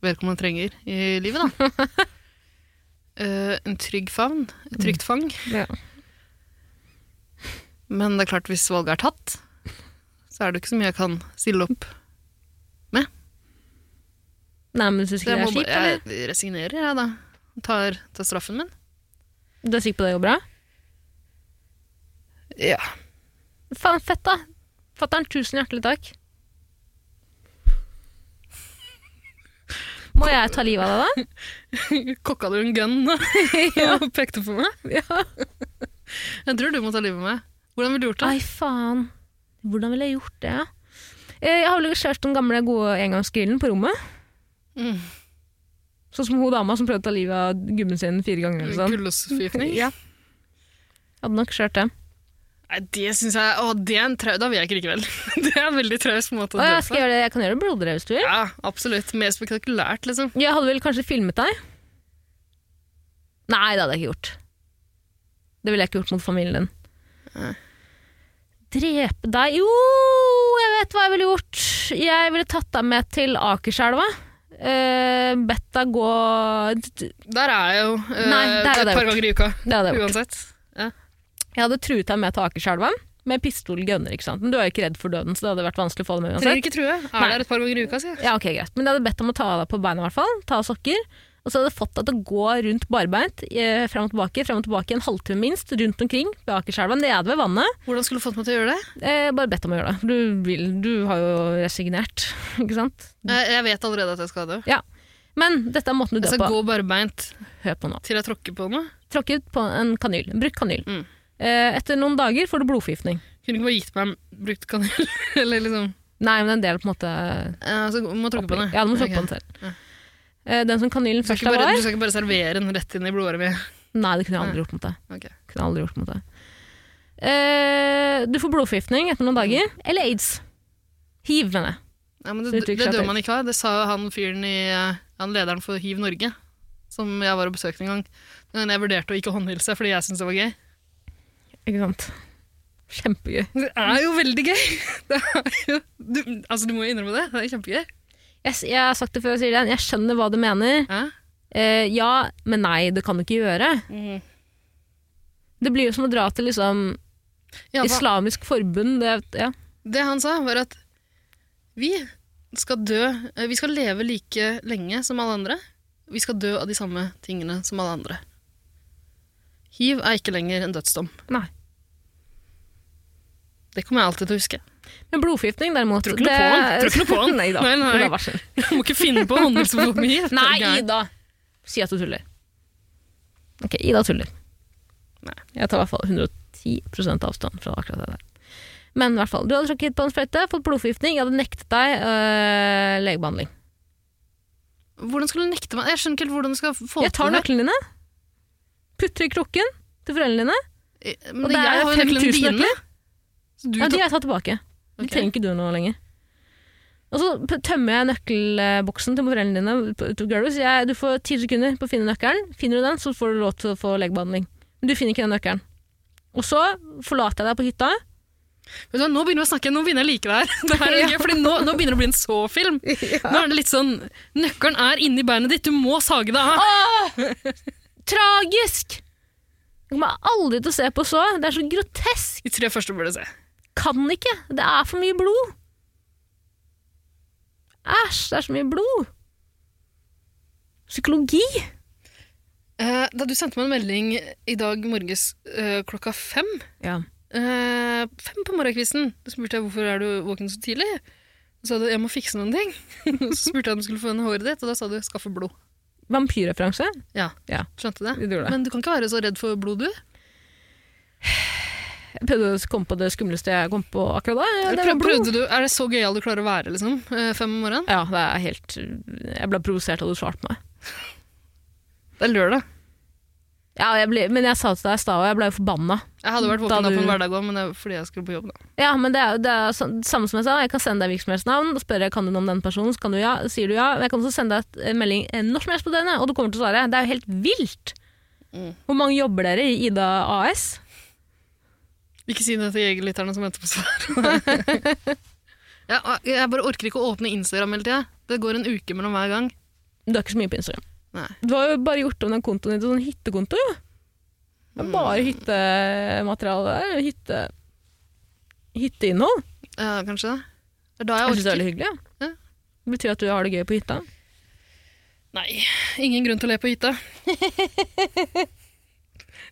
Speaker 3: vedkommende trenger i livet, da. Eh, en trygg favn. Et trygt fang.
Speaker 2: Mm, Ja.
Speaker 3: Men det er klart, hvis valget er tatt, så er det ikke så mye jeg kan stille opp.
Speaker 2: Nei, men syns
Speaker 3: Så
Speaker 2: ikke det
Speaker 3: jeg,
Speaker 2: er
Speaker 3: må,
Speaker 2: kjipt,
Speaker 3: ba-
Speaker 2: eller?
Speaker 3: jeg resignerer, jeg, da. Tar, tar straffen min.
Speaker 2: Du er sikker på det går bra?
Speaker 3: Ja.
Speaker 2: Faen, fett, da! Fatter'n, tusen hjertelig takk. Må jeg ta livet av deg,
Speaker 3: Kokka du en gun og pekte på meg?
Speaker 2: da? Ja.
Speaker 3: Jeg tror du må ta livet av meg. Hvordan ville du gjort det?
Speaker 2: Ai, faen. Hvordan ville jeg gjort det? Eh, Jeg har vel kjørt den gamle, gode engangsgrillen på rommet.
Speaker 3: Mm.
Speaker 2: Sånn som hun dama som prøvde å ta livet av gubben sin fire ganger. eller sånn.
Speaker 3: Gullåsforgiftning?
Speaker 2: Ja. Hadde nok kjørt det.
Speaker 3: Nei, det syns jeg å, det er en trau... Da vil jeg ikke likevel. det er en veldig traust måte
Speaker 2: Å,
Speaker 3: å dø
Speaker 2: jeg, skal
Speaker 3: på.
Speaker 2: gjøre det. jeg kan gjøre det blodigere hvis du vil.
Speaker 3: Ja, absolutt. Mer spektakulært, liksom.
Speaker 2: Jeg hadde vel kanskje filmet deg? Nei, det hadde jeg ikke gjort. Det ville jeg ikke gjort mot familien din. Drepe deg Jo, jeg vet hva jeg ville gjort! Jeg ville tatt deg med til Akerselva. Eh, bedt deg gå Det
Speaker 3: Der er jeg jo eh,
Speaker 2: Nei, der hadde jeg
Speaker 3: et par
Speaker 2: gjort.
Speaker 3: ganger i uka.
Speaker 2: hadde jeg gjort.
Speaker 3: Uansett. Ja.
Speaker 2: Jeg hadde truet deg med til Akerselva med pistol og gunner, ikke sant. Men du er jo ikke redd for døden, så det hadde vært vanskelig å få deg med uansett.
Speaker 3: Trenger ikke true. Er
Speaker 2: Nei.
Speaker 3: der et par ganger i uka, sier jeg.
Speaker 2: Ja, ok, greit. Men jeg hadde bedt om å ta av deg på beina, i hvert fall. Ta av sokker. Og så hadde jeg fått deg til å gå rundt barbeint, eh, frem og tilbake, frem og tilbake en halvtime minst, rundt omkring ved Akerselva, nede ved vannet.
Speaker 3: Hvordan skulle du fått meg til å gjøre det?
Speaker 2: Eh, bare bedt om å gjøre det. for Du, vil, du har jo resignert, ikke sant?
Speaker 3: Jeg, jeg vet allerede at jeg skal dø.
Speaker 2: Men dette er måten du
Speaker 3: Jeg
Speaker 2: dør på.
Speaker 3: skal Altså, gå barbeint
Speaker 2: Hør på nå.
Speaker 3: til jeg tråkker på noe.
Speaker 2: Tråkket på en kanyl. Bruk kanyl.
Speaker 3: Mm.
Speaker 2: Eh, etter noen dager får du blodforgiftning.
Speaker 3: Kunne ikke bare gitt meg en brukt kanel, eller liksom
Speaker 2: Nei, men det er en del på en måte
Speaker 3: Ja, Så må jeg tråkke på den.
Speaker 2: Ja, du må
Speaker 3: Ok.
Speaker 2: tråkke på den selv. Eh, den som kanylen
Speaker 3: Du skal,
Speaker 2: først
Speaker 3: ikke
Speaker 2: av
Speaker 3: bare,
Speaker 2: var
Speaker 3: du skal ikke bare servere den rett inn i blodet mitt.
Speaker 2: Nei, det kunne jeg aldri gjort mot deg.
Speaker 3: Ok.
Speaker 2: Kunne aldri gjort mot deg. Eh, du får blodforgiftning etter noen dager. Eller aids. Hiv, mener jeg.
Speaker 3: Ja, men
Speaker 2: Så
Speaker 3: det, det,
Speaker 2: utvikler seg
Speaker 3: dør
Speaker 2: til.
Speaker 3: man ikke av. Det sa jo han fyren i eh, Han lederen for Hiv Norge, som jeg var og besøkte en gang. Men jeg vurderte å ikke håndhilse fordi jeg syntes det var gøy.
Speaker 2: Ikke sant? Kjempegøy.
Speaker 3: Det er jo veldig gøy! Det er jo, du, altså, du må jo innrømme det. Det er kjempegøy.
Speaker 2: Jeg, s- jeg har sagt det før, jeg sier det igjen. Jeg skjønner hva du mener.
Speaker 3: Ja.
Speaker 2: Eh, ja, men nei, det kan du ikke gjøre. Det blir jo som å dra til liksom,
Speaker 3: Ja, hva-
Speaker 2: islamisk forbund. Det, ja.
Speaker 3: Det han sa, var at vi skal dø eh, Vi skal leve like lenge som alle andre. Vi skal dø av de samme tingene som alle andre. Hiv er ikke lenger en dødsdom.
Speaker 2: Nei.
Speaker 3: Det kommer jeg alltid til å huske.
Speaker 2: Men blodforgiftning, derimot
Speaker 3: Tror ikke noe på han. Tror ikke noe på han.
Speaker 2: Nei da.
Speaker 3: Nei, nei.
Speaker 2: Det er varsel.
Speaker 3: Jeg må ikke finne på håndhilse på mye.
Speaker 2: Nei, Ida! Si at du tuller. Ok, Ida tuller.
Speaker 3: Nei.
Speaker 2: Jeg tar i hvert fall 110 avstand fra akkurat det der. Men i hvert fall, du hadde tråkket på en sprøyte, fått blodforgiftning, jeg hadde nektet deg øh, legebehandling.
Speaker 3: Hvordan skulle du nekte meg? Jeg skjønner ikke helt hvordan du skal få
Speaker 2: Jeg tar
Speaker 3: til
Speaker 2: nøklene dine, putter i krukken til foreldrene dine,
Speaker 3: det.
Speaker 2: og
Speaker 3: Eh, Men
Speaker 2: det
Speaker 3: jeg
Speaker 2: er
Speaker 3: har jo nøklene
Speaker 2: 5000
Speaker 3: dine.
Speaker 2: nøkler.
Speaker 3: Så du
Speaker 2: ja, de
Speaker 3: tar-
Speaker 2: har jeg tatt tilbake. De
Speaker 3: Ok.
Speaker 2: trenger ikke du nå lenger. Og så p- tømmer jeg nøkkelboksen til foreldrene dine. på- til Gervis. Jeg, du får ti sekunder på å finne nøkkelen. Finner du den, så får du lov til å få legebehandling. Men du finner ikke den nøkkelen. Og så forlater jeg deg på hytta,
Speaker 3: Vet du hva, nå begynner vi å snakke, nå begynner jeg å like det her. Det her er gøy, fordi nå, nå begynner det å bli en så-film. Nå er det litt sånn Nøkkelen er inni beinet ditt, du må sage det av.
Speaker 2: Tragisk! Jeg kommer aldri til å se på så. Det er så grotesk.
Speaker 3: De tre første burde se.
Speaker 2: Kan ikke. Det er for mye blod. Æsj, det er så mye blod. Psykologi.
Speaker 3: Eh, da du sendte meg en melding i dag morges eh, klokka fem
Speaker 2: Ja.
Speaker 3: eh, Fem på morgenkvisten. Da spurte jeg hvorfor er du våken så tidlig. Så sa du jeg må fikse noen ting. så spurte jeg om du skulle få henne håret ditt, og da sa du skaffe blod.
Speaker 2: Vampyrreferanse.
Speaker 3: Ja,
Speaker 2: Ja.
Speaker 3: skjønte det.
Speaker 2: Du gjorde det.
Speaker 3: Men du kan ikke være så redd for blod, du.
Speaker 2: Jeg prøvde å komme på det skumleste jeg kom på akkurat da. Ja, det
Speaker 3: Prøv-
Speaker 2: var blod.
Speaker 3: prøvde du, er det så gøyal du klarer å være liksom, eh, fem om morgenen?
Speaker 2: Ja, det er helt Jeg ble provosert av at du svarte meg.
Speaker 3: Det er lørdag.
Speaker 2: Ja, jeg ble, men jeg sa til deg i stad, og jeg ble jo forbanna.
Speaker 3: Jeg hadde vært
Speaker 2: Da
Speaker 3: våken da på
Speaker 2: du-
Speaker 3: en hverdag òg, men det er fordi jeg skulle på jobb. da.
Speaker 2: Ja, men det er jo det er sånn- samme som jeg sa. Jeg kan sende deg virksomhetsnavn og spørre kan du noe om den personen. Så kan du ja, sier du ja. Men jeg kan også sende deg et- en melding eh, når som helst på døgnet, og du kommer til å svare. Det er jo helt vilt!
Speaker 3: Mm.
Speaker 2: Hvor mange jobber dere i Ida AS?
Speaker 3: Ikke si det til jegerlytterne som venter på svar. ja, jeg bare orker ikke å åpne Instagram hele tida. Det går en uke mellom hver gang.
Speaker 2: Du er ikke så mye på Instagram.
Speaker 3: Nei.
Speaker 2: Du har jo bare gjort om den kontoen din til sånn hyttekonto, jo. Det er bare
Speaker 3: Hmm.
Speaker 2: hyttemateriale der. Hytte... Hytteinnhold.
Speaker 3: Ja, kanskje det. Det er da
Speaker 2: Jeg
Speaker 3: jeg
Speaker 2: synes det er
Speaker 3: orker.
Speaker 2: veldig hyggelig. Ja.
Speaker 3: Ja.
Speaker 2: Det betyr at du har det gøy på hytta.
Speaker 3: Nei, ingen grunn til å le på hytta.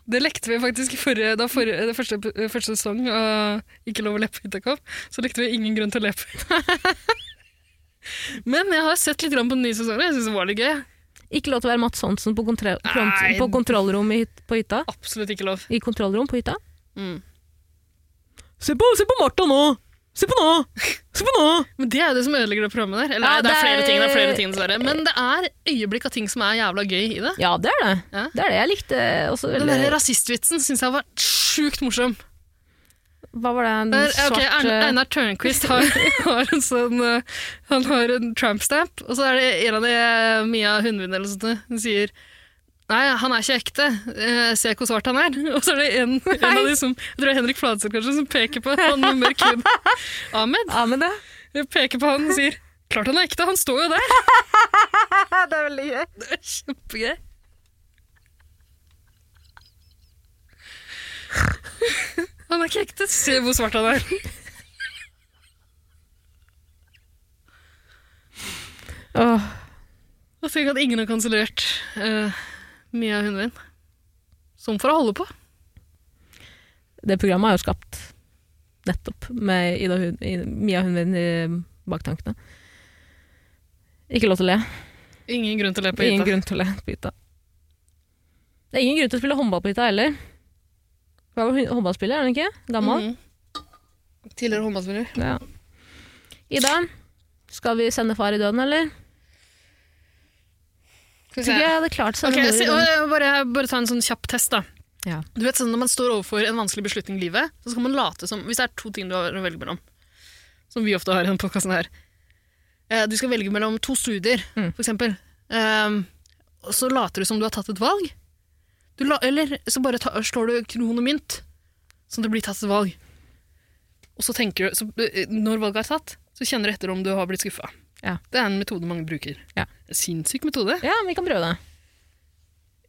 Speaker 3: Det lekte vi faktisk i forrige, da forrige, det første, første sesong av Ikke lov å le på hytta kom. Så lekte vi ingen grunn til å le på hytta. Men jeg har sett litt grann på den nye sesongen. og Jeg syns det var litt gøy.
Speaker 2: Ikke lov til å være Mats Hansen på, kontro
Speaker 3: Nei.
Speaker 2: på kontrollrom i hyt på hytta.
Speaker 3: Absolutt ikke lov.
Speaker 2: I kontrollrom på hytta.
Speaker 3: Mm.
Speaker 2: Se på, se på Martha nå! Se på nå! Se på nå!
Speaker 3: Men det er jo det som ødelegger det programmet der.
Speaker 2: Ja,
Speaker 3: Eller nei, det er
Speaker 2: det er-
Speaker 3: flere ting, det er flere ting dessverre. Men det er øyeblikk av ting som er jævla gøy i det.
Speaker 2: Ja, det er det.
Speaker 3: Ja.
Speaker 2: Det er det jeg likte eh, også
Speaker 3: Den
Speaker 2: veldig.
Speaker 3: der rasistvitsen syns jeg var sjukt morsom.
Speaker 2: Hva var det? En
Speaker 3: Der,
Speaker 2: svart
Speaker 3: ok, Ern-
Speaker 2: eh,
Speaker 3: Einar Tørnquist har, har en sånn eh, Han har en tramp-stamp, og så er det en av de eh, Mia Hundvin eller noe sånt, eh, hun sier Nei, han er ikke ekte. Eh, se hvor svart han er. Og så er det en, en av de som jeg tror det er Henrik Fladseth kanskje, som peker på han med mørk hud. Ahmed
Speaker 2: Ja, men det.
Speaker 3: peker på han og sier 'klart han er ekte, han står jo der'.
Speaker 4: Det er veldig gøy.
Speaker 3: Det er kjempegøy. Han er ikke ekte. Se hvor svart han er.
Speaker 2: Åh,
Speaker 3: Og tenk at ingen har kansellert eh, Mia Hundvin. Sånn for å holde på.
Speaker 2: det programmet er jo skapt nettopp med Ida Hun, I- Mia Hundvin i baktankene. Ikke lov til å le.
Speaker 3: Ingen grunn til å le på
Speaker 2: Ingen
Speaker 3: hytta.
Speaker 2: grunn til å le på hytta. Det er ingen grunn til å spille håndball på hytta heller. Hva var hun- håndballspiller, er hun ikke? Gammel?
Speaker 3: Mhm. Mm. Tidligere håndballspiller.
Speaker 2: Ja. Ida, skal vi sende far i døden, eller?
Speaker 3: Skal
Speaker 2: Tror
Speaker 3: vi se.
Speaker 2: ikke jeg hadde klart å sende
Speaker 3: Ok,
Speaker 2: mor
Speaker 3: se,
Speaker 2: i døden.
Speaker 3: og bare, bare ta en sånn kjapp test, da.
Speaker 2: Ja.
Speaker 3: Du vet sånn Når man står overfor en vanskelig beslutning i livet, så skal man late som Hvis det er to ting du har å velge mellom, som vi ofte har i denne podkasten her Eh, Du skal velge mellom to studier,
Speaker 2: Mm.
Speaker 3: for eksempel. Ehm, og så later du som du har tatt et valg. Du la, eller så bare ta, slår du kron og mynt, sånn at det blir tatt et valg. Og så tenker du, så, eh, Når valget er tatt, så kjenner du etter om du har blitt skuffa.
Speaker 2: Ja.
Speaker 3: Det er en metode mange bruker.
Speaker 2: Ja.
Speaker 3: Sinnssyk metode.
Speaker 2: Ja, vi kan prøve det.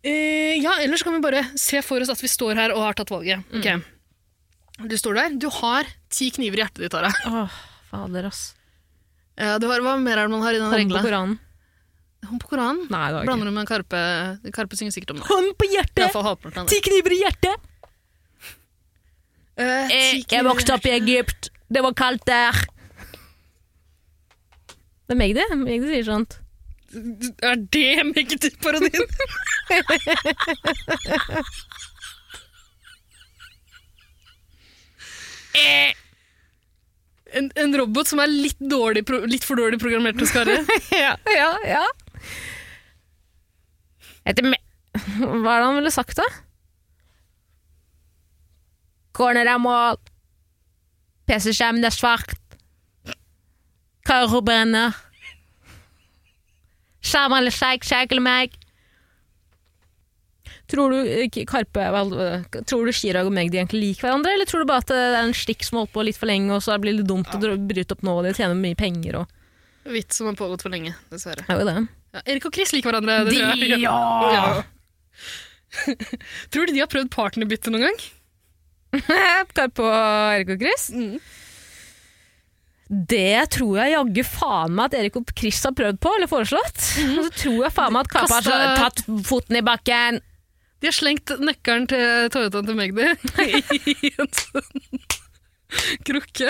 Speaker 3: Eh, ja, ellers kan vi bare se for oss at vi står her og har tatt valget. Ok. Du står der. Du har ti kniver i hjertet ditt, Tara.
Speaker 2: Åh, fader, ass.
Speaker 3: Eh, du har, hva mer er det man har i den
Speaker 2: Hånd på
Speaker 3: regla?
Speaker 2: Koranen.
Speaker 3: Hånd på Koranen?
Speaker 2: Nei, det var
Speaker 3: Blander
Speaker 2: ikke.
Speaker 3: du med Karpe? Karpe synger sikkert om det.
Speaker 2: Hånd på
Speaker 3: I
Speaker 2: hjertet!
Speaker 3: hvert fall halvparten av det.
Speaker 2: Ti kniver i hjertet!
Speaker 3: Eh, ti
Speaker 2: Jeg, jeg
Speaker 3: kniver.
Speaker 2: vokste opp i Egypt. Det var kaldt der. Det er Magdi. Magdi sier sånt.
Speaker 3: Er det Megdi-parodien? Eh. en, en robot som er litt, dårlig, pro- litt for dårlig programmert til å skarre.
Speaker 2: ja, ja, ja. Etter me Hva er det han ville sagt, da? Corner er mål. PC-skjermen er svart. Karo brenner. Skjermen er sjeik, sjeik eller meg. Tror du, eh, K- Karpe, vel, eh, tror du Chirag og Magdi egentlig liker hverandre, eller tror du bare at eh, det er en slikk som har holdt på litt for lenge, og så blir det litt dumt å dra- bryte opp nå, og de tjener mye penger og
Speaker 3: Vits som har pågått for lenge, dessverre.
Speaker 2: Det er jo det.
Speaker 3: Ja, Erik og Chris liker hverandre. Det tror, jeg. Ja. tror du de har prøvd partnerbytte noen gang?
Speaker 2: Karpe og Erik og Chris?
Speaker 3: Mm.
Speaker 2: Det tror jeg jaggu faen meg at Erik og Chris har prøvd på, eller foreslått. Og så tror jeg faen meg at Karpe har så-
Speaker 3: Kasta-
Speaker 2: tatt foten i bakken.
Speaker 3: De har slengt nøkkelen til Toyotaen til Magdi i en sånn krukke.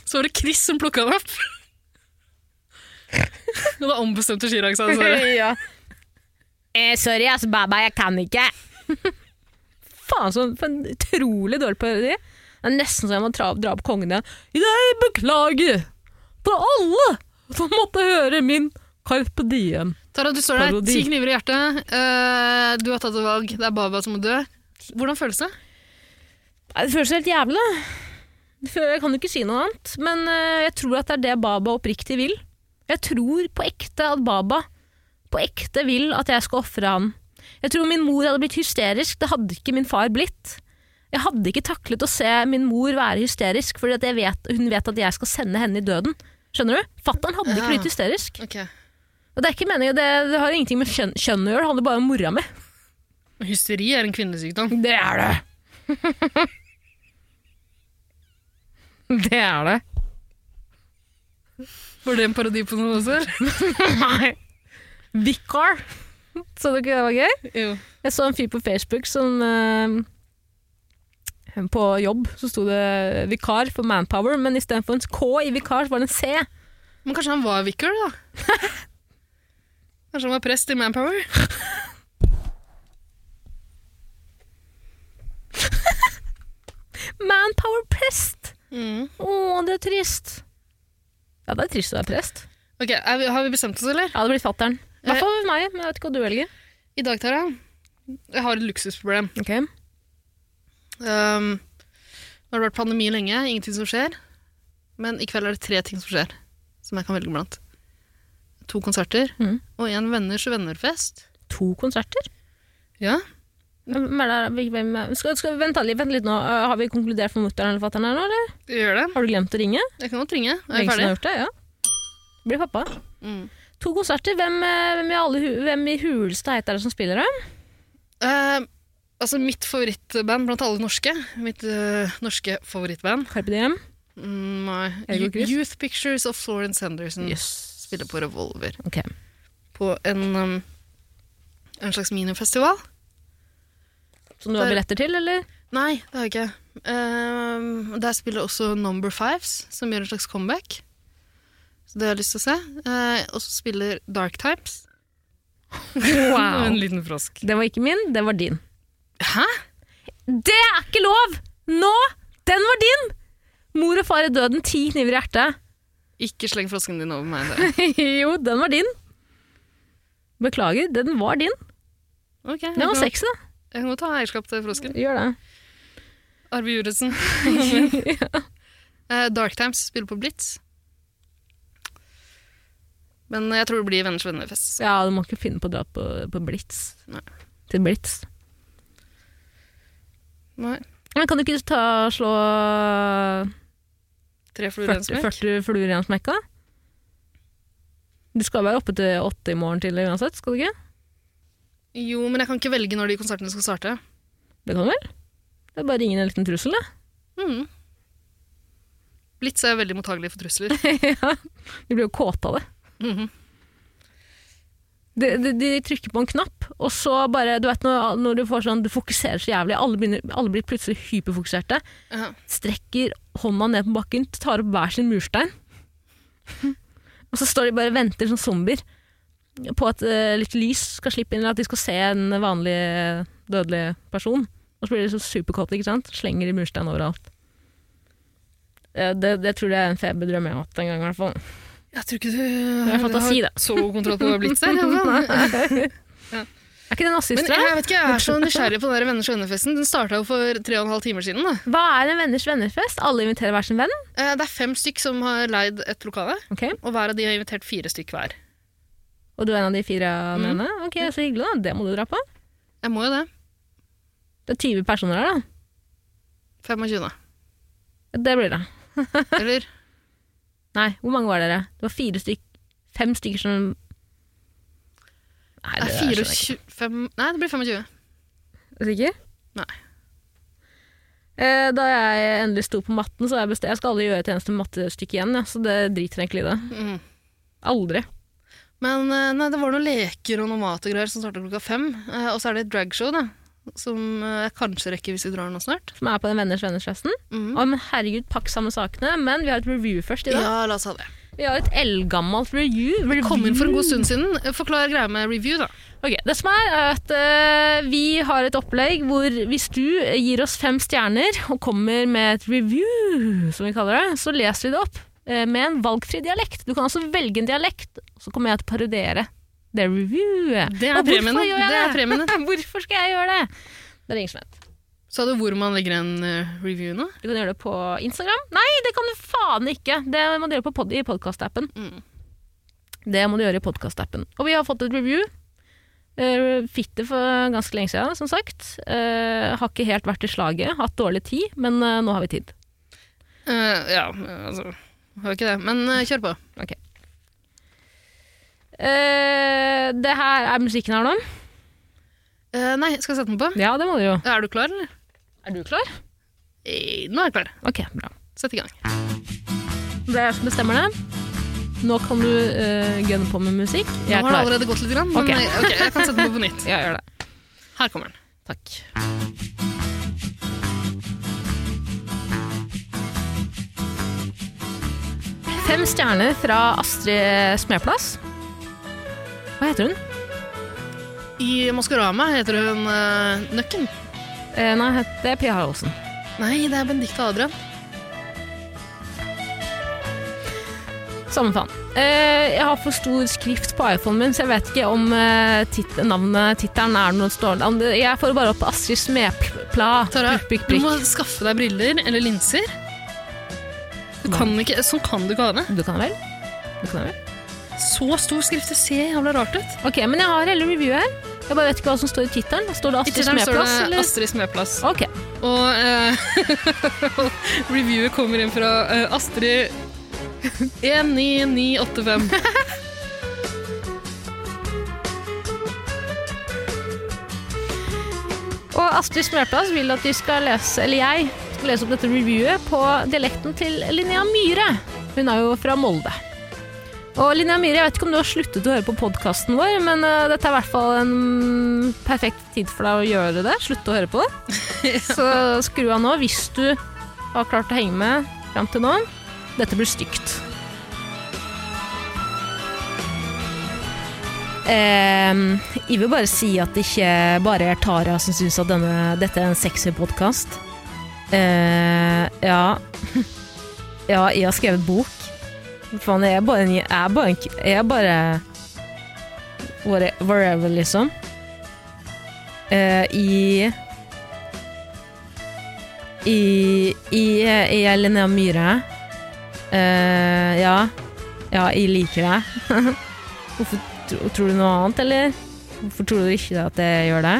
Speaker 3: Så var det Chris som plukka den opp. Og da ombestemte Chirag seg. dessverre.
Speaker 2: ja. eh, sorry, ass, baba, jeg kan ikke. Faen, så for en utrolig dårlig parodi. Det er nesten så jeg må dra, dra opp kongen igjen. Jeg beklager til alle som måtte høre min Carpe Diem.
Speaker 3: Tara, du står der,
Speaker 2: Parodi.
Speaker 3: ti kniver i hjertet. Eh, du har tatt et valg. Det er Baba som må dø. Hvordan føles det?
Speaker 2: Nei, Det føles helt jævlig. Det føl- Jeg kan jo ikke si noe annet, men eh, jeg tror at det er det Baba oppriktig vil. Jeg tror på ekte at Baba på ekte vil at jeg skal ofre han. Jeg tror min mor hadde blitt hysterisk, det hadde ikke min far blitt. Jeg hadde ikke taklet å se min mor være hysterisk, fordi at jeg vet, hun vet at jeg skal sende henne i døden. Skjønner du? Fatter'n hadde ikke
Speaker 3: Ja.
Speaker 2: blitt hysterisk.
Speaker 3: Ok.
Speaker 2: Og det er ikke meningen, det, det har ingenting med kjønn, kjønn å gjøre, det handler bare om mora mi.
Speaker 3: Hysteri er en kvinnesykdom.
Speaker 2: Det er det. det er det.
Speaker 3: Var det en parodi på noe også?
Speaker 2: Nei. Vicar. Så du ikke det var gøy?
Speaker 3: Jo.
Speaker 2: Jeg så en fyr på Facebook som eh, På jobb så sto det vikar for Manpower, men istedenfor en K i vikar, så var det en C.
Speaker 3: Men kanskje han var vicar, da? Kanskje han var prest i Manpower?
Speaker 2: Manpower prest! Å, det er trist. Ja, det er trist å være prest.
Speaker 3: Ok, er vi, Har vi bestemt oss, eller?
Speaker 2: Jeg hadde blitt fatter'n. I hvert fall med meg, men jeg vet ikke hva du velger.
Speaker 3: I dag, Tara, jeg har et luksusproblem. Um, nå har det vært pandemi lenge, ingenting som skjer. Men i kveld er det tre ting som skjer, som jeg kan velge blant. To konserter
Speaker 2: Mhm.
Speaker 3: og en venners vennerfest.
Speaker 2: To konserter?
Speaker 3: Ja.
Speaker 2: Hvem er det? Hvem er- Skal, skal, vent, litt- vent litt nå. Eh, Har vi konkludert for mutter'n eller fatter'n her nå, eller?
Speaker 3: Gjør det.
Speaker 2: Har du glemt å ringe?
Speaker 3: Jeg kan godt ringe. Er jeg
Speaker 2: Lenge siden jeg
Speaker 3: ferdig?
Speaker 2: har gjort det, ja. Blir pappa.
Speaker 3: Mm.
Speaker 2: To konserter. Hvem, eh, hvem, i, alle, hu- hvem i huleste heit er det som spiller det?
Speaker 3: Eh, altså, mitt favorittband blant alle norske. Mitt eh, norske favorittband.
Speaker 2: Carpe Diem.
Speaker 3: Mm, Nei.
Speaker 2: Erik og
Speaker 3: Yo-
Speaker 2: Chris?
Speaker 3: Youth Pictures of Florence Henderson spiller på Revolver.
Speaker 2: Ok.
Speaker 3: På en, um, en slags minifestival.
Speaker 2: Som du har billetter til, eller?
Speaker 3: Nei, det har jeg ikke. Ehm, der spiller også Number Fives, som gjør en slags comeback. Så det har jeg lyst til å se. Eh, og så spiller Dark Types. en liten frosk.
Speaker 2: Det var ikke min, det var din.
Speaker 3: Hæ?
Speaker 2: Det er ikke lov! Nå! Den var din! Mor og far i døden, ti kniver i hjertet.
Speaker 3: Ikke sleng frosken din over meg. Dere.
Speaker 2: jo, den var din. Beklager, den var din.
Speaker 3: Ok, jeg,
Speaker 2: Den
Speaker 3: kan,
Speaker 2: var sexy, da.
Speaker 3: jeg kan godt ta eierskap til frosken.
Speaker 2: Gjør det.
Speaker 3: Arve Juritzen. Eh, Dark Times spiller på Blitz. Men jeg tror det blir Venners vennefest.
Speaker 2: Ja, du må ikke finne på å dra på, på Blitz.
Speaker 3: Nei.
Speaker 2: Til Blitz.
Speaker 3: Nei,
Speaker 2: Men kan du ikke ta slå
Speaker 3: tre fluer i en
Speaker 2: 40,
Speaker 3: smekk.
Speaker 2: 40 fluer i en smekk, da? Du skal være oppe til åtte i morgen tidlig uansett, skal du ikke?
Speaker 3: Jo, men jeg kan ikke velge når de konsertene skal starte.
Speaker 2: Det kan du vel? Det er bare å ringe en liten trussel, det.
Speaker 3: Mm. Blitz er veldig mottagelig for trusler.
Speaker 2: De blir jo kåte av det.
Speaker 3: Mhm.
Speaker 2: De, de, de trykker på en knapp, og så bare Du vet når, når du får sånn Du fokuserer så jævlig, alle, begynner, alle blir plutselig hyperfokuserte.
Speaker 3: Ja.
Speaker 2: Strekker hånda ned på bakken, tar opp hver sin murstein. og så står de bare og venter som zombier på at eh, litt lys skal slippe inn, eller at de skal se en vanlig eh, dødelig person. Og så blir de så superkåte, ikke sant? Slenger de murstein overalt. Eh, Det, det tror jeg er en feberdrøm jeg har hatt en gang, i hvert fall.
Speaker 3: Jeg tror ikke du
Speaker 2: Det er fantasi, det.
Speaker 3: har så god kontroll på hva Blitz er. altså.
Speaker 2: Er ikke det
Speaker 3: Men
Speaker 2: nazister? da?
Speaker 3: jeg vet ikke, jeg er så nysgjerrig på den der Venners vennefesten. Den starta jo for tre og en halv timer siden. da.
Speaker 2: Hva er en venners vennerfest? Alle inviterer hver sin venn.
Speaker 3: Eh, Det er fem stykk som har leid et lokale,
Speaker 2: Ok.
Speaker 3: og hver av de har invitert fire stykk hver.
Speaker 2: Mm. Og du er en av de fire mennene? Ok, Så hyggelig, da. Det må du dra på.
Speaker 3: Jeg må jo det.
Speaker 2: Det er 20 personer her,
Speaker 3: 25.
Speaker 2: da. Det blir det.
Speaker 3: Eller
Speaker 2: Nei, hvor mange var dere? Det var fire stykk, fem stykker som Nei,
Speaker 3: Nei,
Speaker 2: det skjønner jeg
Speaker 3: 24 fem- Nei, det blir 25.
Speaker 2: ikke. Er du Sikker?
Speaker 3: Nei.
Speaker 2: Eh, Da jeg endelig sto på matten, så har jeg bestemt jeg skal aldri gjøre et eneste mattestykke igjen. Ja, så det driter jeg egentlig i det.
Speaker 3: Mm.
Speaker 2: Aldri.
Speaker 3: Men eh, nei, det var noen leker og noe mat og greier som starta klokka fem. Eh, Og så er det et dragshow, da. Som eh, jeg kanskje rekker hvis vi drar nå snart.
Speaker 2: Som er på den venners venners festen.
Speaker 3: Mhm.
Speaker 2: Å, men herregud, pakk sammen sakene. Men vi har et review først i dag.
Speaker 3: Ja, la oss ha det.
Speaker 2: Vi har et eldgammelt review. review.
Speaker 3: Kom inn for en god stund siden. Forklar greia med review, da.
Speaker 2: Ok, Det som er, er at eh, vi har et opplegg hvor hvis du gir oss fem stjerner og kommer med et review, som vi kaller det, så leser vi det opp eh, med en valgfri dialekt. Du kan altså velge en dialekt, og så kommer jeg til å parodiere det reviewet.
Speaker 3: Det
Speaker 2: Og
Speaker 3: er
Speaker 2: hvorfor
Speaker 3: premien. da.
Speaker 2: gjør jeg
Speaker 3: Det er
Speaker 2: det?
Speaker 3: premien. da.
Speaker 2: Hvorfor skal jeg gjøre det? Det er ingen som vet.
Speaker 3: Sa du hvor man legger en eh, review nå?
Speaker 2: Du kan gjøre det på Instagram. Nei, det kan du faen ikke! Det må du gjøre på pod i podkastappen.
Speaker 3: Mm.
Speaker 2: Det må du gjøre i podkastappen. Og vi har fått et review. Eh, Fikk det for ganske lenge siden, som sagt. Eh, har ikke helt vært i slaget, hatt dårlig tid, men eh, nå har vi tid.
Speaker 3: Eh, ja, eh, altså Har ikke det. Men eh, kjør på.
Speaker 2: Eh, det her er musikken her nå.
Speaker 3: Eh, nei, skal jeg sette den på?
Speaker 2: Ja, det må du jo.
Speaker 3: Er du klar, eller?
Speaker 2: Er du klar?
Speaker 3: Eh, nå er jeg klar.
Speaker 2: Ok, bra.
Speaker 3: Sett i gang.
Speaker 2: Det er jeg som bestemmer det. Nå kan du eh, gønne på med musikk.
Speaker 3: Nå
Speaker 2: Jeg er
Speaker 3: har det
Speaker 2: klar.
Speaker 3: allerede gått litt, grann, men
Speaker 2: Ok.
Speaker 3: eh, ok, jeg kan sette den på på nytt.
Speaker 2: Ja, gjør det.
Speaker 3: Her kommer den.
Speaker 2: Takk. Fem stjerner fra Astrid Smeplass. Hva heter hun?
Speaker 3: I Maskorama heter hun eh, Nøkken.
Speaker 2: Eh, nei, het- det er Pia Olsen.
Speaker 3: Nei, det er Benedicte Adrian.
Speaker 2: Samme faen. Eh, jeg har for stor skrift på iPhonen min, så jeg vet ikke om eh, tit navnet, tittelen er noe stående om det- Jeg får bare opp Astrid Smepla.
Speaker 3: Tara,
Speaker 2: Prikk, prikk,
Speaker 3: du må
Speaker 2: prikk.
Speaker 3: skaffe deg briller eller linser. Du kan ikke, sånn kan du ikke ha det.
Speaker 2: Du kan vel? Du kan vel?
Speaker 3: Så stor skrift, det ser jævla rart ut.
Speaker 2: Ok, men jeg har hele reviewet her. Jeg bare vet ikke hva som står i tittelen. Står det
Speaker 3: I
Speaker 2: Astrid
Speaker 3: tittelen står
Speaker 2: Smeplass,
Speaker 3: det
Speaker 2: eller? Ah.
Speaker 3: Astrid Smeplass.
Speaker 2: Ok.
Speaker 3: Og eh, reviewet kommer inn fra eh, Astrid E 19985.
Speaker 2: Og Astrid Smørplass vil at vi skal lese, eller jeg, skal lese opp dette reviewet på dialekten til Linnea Myhre. Hun er jo fra Molde. Og Linnea Myhre, jeg vet ikke om du har sluttet å høre på podkasten vår, men eh, dette er i hvert fall en perfekt tid for deg å gjøre det. Slutte å høre på det. Så skru av nå hvis du har klart å henge med fram til nå. Dette blir stygt. Ehm, jeg vil bare si at det ikke bare er Tara som syns at denne, dette er en sexy podkast. ja. ja, jeg har skrevet bok. Hva Faen, jeg er bare en Jeg er bare, en, k- jeg er bare whate- Wherever, liksom. Eh, I I I Jeg er Linnea Myhre. Eh, ja. Ja, jeg liker deg. Hvorfor tro, tror du noe annet, eller? Hvorfor tror du ikke at jeg gjør det?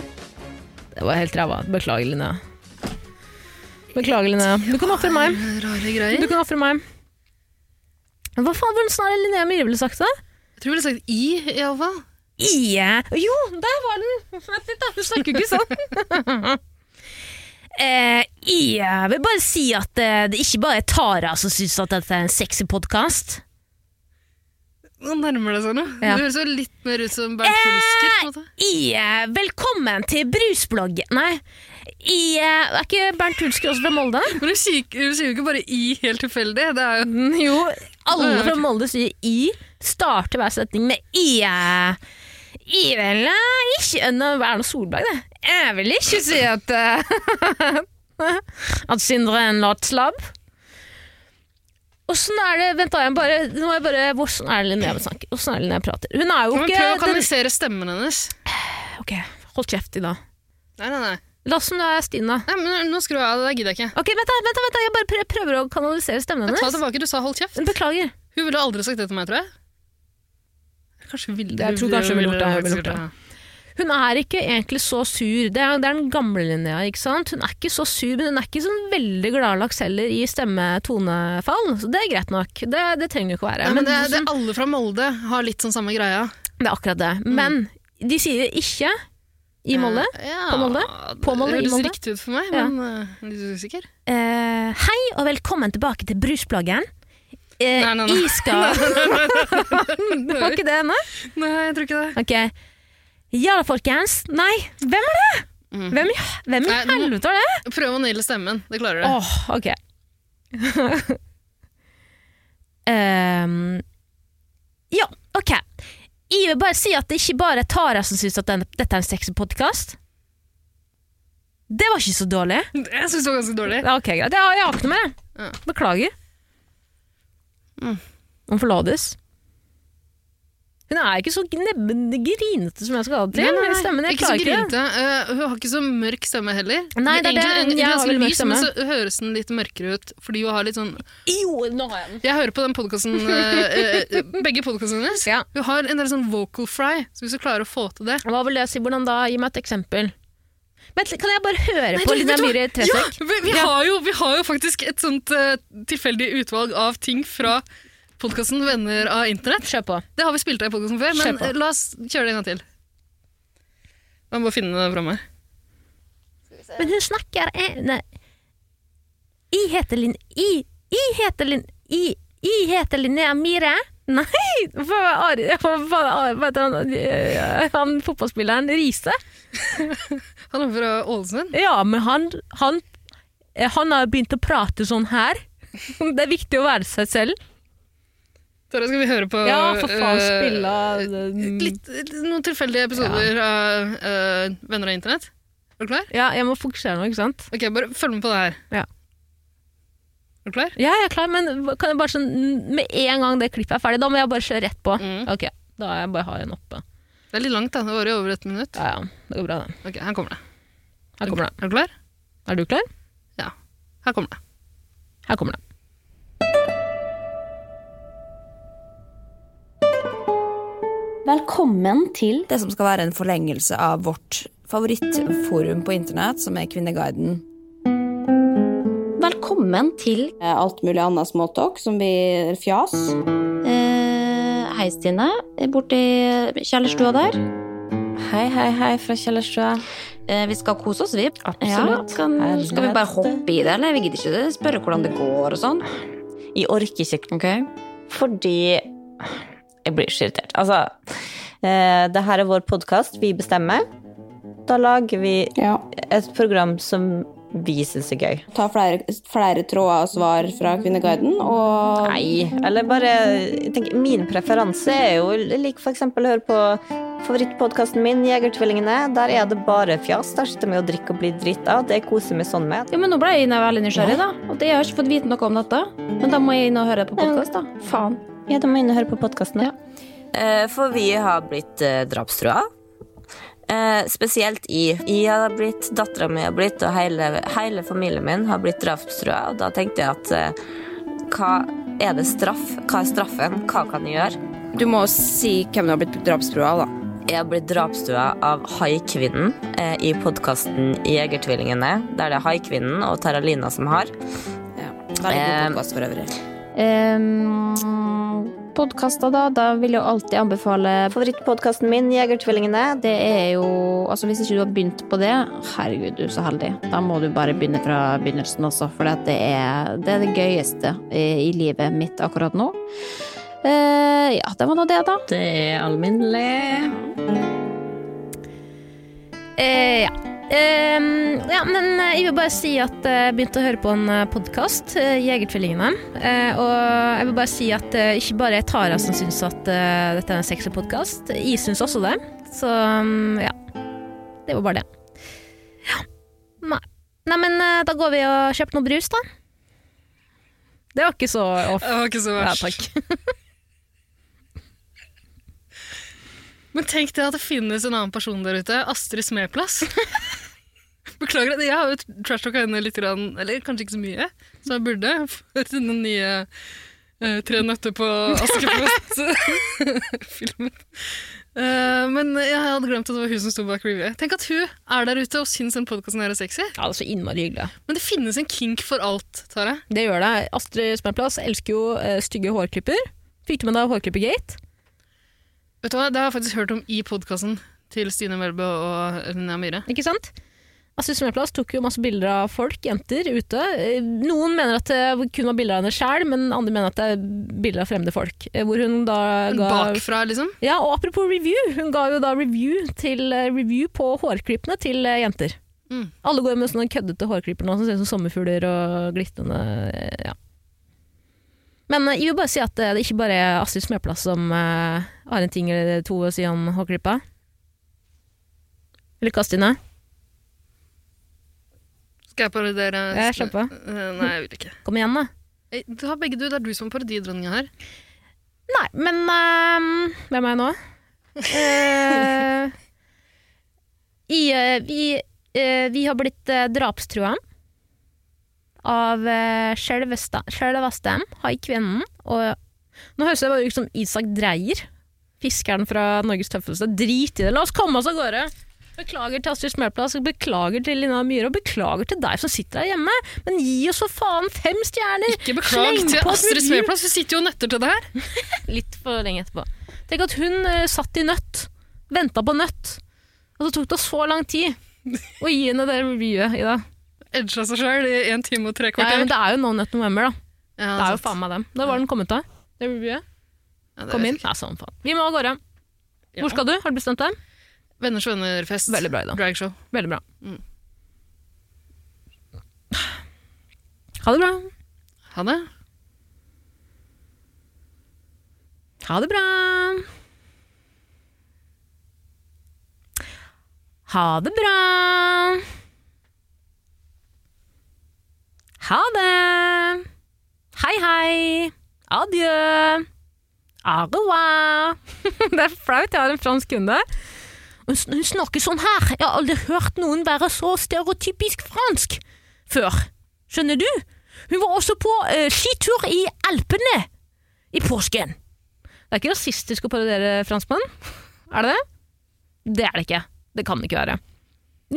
Speaker 2: Det var helt ræva. Beklager, Linnea. Beklager, Linnea. Du kan ofre meg.
Speaker 3: Rare greier.
Speaker 2: Du kan ofre meg. Men Hva faen, hvordan snart er Linnea Myhre ville sagt det?
Speaker 3: Jeg tror jeg ville sagt I, iallfall.
Speaker 2: Ja. Jo, der var den! Vent litt, da. Du snakker jo ikke sånn. Eh, jeg vil bare si at eh, det ikke bare er Tara som syns at dette er en sexy podkast.
Speaker 3: Nå nærmer det seg noe.
Speaker 2: Ja.
Speaker 3: Du høres jo litt mer ut som Bernt Hulsker. på en måte.
Speaker 2: Eh, velkommen til brusbloggen Nei, eh, er ikke Bernt Hulsker også fra Molde?
Speaker 3: Men du sier, du sier jo ikke bare I helt tilfeldig. Det er jo
Speaker 2: Jo, alle
Speaker 3: Ja,
Speaker 2: fra
Speaker 3: ok.
Speaker 2: Molde sier i. Starter hver setning med i. eh, I vel eh, ikke Nå er det noe Solberg, det. Jeg vil ikke si at eh, At Sindre er en latslabb. Åssen er det Vent, da. Jeg bare, nå må jeg bare Hvordan er det Linnea snakker? Hvordan er det Linnea prater? Hun er jo
Speaker 3: Men
Speaker 2: ikke
Speaker 3: prøv å
Speaker 2: den,
Speaker 3: kanalisere stemmen hennes.
Speaker 2: Ok, hold kjeft i dag.
Speaker 3: Nei, nei, nei.
Speaker 2: La oss som du er Stina.
Speaker 3: nei men nå skrur jeg av. Det der gidder jeg ikke.
Speaker 2: Ok, vent, da, vent, da, vent da. Jeg bare prø- prøver å kanalisere stemmen
Speaker 3: Ta
Speaker 2: hennes.
Speaker 3: tilbake, du sa hold kjeft.
Speaker 2: Beklager.
Speaker 3: Hun ville aldri sagt det til meg, tror jeg. Kanskje ville
Speaker 2: Jeg tror kanskje hun ville gjort det, hun ville gjort det. Hun er ikke egentlig så sur. Det er, det er den gamle linja. ikke sant? Hun er ikke så sur, men hun er ikke sånn veldig gladlaks heller i stemmetonefall. Så det er greit nok. Det, det trenger hun ikke å være.
Speaker 3: Nei, men det,
Speaker 2: Men
Speaker 3: det, alle fra Molde har litt sånn samme greia.
Speaker 2: det er akkurat det. Men Mm. de sier ikke i Molde.
Speaker 3: Eh, ja,
Speaker 2: På Molde? På Molde,
Speaker 3: Det
Speaker 2: i Molde?
Speaker 3: høres riktig ut for meg,
Speaker 2: Ja.
Speaker 3: men eh, litt usikker.
Speaker 2: Eh, hei og velkommen tilbake til Brusbloggen. Eh,
Speaker 3: Nei, nei, nei.
Speaker 2: Iskar Det var ikke det ennå?
Speaker 3: Nei, jeg tror ikke det.
Speaker 2: Ok. Ja da, folkens. Nei, hvem er det?
Speaker 3: Mm.
Speaker 2: Hvem, i- hvem i
Speaker 3: Nei, du må-
Speaker 2: helvete var det?
Speaker 3: Prøv å naile stemmen. Det klarer du.
Speaker 2: Åh, ok. Ehm, ja, ok. Jeg vil bare si at det ikke bare er Tara som syns at den, dette er en sexy podkast. Det var ikke så dårlig.
Speaker 3: Jeg syns det var ganske dårlig.
Speaker 2: Ja, ok, greit. Jeg har jeg har ikke noe med
Speaker 3: Ja.
Speaker 2: det. Beklager.
Speaker 3: Mm.
Speaker 2: Hun forlates. Hun er ikke så gnebben grinete som jeg skal ha det til. Stemmen, jeg
Speaker 3: ikke så
Speaker 2: klarer ikke det.
Speaker 3: grinete. Eh, hun har ikke så mørk stemme heller.
Speaker 2: Nei, det er det.
Speaker 3: Egentlig en-
Speaker 2: Jeg
Speaker 3: en
Speaker 2: har
Speaker 3: ganske
Speaker 2: veldig mørk
Speaker 3: lys, men så høres den litt mørkere ut. Fordi hun har litt sånn
Speaker 2: Jo, nå har jeg den.
Speaker 3: Jeg hører på den podkasten eh, eh, Begge podkastene hennes.
Speaker 2: Ja.
Speaker 3: Hun har en del sånn vocal fry, så hvis du klarer å få til det
Speaker 2: Hva vil det si? Hvordan da? Gi meg et eksempel. Vent, litt, kan jeg bare høre
Speaker 3: Nei,
Speaker 2: på
Speaker 3: du,
Speaker 2: Linnea
Speaker 3: vet
Speaker 2: Myhre
Speaker 3: du hva? Ja,
Speaker 2: Tresek?
Speaker 3: vi, vi,
Speaker 2: Ja.
Speaker 3: Har jo, vi har jo faktisk et sånt eh, tilfeldig utvalg av ting fra podkasten Venner av internett.
Speaker 2: Kjør på.
Speaker 3: Det har vi spilt av i podkasten før,
Speaker 2: Kjør
Speaker 3: men
Speaker 2: på.
Speaker 3: eh, la oss kjøre det en gang til. Man må finne det framme.
Speaker 2: Men hun snakker eh, Nei. Jeg heter Linn... Jeg, jeg heter Linn... Jeg, jeg heter Linnea Myhre. Nei! Hva var Ari... Hva var Ari- hva heter han, eh, han fotballspilleren? Riise?
Speaker 3: Han er fra Ålesund.
Speaker 2: Ja, men han, han eh, Han har begynt å prate sånn her. Det er viktig å være seg selv.
Speaker 3: Tara, skal vi høre på
Speaker 2: Ja, for faen,
Speaker 3: eh,
Speaker 2: spille Mm.
Speaker 3: litt, noen tilfeldige episoder av eh, Venner av internett? Er du klar?
Speaker 2: Ja, jeg må fokusere nå, ikke sant?
Speaker 3: Ok, Bare følg med på det her.
Speaker 2: Ja.
Speaker 3: Er du klar?
Speaker 2: Ja, jeg er klar, men kan jeg bare sånn Med en gang det klippet er ferdig, da må jeg bare kjøre rett på.
Speaker 3: Mm.
Speaker 2: Ok, da har jeg bare har jeg den oppe.
Speaker 3: Det er litt langt, da. Det varer i over et minutt.
Speaker 2: Ja, ja, det går bra, det.
Speaker 3: Ok, Her kommer det.
Speaker 2: Her kommer det.
Speaker 3: Er du klar?
Speaker 2: Er du klar?
Speaker 3: Her kommer det.
Speaker 2: Her kommer det.
Speaker 7: Velkommen til
Speaker 8: det som skal være en forlengelse av vårt favorittforum på internett, som er Kvinneguiden.
Speaker 7: Velkommen til
Speaker 8: Eh, Alt mulig annet småtalk som blir fjas.
Speaker 7: eh, Hei, Stine. Borti kjellerstua der.
Speaker 9: Hei, hei, hei fra kjellerstua.
Speaker 7: Eh, vi skal kose oss, vi.
Speaker 9: Absolutt.
Speaker 7: Ja, kan,
Speaker 9: Herlighet.
Speaker 7: skal vi bare hoppe i det, eller? Vi gidder ikke spørre hvordan det går og sånn.
Speaker 9: Jeg orker ikke
Speaker 7: Ok?
Speaker 9: fordi Jeg blir så irritert. Altså, eh, det her er vår podkast. Vi bestemmer. Da lager vi
Speaker 8: Ja.
Speaker 9: et program som vi syns er gøy.
Speaker 8: Ta flere, flere tråder og svar fra Kvinneguiden, og
Speaker 9: Nei, eller bare jeg tenker, Min preferanse er jo like for eksempel å høre på favorittpodkasten min, Jegertvillingene. Der er det bare fjas. Der sitter vi og drikker og blir drita. Det koser vi sånn med.
Speaker 7: Jo, men nå ble jeg inne veldig nysgjerrig, da. Og det, jeg har ikke fått vite noe om dette. Men da må jeg inn og høre på podkast, da. Faen.
Speaker 9: Ja, da må jeg inn og høre på podkasten.
Speaker 10: Eh, For vi har blitt eh, drapstrua. Eh, spesielt i. Jeg har blitt, Dattera mi har blitt, og hele, hele familien min har blitt drapstrua. Og da tenkte jeg at eh, hva er det straff? Hva er straffen? Hva kan jeg gjøre?
Speaker 8: du må si hvem du har blitt drapstrua av, da.
Speaker 10: Jeg har blitt drapstrua av Haikvinnen eh, i podkasten Jegertvillingene. Der det er Haikvinnen og Terralina som har.
Speaker 8: Ja. Veldig god
Speaker 10: Eh,
Speaker 8: podkast for øvrig.
Speaker 7: Um, Podkaster, da. Da vil jeg jo alltid anbefale
Speaker 9: Favorittpodkasten min, Jegertvillingene.
Speaker 7: Det er jo Altså, hvis ikke du har begynt på det, herregud, du er så heldig. Da må du bare begynne fra begynnelsen også, for det er det, er det gøyeste i, i livet mitt akkurat nå. Eh, ja, det var nå det, da.
Speaker 9: Det er alminnelig.
Speaker 2: Eh, ja. Ehm, ja, men eh, jeg vil bare si at eh, jeg begynte å høre på en podkast, Jegertvillingene. Eh, og jeg vil bare si at eh, ikke bare er Tara som syns at eh, dette er en sexy podkast. Jeg syns også det. Så mm, ja. Det var bare det. Ja. Nei. Nei, men eh, da går vi og kjøper noe brus, da. Det var ikke så off.
Speaker 3: Det var ikke så
Speaker 2: Ja,
Speaker 3: verst.
Speaker 2: takk.
Speaker 3: Men tenk det at det finnes en annen person der ute. Astrid Smeplass. Beklager, jeg har jo trashtalka henne litt, grann, eller kanskje ikke så mye, som jeg burde, for denne nye eh, Tre nøtter på Askepott-filmen. Eh, men jeg hadde glemt at det var hun som sto bak reviewet. Tenk at hun er der ute og syns den podkasten er sexy.
Speaker 2: Ja, det er så innmari hyggelig.
Speaker 3: Men det finnes en kink for alt, Tara.
Speaker 2: Det gjør det. Astrid Spermplass elsker jo eh, stygge hårklipper. Fikk du med deg Hårklippergate?
Speaker 3: Vet du hva, Det har jeg faktisk hørt om i podkasten til Stine Melbø og Linnea Myhre.
Speaker 2: Ikke sant? Astrid Spermplass tok jo masse bilder av folk, jenter, ute. Eh, Noen mener at det kun var bilder av henne sjæl, men andre mener at det er bilder av fremmede folk. Eh, Hvor hun da ga
Speaker 3: Bakfra, liksom.
Speaker 2: Ja, og apropos review, hun ga jo da review, til, eh, review på hårklippene til eh, jenter.
Speaker 3: Mm.
Speaker 2: Alle går med sånne køddete hårklipper nå, som ser ut som sommerfugler og glittende eh, ja. Men eh, jeg vil bare si at eh, det er ikke bare er Astrid Smeplass som eh, har en ting eller to å si om hårklippa. Eller hva, Stine?
Speaker 3: Skal jeg parodiere?
Speaker 2: Ja, slapp av.
Speaker 3: Eh, Nei, jeg vil ikke.
Speaker 2: Kom igjen, da.
Speaker 3: Eh, Du har begge du, Det er du som er parodidronninga her.
Speaker 2: Nei, men ehm, hvem er jeg nå? Eh, i, eh, vi, eh, vi har blitt uh, drapstrua av uh, selveste haikvennen. Og nå høres jeg bare ut som Isak Dreyer, fiskeren fra Norges tøffeste. Drit i det, la oss komme oss av gårde! Beklager til Astrid Smørplass, beklager til Lina Myhre og beklager til deg som sitter der hjemme. Men gi oss for faen fem stjerner!
Speaker 3: Ikke beklag
Speaker 2: Sleng
Speaker 3: til
Speaker 2: på et
Speaker 3: Astrid
Speaker 2: review.
Speaker 3: Smeplass, vi sitter jo og nøtter til det her.
Speaker 2: Litt for lenge etterpå. Tenk at hun eh, satt i nøtt, venta på nøtt, og så tok det så lang tid å gi henne det reviewet i dag.
Speaker 3: Edga seg sjøl i en time og tre
Speaker 2: Ja,
Speaker 3: kvarter.
Speaker 2: men det er jo No Nut November, da.
Speaker 3: Ja,
Speaker 2: Det er jo
Speaker 3: sant.
Speaker 2: faen meg dem. Da var den kommet av. Det reviewet.
Speaker 3: Ja, det
Speaker 2: Kom
Speaker 3: vet
Speaker 2: inn.
Speaker 3: jeg
Speaker 2: Nei, sånn faen. Vi må av gårde.
Speaker 3: ikke.
Speaker 2: Hvor skal du? Har du bestemt deg?
Speaker 3: Venners venner-fest.
Speaker 2: Veldig bra, Ida.
Speaker 3: Dragshow.
Speaker 2: Veldig bra.
Speaker 3: Mm.
Speaker 2: Ha det bra.
Speaker 3: Ha det.
Speaker 2: Ha det bra. Ha det bra. Ha det. Hei, hei. Adjø. Au revoir. Det er flaut, jeg har en fransk kunde. Hun sn- hun snakker sånn her. Jeg har aldri hørt noen være så stereotypisk fransk før. Skjønner du? Hun var også på eh, skitur i Alpene i påsken. Det er ikke rasistisk å parodiere franskmenn? Er det det? Det er det ikke. Det kan det ikke være.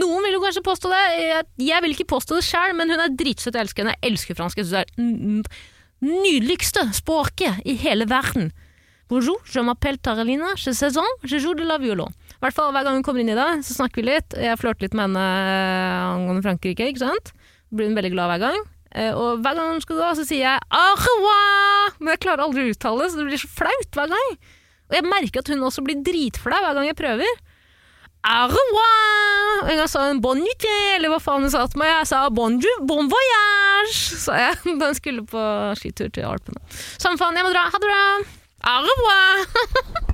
Speaker 2: Noen vil jo kanskje påstå det. Jeg- Jeg vil ikke påstå det sjøl, men hun er dritsøt. Jeg elsker henne. Jeg elsker fransk. Jeg synes det er n- n- nydeligste språket i hele verden. Bonjour, je m'appelle Taralina, je sais en, je joue de la violon. I hvert fall Hver gang hun kommer inn i det, så snakker vi litt. Jeg flørter litt med henne eh, angående Frankrike. ikke sant? Blir hun veldig glad hver gang. Eh, Og hver gang hun skal gå, så sier jeg au revoir! Men jeg klarer aldri å uttale det, så det blir så flaut hver gang. Og jeg merker at hun også blir dritflau hver gang jeg prøver. Au revoir! Og En gang sa hun bon nuit, eller hva faen hun sa til meg. Jeg sa bonjour, bon voyage, sa jeg da hun skulle på skitur til Alpene. Samme faen, jeg må dra. Ha det bra! Au revoir!